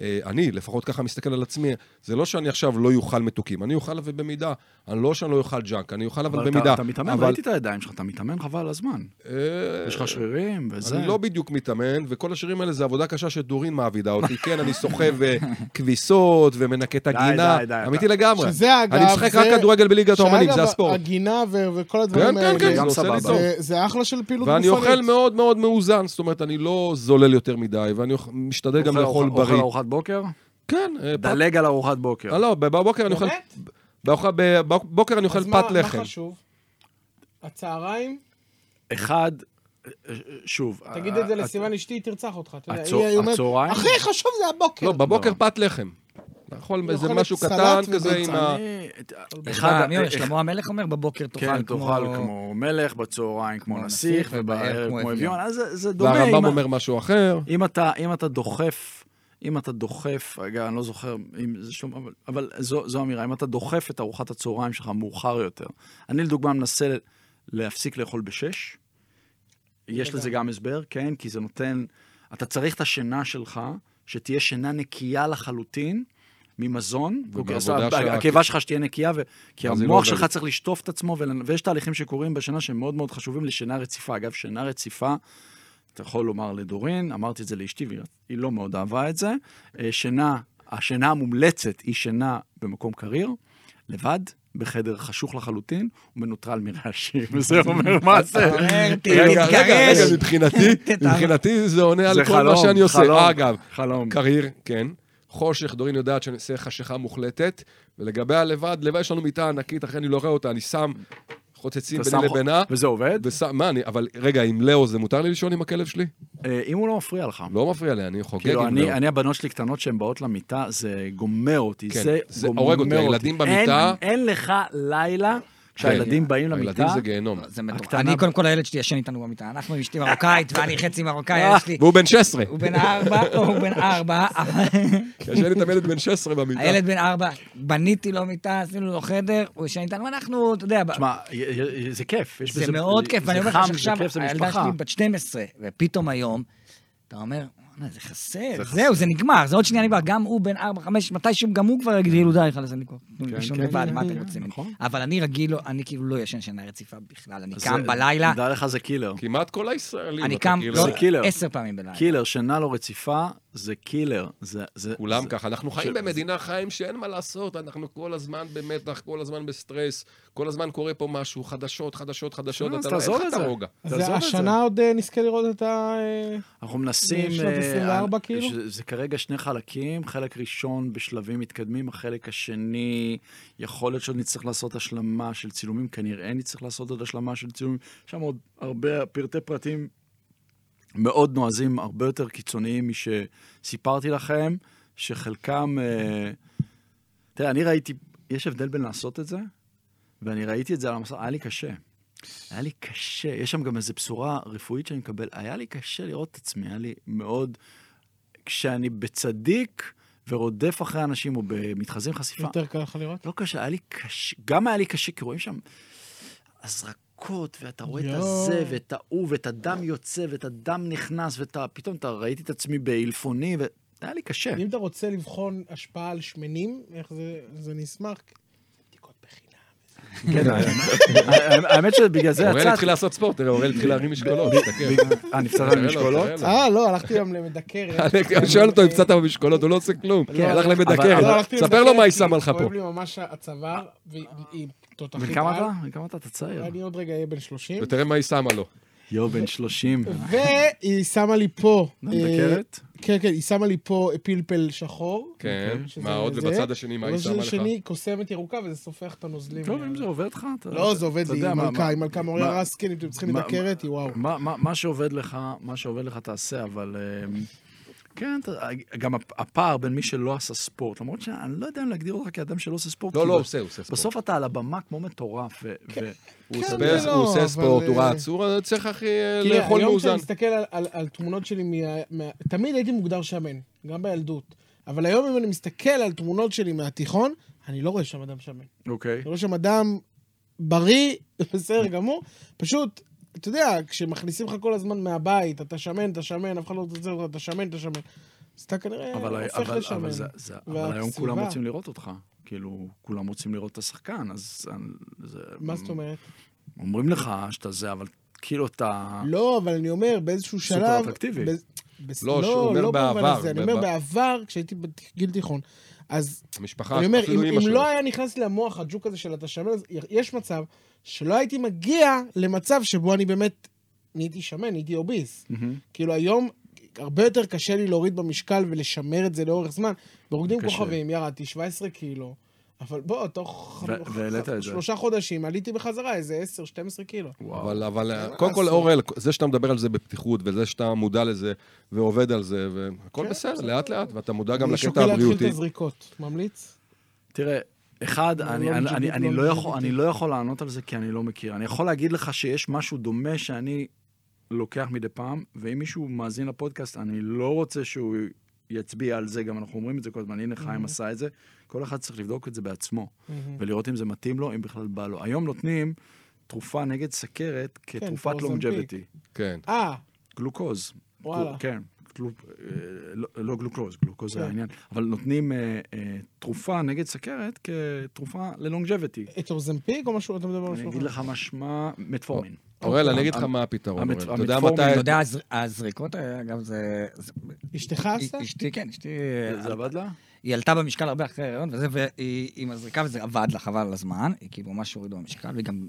אה, אני לפחות ככה מסתכל על עצמי, זה לא שאני עכשיו לא אוכל מתוקים, אני אוכל אבל במידה. אני לא שאני לא אוכל ג'אנק, אני אוכל אבל, אבל אתה- במידה. אתה מתאמן, אבל- ראיתי את הידיים שלך, אתה מתאמן חבל על הזמן. אה, יש לך שרירים וזה. אני לא בדיוק מתאמן, וכל השירים האלה זה עבודה קשה שדורין מעבידה אותי. כן, אני סוחב אה, כביסות ומנקה את די, הגינה. די, די, אמיתי אתה- לגמרי. שזה אגב... אני משחק זה- רק כדורגל בליגת האומנים, שאגב, אה, זה הספורט. הגינה ו- וכל כן, הדברים כן, האלה. כן, זה גם עושה לי סבבה. טוב. זה- זה אחלה של פעילות גופנית. ואני אוכל מאוד מאוד מאוזן, זאת אומרת, אני לא זולל יותר מדי, ואני אוכ- משתדל גם אוכל- לאכול אוכל- בריא. אוכל ארוחת בוקר? כן, אה, פת... דלג על ארוחת בוקר. אה, לא, בבוקר אני אוכל... באמת? באוכל- בבוקר אני אוכל אז מה- פת לחם. מה חשוב? הצהריים? אחד, אה, שוב. אה, תגיד ה- את זה אה, ה- לסיוון אשתי, היא תרצח אותך. אתה יודע, הצה- היא אומרת, הצהריים? הכי חשוב זה הבוקר. לא, כן, בבוקר פת לחם. לאכול איזה אוכלת משהו סלט קטן וביצה. כזה עם ה... אני- אחד, אחד, אה, שלמה המלך אומר, בבוקר תאכל כן, כמו... תאכל כמו מלך, בצהריים כמו כמו נסיך, נסיך, ובערב כמו אביון. אז זה- זה דומה. והרמב"ם אם- אומר משהו אחר. אם אתה, אם אתה דוחף, אם אתה דוחף, רגע, אני לא זוכר אם זה שום, אבל, אבל זו, זו אמירה, אם אתה דוחף את ארוחת הצהריים שלך מאוחר יותר. אני לדוגמה מנסה להפסיק לאכול בשש, יש לזה גם הסבר, כן? כי זה נותן, אתה צריך את השינה שלך, שתהיה שינה נקייה לחלוטין. ממזון, אוקיי, אז ומעבודה שלה, הקיבה שלך שתהיה נקייה, ו... כי אז היא לא המוח עובדת. שלך צריך לשטוף את עצמו, ול... ויש תהליכים שקורים בשינה שהם מאוד מאוד חשובים לשינה רציפה. אגב, שינה רציפה אתה יכול לומר לדורין, אמרתי את זה לאשתי והיא היא לא מאוד אהבה את זה. אה, שינה, השינה המומלצת היא שינה במקום קריר, לבד, בחדר חשוך לחלוטין, ומנוטרל מרעשים. זה אומר מה זה. אה, רגע, רגע, תתגרש. רגע, מבחינתי, תתארש. מבחינתי זה עונה זה על כל חלום, מה שאני חלום, עושה. אגב, חלום. קרייר, כן. חושך, דורין יודעת שאני עושה חשיכה מוחלטת, ולגבי הלבד, לבד יש לנו מיטה ענקית, אחרי אני לא רואה אותה, אני שם חוצצים אתה ביני שם חו- לבינה. וזה עובד? ושם, מה, אני, אבל רגע, עם לאו זה מותר לי לישון עם הכלב שלי? אה, אם הוא לא מפריע לך. לא מפריע לי, אני חוגג כאילו, עם אני, לאו. אני, הבנות שלי קטנות שהן באות למיטה, זה גומר אותי. כן, זה, זה גומר הורג אותי. אותי. הילדים אין- במיטה- כן. אין לך לילה כשהילדים באים למיטה. הילדים זה גיהנום. זה מטורף. הקטנה- אני, קודם כל, הילד שלי ישן איתנו במיטה. אנחנו עם אשתי מרוקאית, ואני חצי מרוקאי, הילד שלי... והוא בן 16. הוא בן ארבע, לא, הוא בן ארבע. יש לי את הילד בן 16 במיטה. הילד בן ארבע, בניתי לו מיטה, עשינו לו חדר, הוא ישן איתנו, אנחנו, אתה יודע, ב- תשמע, י- י- זה כיף. יש זה בזה- מאוד כיף, זה ואני אומר לך חם, שעכשיו, זה כיף, זה הילדה משפחה. שלי בת 12, ופתאום היום, אתה אומר, "וואלה, זה חסר, זה זהו, זה נגמר, זה עוד שנייה נגמר, גם הוא בן 4-5, מתישהו גם הוא כבר יגדילו, די, חלאס, אני כבר, תנו לי כן, לישון כן, לבד, כן, מה אתם כן, רוצים? נכון. אבל אני רגיל, לא- אני כאילו לא ישן שינה רציפה בכלל, אני זה- קם בלילה, דע לך, זה קילר. כמעט כל הישראלים. אני אתה קם כאילו- לא, זה קילר. עשר פעמים בלילה. קילר, שינה לא רציפה, זה קילר. זה... זה- כולם זה- ככה, אנחנו חיים ש- במדינה חיים שאין מה לעשות, אנחנו כל הזמן במתח, כל הזמן בסטרס, כל הזמן קורה פה משהו, חדשות, חדשות, חדשות, אה, אז אתה לא, תעזוב אין את לך זה. את הרוגע. אז תעזוב את זה. השנה עוד אה, נזכה לראות את ה... אה, אנחנו מנסים... בשנת אה, 24 כאילו? ש- זה כרגע שני חלקים, חלק ראשון בשלבים מתקדמים, החלק השני, יכול להיות שעוד נצטרך לעשות השלמה של צילומים, כנראה נצטרך לעשות עוד השלמה של צילומים. יש שם עוד הרבה פרטי פרטים מאוד נועזים, הרבה יותר קיצוניים משסיפרתי לכם, שחלקם... אה, תראה, אני ראיתי, יש הבדל בין לעשות את זה, ואני ראיתי את זה על המסך, היה לי קשה. היה לי קשה, יש שם גם איזו בשורה רפואית שאני מקבל, היה לי קשה לראות את עצמי, היה לי מאוד... כשאני בצדיק ורודף אחרי אנשים או במתחזים חשיפה, יותר קל לך לראות? לא קשה, היה לי קשה, גם היה לי קשה, כי רואים שם הזרקות, ואתה רואה את יואו. הזה, ואת ההוא, ואת הדם יוצא, ואת הדם נכנס, ואת ה... פתאום אתה ראיתי את עצמי בעילפוני, וזה היה לי קשה. כן. אם אתה רוצה לבחון השפעה על שמנים, איך זה, אז אני אשמח. בדיקות בחינם. כן, האמת- האמת שבגלל זה אוראל יצאתי. התחיל לעשות ספורט, תראה, אוראל התחיל להרים משקולות, תסתכל. אה, נפצעת ממשקולות? אה, לא, הלכתי היום למדקרת. אני שואל אותו אם קצת במשקולות, הוא לא עושה כלום. כן. הלך לבית אה? אבל- הקרן. אבל לא, הלכתי ספר למדקרת לו מה היא כי שמה לך פה. כואב לי ממש הצוואר, והיא תותחית. בן כמה על. אתה? בן כמה אתה? אתה צעיר. אני עוד רגע אהיה בן 30. ותראה מה היא שמה לו. יו, בן 30. והיא שמה לי פה... מדקרת? אה, כן, כן, היא שמה לי פה פלפל שחור. כן, שזה מה עוד זה. ובצד השני, מה היא ובצד שמה לך? השני קוסמת ירוקה, וזה סופח את הנוזלים. טוב, אם זה עובד לך, אתה... לא, זה עובד אתה לי, יודע היא מה- מלכה, מה- היא מלכה מה- מוריה רסקין, אם אתם צריכים מה- לדקרת, היא וואו. מה- מה מה שעובד לך, מה שעובד לך תעשה, אבל... אמ, כן, אתה- גם הפ- הפער בין מי שלא עשה ספורט, למרות שאני לא יודע אם להגדיר אותך כאדם שלא עושה ספורט. לא, כי לא, ב- עושה, הוא עושה ספורט. בסוף אתה על הבמה כמו מטורף, ו- ו- הוא כן, עושה- ולא, הוא לא, עושה אבל, ספורט, הוא אה, רץ, הוא רץ, צריך הכי אה, תראה, כאילו, לאכול היום מאוזן. כשאני מסתכל על, על, על תמונות שלי, מה, מה, תמיד הייתי מוגדר שמן, גם בילדות. אבל היום אם אני מסתכל על תמונות שלי מהתיכון, אני לא רואה שם אדם שמן. אוקיי. אני רואה שם אדם בריא, בסדר גמור. פשוט, אתה יודע, כשמכניסים לך כל הזמן מהבית, אתה שמן, אתה שמן, אף אחד לא רוצה לך, אתה שמן, אתה שמן. אז אתה כנראה אבל הופך אבל- לשמן. אבל זה- זה- אבל היום והסביבה. כולם רוצים לראות אותך. כאילו, כולם רוצים לראות את השחקן, אז... אני- זה- מה זאת אומרת? אומרים לך שאתה זה, אבל כאילו אתה... לא, אבל אני אומר, באיזשהו סופר שלב... אטרקטיבי. בז- בס- לא, שהוא אומר במובן בעבר, הזה, אני אומר בב- בעבר, כשהייתי בגיל תיכון. אז המשפחה, אני אומר, אפילו אם אימא אם שלו. לא היה נכנס לי המוח הג'וק הזה של אתה שמן, אז יש מצב שלא הייתי מגיע למצב שבו אני באמת נהייתי שמן, נהייתי אוביס. מהמם. כאילו היום הרבה יותר קשה לי להוריד במשקל ולשמר את זה לאורך זמן. ברוקדים קשה. כוכבים ירדתי 17 קילו, אבל בוא, תוך ו- והעלית את זה. שלושה חודשים עליתי בחזרה איזה 10-12 קילו. וואו. אבל, אבל כן, אה, מה קודם כל, לעשות? אורל, זה שאתה מדבר על זה בפתיחות, וזה שאתה מודע לזה ועובד על זה, והכל כן, בסדר, בסדר. לאט-לאט, ואתה מודע גם אני לקטע שוקל להתחיל את הבריאותי. הזריקות, ממליץ? תראה, אחד, לא, אני- לא אני- בג'ודו, אני- אני לא לא בג'ודו. יכול- אני לא יכול לענות על זה כי אני לא מכיר. אני יכול להגיד לך שיש משהו דומה שאני לוקח מדי פעם, ואם מישהו מאזין לפודקאסט, אני לא רוצה שהוא יצביע על זה, גם אנחנו אומרים את זה כל הזמן, הנה חיים עשה את זה. כל אחד צריך לבדוק את זה בעצמו, ולראות אם זה מתאים לו, אם בכלל בא לו. היום נותנים תרופה נגד סכרת כן, כתרופת פרוזמפיק. לונג'ביטי. כן. אה, גלוקוז. וואלה. גלו- כן, גלו- אה, לא- לא גלוקוז, גלוקוז זה כן. העניין. אבל נותנים אה, אה, תרופה נגד סכרת כתרופה ללונג'ביטי. את אורזמפיק או משהו? אתה מדבר על אני משהו אגיד אחר? לך מה שמה, מטפורמין. אה, אורל, אני אגיד המ- לך מה הפתרון, המת- אורל. אתה יודע המתפורמין, מתי... אתה יודע, הזר- הזריקות, אה, אגב, זה... זה- אשתך עשתה? אשתי, כן, אשתי... אה, זה זה עבד לה? היא עלתה במשקל הרבה אחרי ההיריון וזה, והיא עם הזריקה וזה עבד לה חבל על הזמן, היא כאילו ממש הורידה במשקל, והיא גם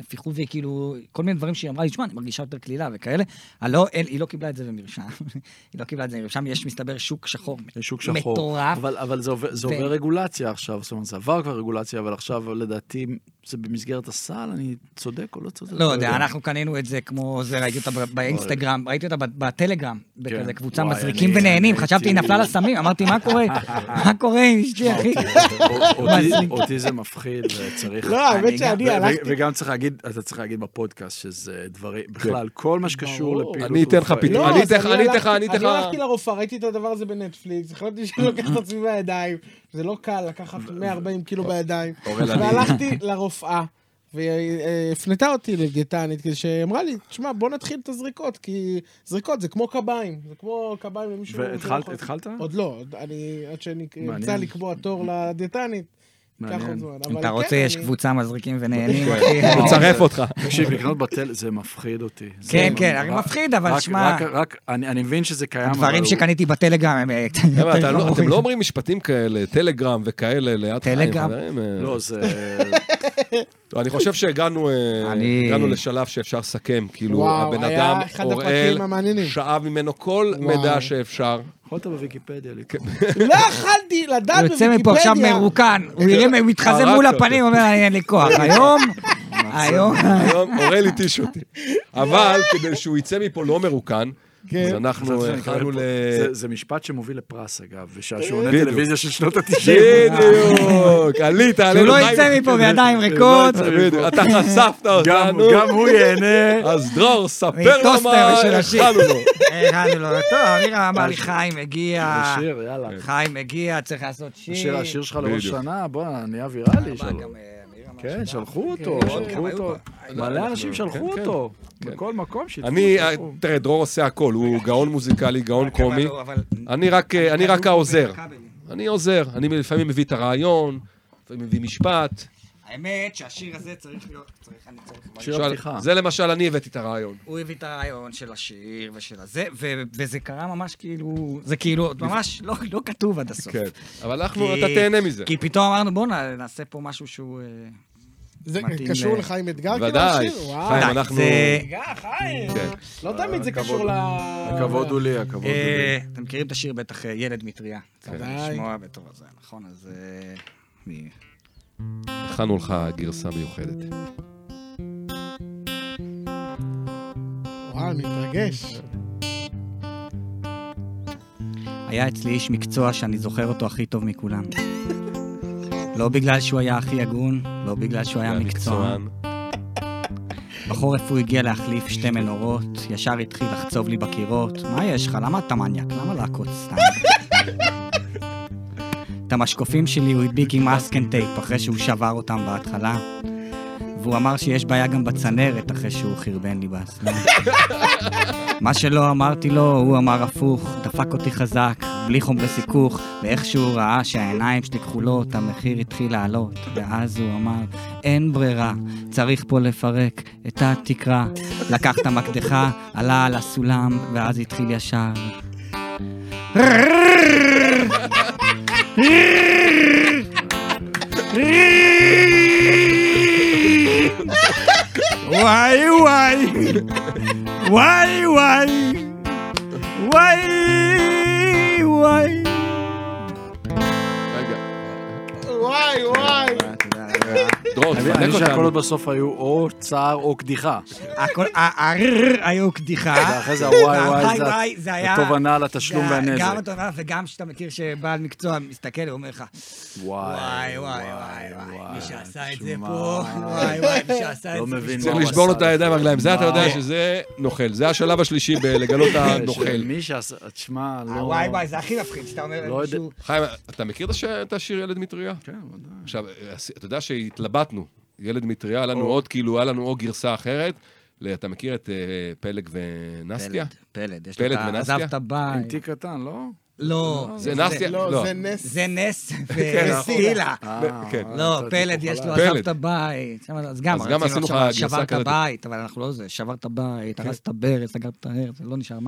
נפיחות והיא כאילו, כל מיני דברים שהיא אמרה לי, שמע, אני מרגישה יותר קלילה וכאלה, אבל לא, אין, היא לא קיבלה את זה במרשם, היא לא קיבלה את זה במרשם, יש מסתבר שוק שחור, זה שוק שחור. מטורף. אבל- אבל זה עובר- זה ו- עובר רגולציה עכשיו, זאת אומרת, זה עבר כבר רגולציה, אבל עכשיו לדעתי זה במסגרת הסל, אני צודק או לא צודק? לא יודע, אנחנו קנינו את זה כמו זה, ראיתי אותה ב- באינסטגרם, ראיתי אותה ב- בטלגרם, בכזה קבוצה כן. וואי, מזריקים אני- ונהנים, אני חשבתי היא הייתי- נפלה לסמים, אמרתי, מה קורה? מה קורה עם אשתי, אחי? או- אותי- אותי זה מפחיד וצריך... לא, האמת ו- שאני ו- הלכתי... וגם צריך להגיד, אתה צריך להגיד בפודקאסט שזה דברים, בכלל, כל מה שקשור ברור. לפעילות... אני אתן לך רפואית. פתרון. לא, אני אז אתן לך- אני אתן לך- אני הלכתי- אתן לך- אני הלכתי לרופאה, ראיתי את הדבר הזה בנטפליקס, החלטתי שאני לוקח את עצמי בידיים, זה לא קל לקחת 140 קילו בידיים. אורל, אני- והלכתי לרופאה, והיא אה, הפנתה אותי לדיאטנית, כדי שאמרה לי, תשמע, בוא נתחיל את הזריקות, כי זריקות זה כמו קביים, זה כמו קביים למישהו... שלא והתחלת? יכול- התחלת? עוד לא, עוד- אני, עד שאני מעניין. אמצא לקבוע תור לדיאטנית, ייקח מעניין. עוד זמן. אם אבל אתה רוצה, כן, יש אני- קבוצה מזריקים ונהנים, כן. אחי. אה, מצרף אותך. תקשיב, לקנות בטל, זה מפחיד אותי. זה כן, ממש- כן, הרי רק- מפחיד, אבל רק- שמע- רק- רק, אני אני מבין שזה קיים, אבל... דברים הוא- שקניתי בטלגרם הם אה, קטנים חבר'ה, אתה יותר לא- אתם גרועים. לא אומרים משפטים כאלה, טלגרם וכאלה ליד חיים, טלגרם. חברים. אה, לא, זה... טוב, אני חושב שהגענו אה, אני- הגענו לשלב שאפשר לסכם. כאילו, וואו, הבן היה אדם, אחד אוראל, הפרקים המעניינים. שאב ממנו כל וואו. מידע שאפשר. יכולת בוויקיפדיה לקרוא. לא יכלתי לדעת הוא בוויקיפדיה. יוצא מפה עכשיו מרוקן, הוא יראה, הוא מתחזה הרגת מול אותו. הפנים, אומר, "אני, אין לי כוח. היום, היום, היום אורל התיש אותי. אבל כדי שהוא יצא מפה לא מרוקן, כן. אז אנחנו אה, הכנו ל... זה- זה משפט שמוביל לפרס, אגב, ושעשועוני בדיוק. טלוויזיה של שנות ה-90. בדיוק, עלית שהוא עלינו. לא חיים. יצא מפה בידיים ריקות, בדיוק, אתה חשפת גם אותנו, גם הוא ייהנה. אז דרור, ספר לו מטוסטר מה ושל השיר. הכנו לו. הכנו לו, אה, לא, טוב, אמירה אמר לי, חיים הגיע, שיר, יאללה. חיים הגיע, צריך לעשות שיר. השיר השיר שלך לראש בדיוק. שנה, בואנה, נהיה ויראלי. בא שלום. גם, אה, אמירה אמר כן, שבא. שלחו אותו, כן, שלחו היו אותו. מלא אנשים שלחו כן, אותו. בכל מקום שיתפו. אני, שלחו. תראה, דרור עושה הכל, הוא גאון מוזיקלי, גאון קומי. אבל- אבל- אני רק, אה, אני רק כדור העוזר. בכבלים. אני עוזר, אני לפעמים מביא את הרעיון, לפעמים מביא משפט. האמת שהשיר הזה צריך להיות, צריך, אני צריך... שיר למשל- הפתיחה. זה למשל, אני הבאתי את הרעיון. הוא הביא את הרעיון של השיר ושל הזה, ו- וזה קרה ממש כאילו, זה כאילו, ממש לא, לא כתוב עד הסוף. כן, אבל אנחנו, כי- אתה תהנה מזה. כי פתאום אמרנו, בוא'נה, נעשה פה משהו שהוא... אה, זה מתאים קשור ל- לחיים אתגר? כאילו, ודאי, השיר? וואו. חיים, די, אה, אנחנו... זה- רגע, אה, חיים. כן. לא תמיד זה קשור ל... הכבוד הוא לי, הכבוד הוא לי. אה, אתם מכירים את השיר בטח, אה, ילד מטריה. כן. צריך ודאי. לשמוע בתור הזה, נכון? אז... אה, אני- הכנו לך גרסה מיוחדת. וואו, אני מתרגש. היה אצלי איש מקצוע שאני זוכר אותו הכי טוב מכולם. לא בגלל שהוא היה הכי הגון, לא בגלל שהוא היה מקצוען. בחורף הוא הגיע להחליף שתי מנורות, ישר התחיל לחצוב לי בקירות. מה יש לך? למה אתה מניאק? למה להכות סתם? את המשקופים שלי הוא הדביק עם מאסק אנד טייפ אחרי שהוא שבר אותם בהתחלה. והוא אמר שיש בעיה גם בצנרת אחרי שהוא חרבן לי בהסלמה. מה שלא אמרתי לו, הוא אמר הפוך, דפק אותי חזק, בלי חומרי סיכוך, ואיכשהו ראה שהעיניים שלי כחולות, המחיר התחיל לעלות, ואז הוא אמר, אין ברירה, צריך פה לפרק את התקרה. לקח את המקדחה, עלה על הסולם, ואז התחיל ישר. וואי וואי! וואי וואי! וואי וואי! רגע, וואי, וואי. דרור, אני תפנק חושב שהקולות אותנו. בסוף היו או צער או קדיחה. הכל, הרר היו קדיחה. ואחרי זה הוואי והוואי וואי זה וואי זה היה... התובנה על התשלום זה היה גם והנזק. התובנה וגם שאתה מכיר שבעל מקצוע מסתכל ואומר לך, וואי וואי אוקיי. וואי וואי וואי, מי שעשה את זה תשמע. פה, וואי וואי, מי שעשה לא את זה. מבין פה." צריך מה הוא לשבור לו עשה את הידיים והרגליים, זה אתה יודע מה? שזה נוכל. זה השלב השלישי לא בלגלות את הנוכל. מי שעשה, תשמע, לא... וואי וואי, זה הכי מפחיד, שאתה אומר לא יודע. מישהו... חיים, אתה מכיר את הש- את השיר ילד מטריה? כן, ודאי. עכשיו, אתה יודע שהתלבטנו, ילד מטריה, היה לנו עוד, כאילו, היה לנו או גרסה אחרת. ל- אתה מכיר את אה, פלג ונסטיה? פלד, פלד, יש פלד לו את ה... ונסטיה? עזב את הבית. עם תיק קטן, לא? לא. זה נסטיה? לא, זה נס. זה נס נכון. וסטילה. אה, כן. לא, אתה פלד דיבור יש לו חלש. עזב פלד. את הבית. שם- אז גם, אז גם רצינו עשינו לך עכשיו, גרסה שברת כזאת. בית, אבל אנחנו לא זה, שברת כן. בית, הרסת ברז, סגרת את הרז, לא נשאר מים.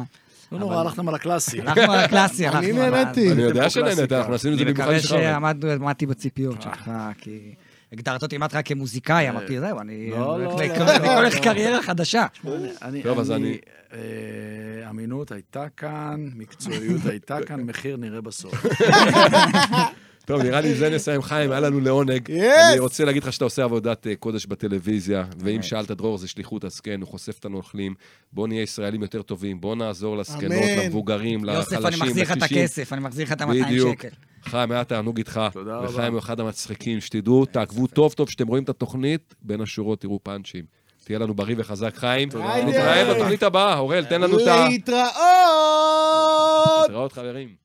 לא אבל- נורא, הלכתם על הקלאסי. אנחנו על הקלאסי, אנחנו... אני על ה- נהניתי. אני יודע פה שנהנית, קלאסיקה. אנחנו עשינו את אני זה במיוחד מקווה שלך. אבל- שעמדתי בציפיות שלך, כי הגדרת אותי כמעט רק כמוזיקאי, אמרתי, זהו, אני... אה, לא, לא, אני- לא, אני לא, הולך לא. קריירה חדשה. אני- אני, טוב, אז אני, אה, אמינות הייתה כאן, מקצועיות הייתה כאן, מחיר נראה בסוף. טוב, נראה לי עם זה נסיים. חיים, היה לנו לעונג. Yes! אני רוצה להגיד לך שאתה עושה עבודת אה, קודש בטלוויזיה, ואם שאלת דרור, זה שליחות, אז כן, הוא חושף את הנוכלים. בוא נהיה ישראלים יותר טובים, בוא נעזור לזקנות, אמן. למבוגרים, יוסף, לחלשים, אני לקשישים. מחזיר לך את הכסף, אני מחזיר לך את ה-200 שקל. חיים, היה תענוג איתך. תודה רבה. וחיים הוא אחד המצחיקים, שתדעו, תעקבו טוב טוב, כשאתם רואים את התוכנית, בין השורות תראו פאנצ'ים. תהיה לנו בריא וחזק, חיים. רבה. נתראה בתוכנית הבאה, אורל, תן לנו את ה... להתראות! להתראות, חברים.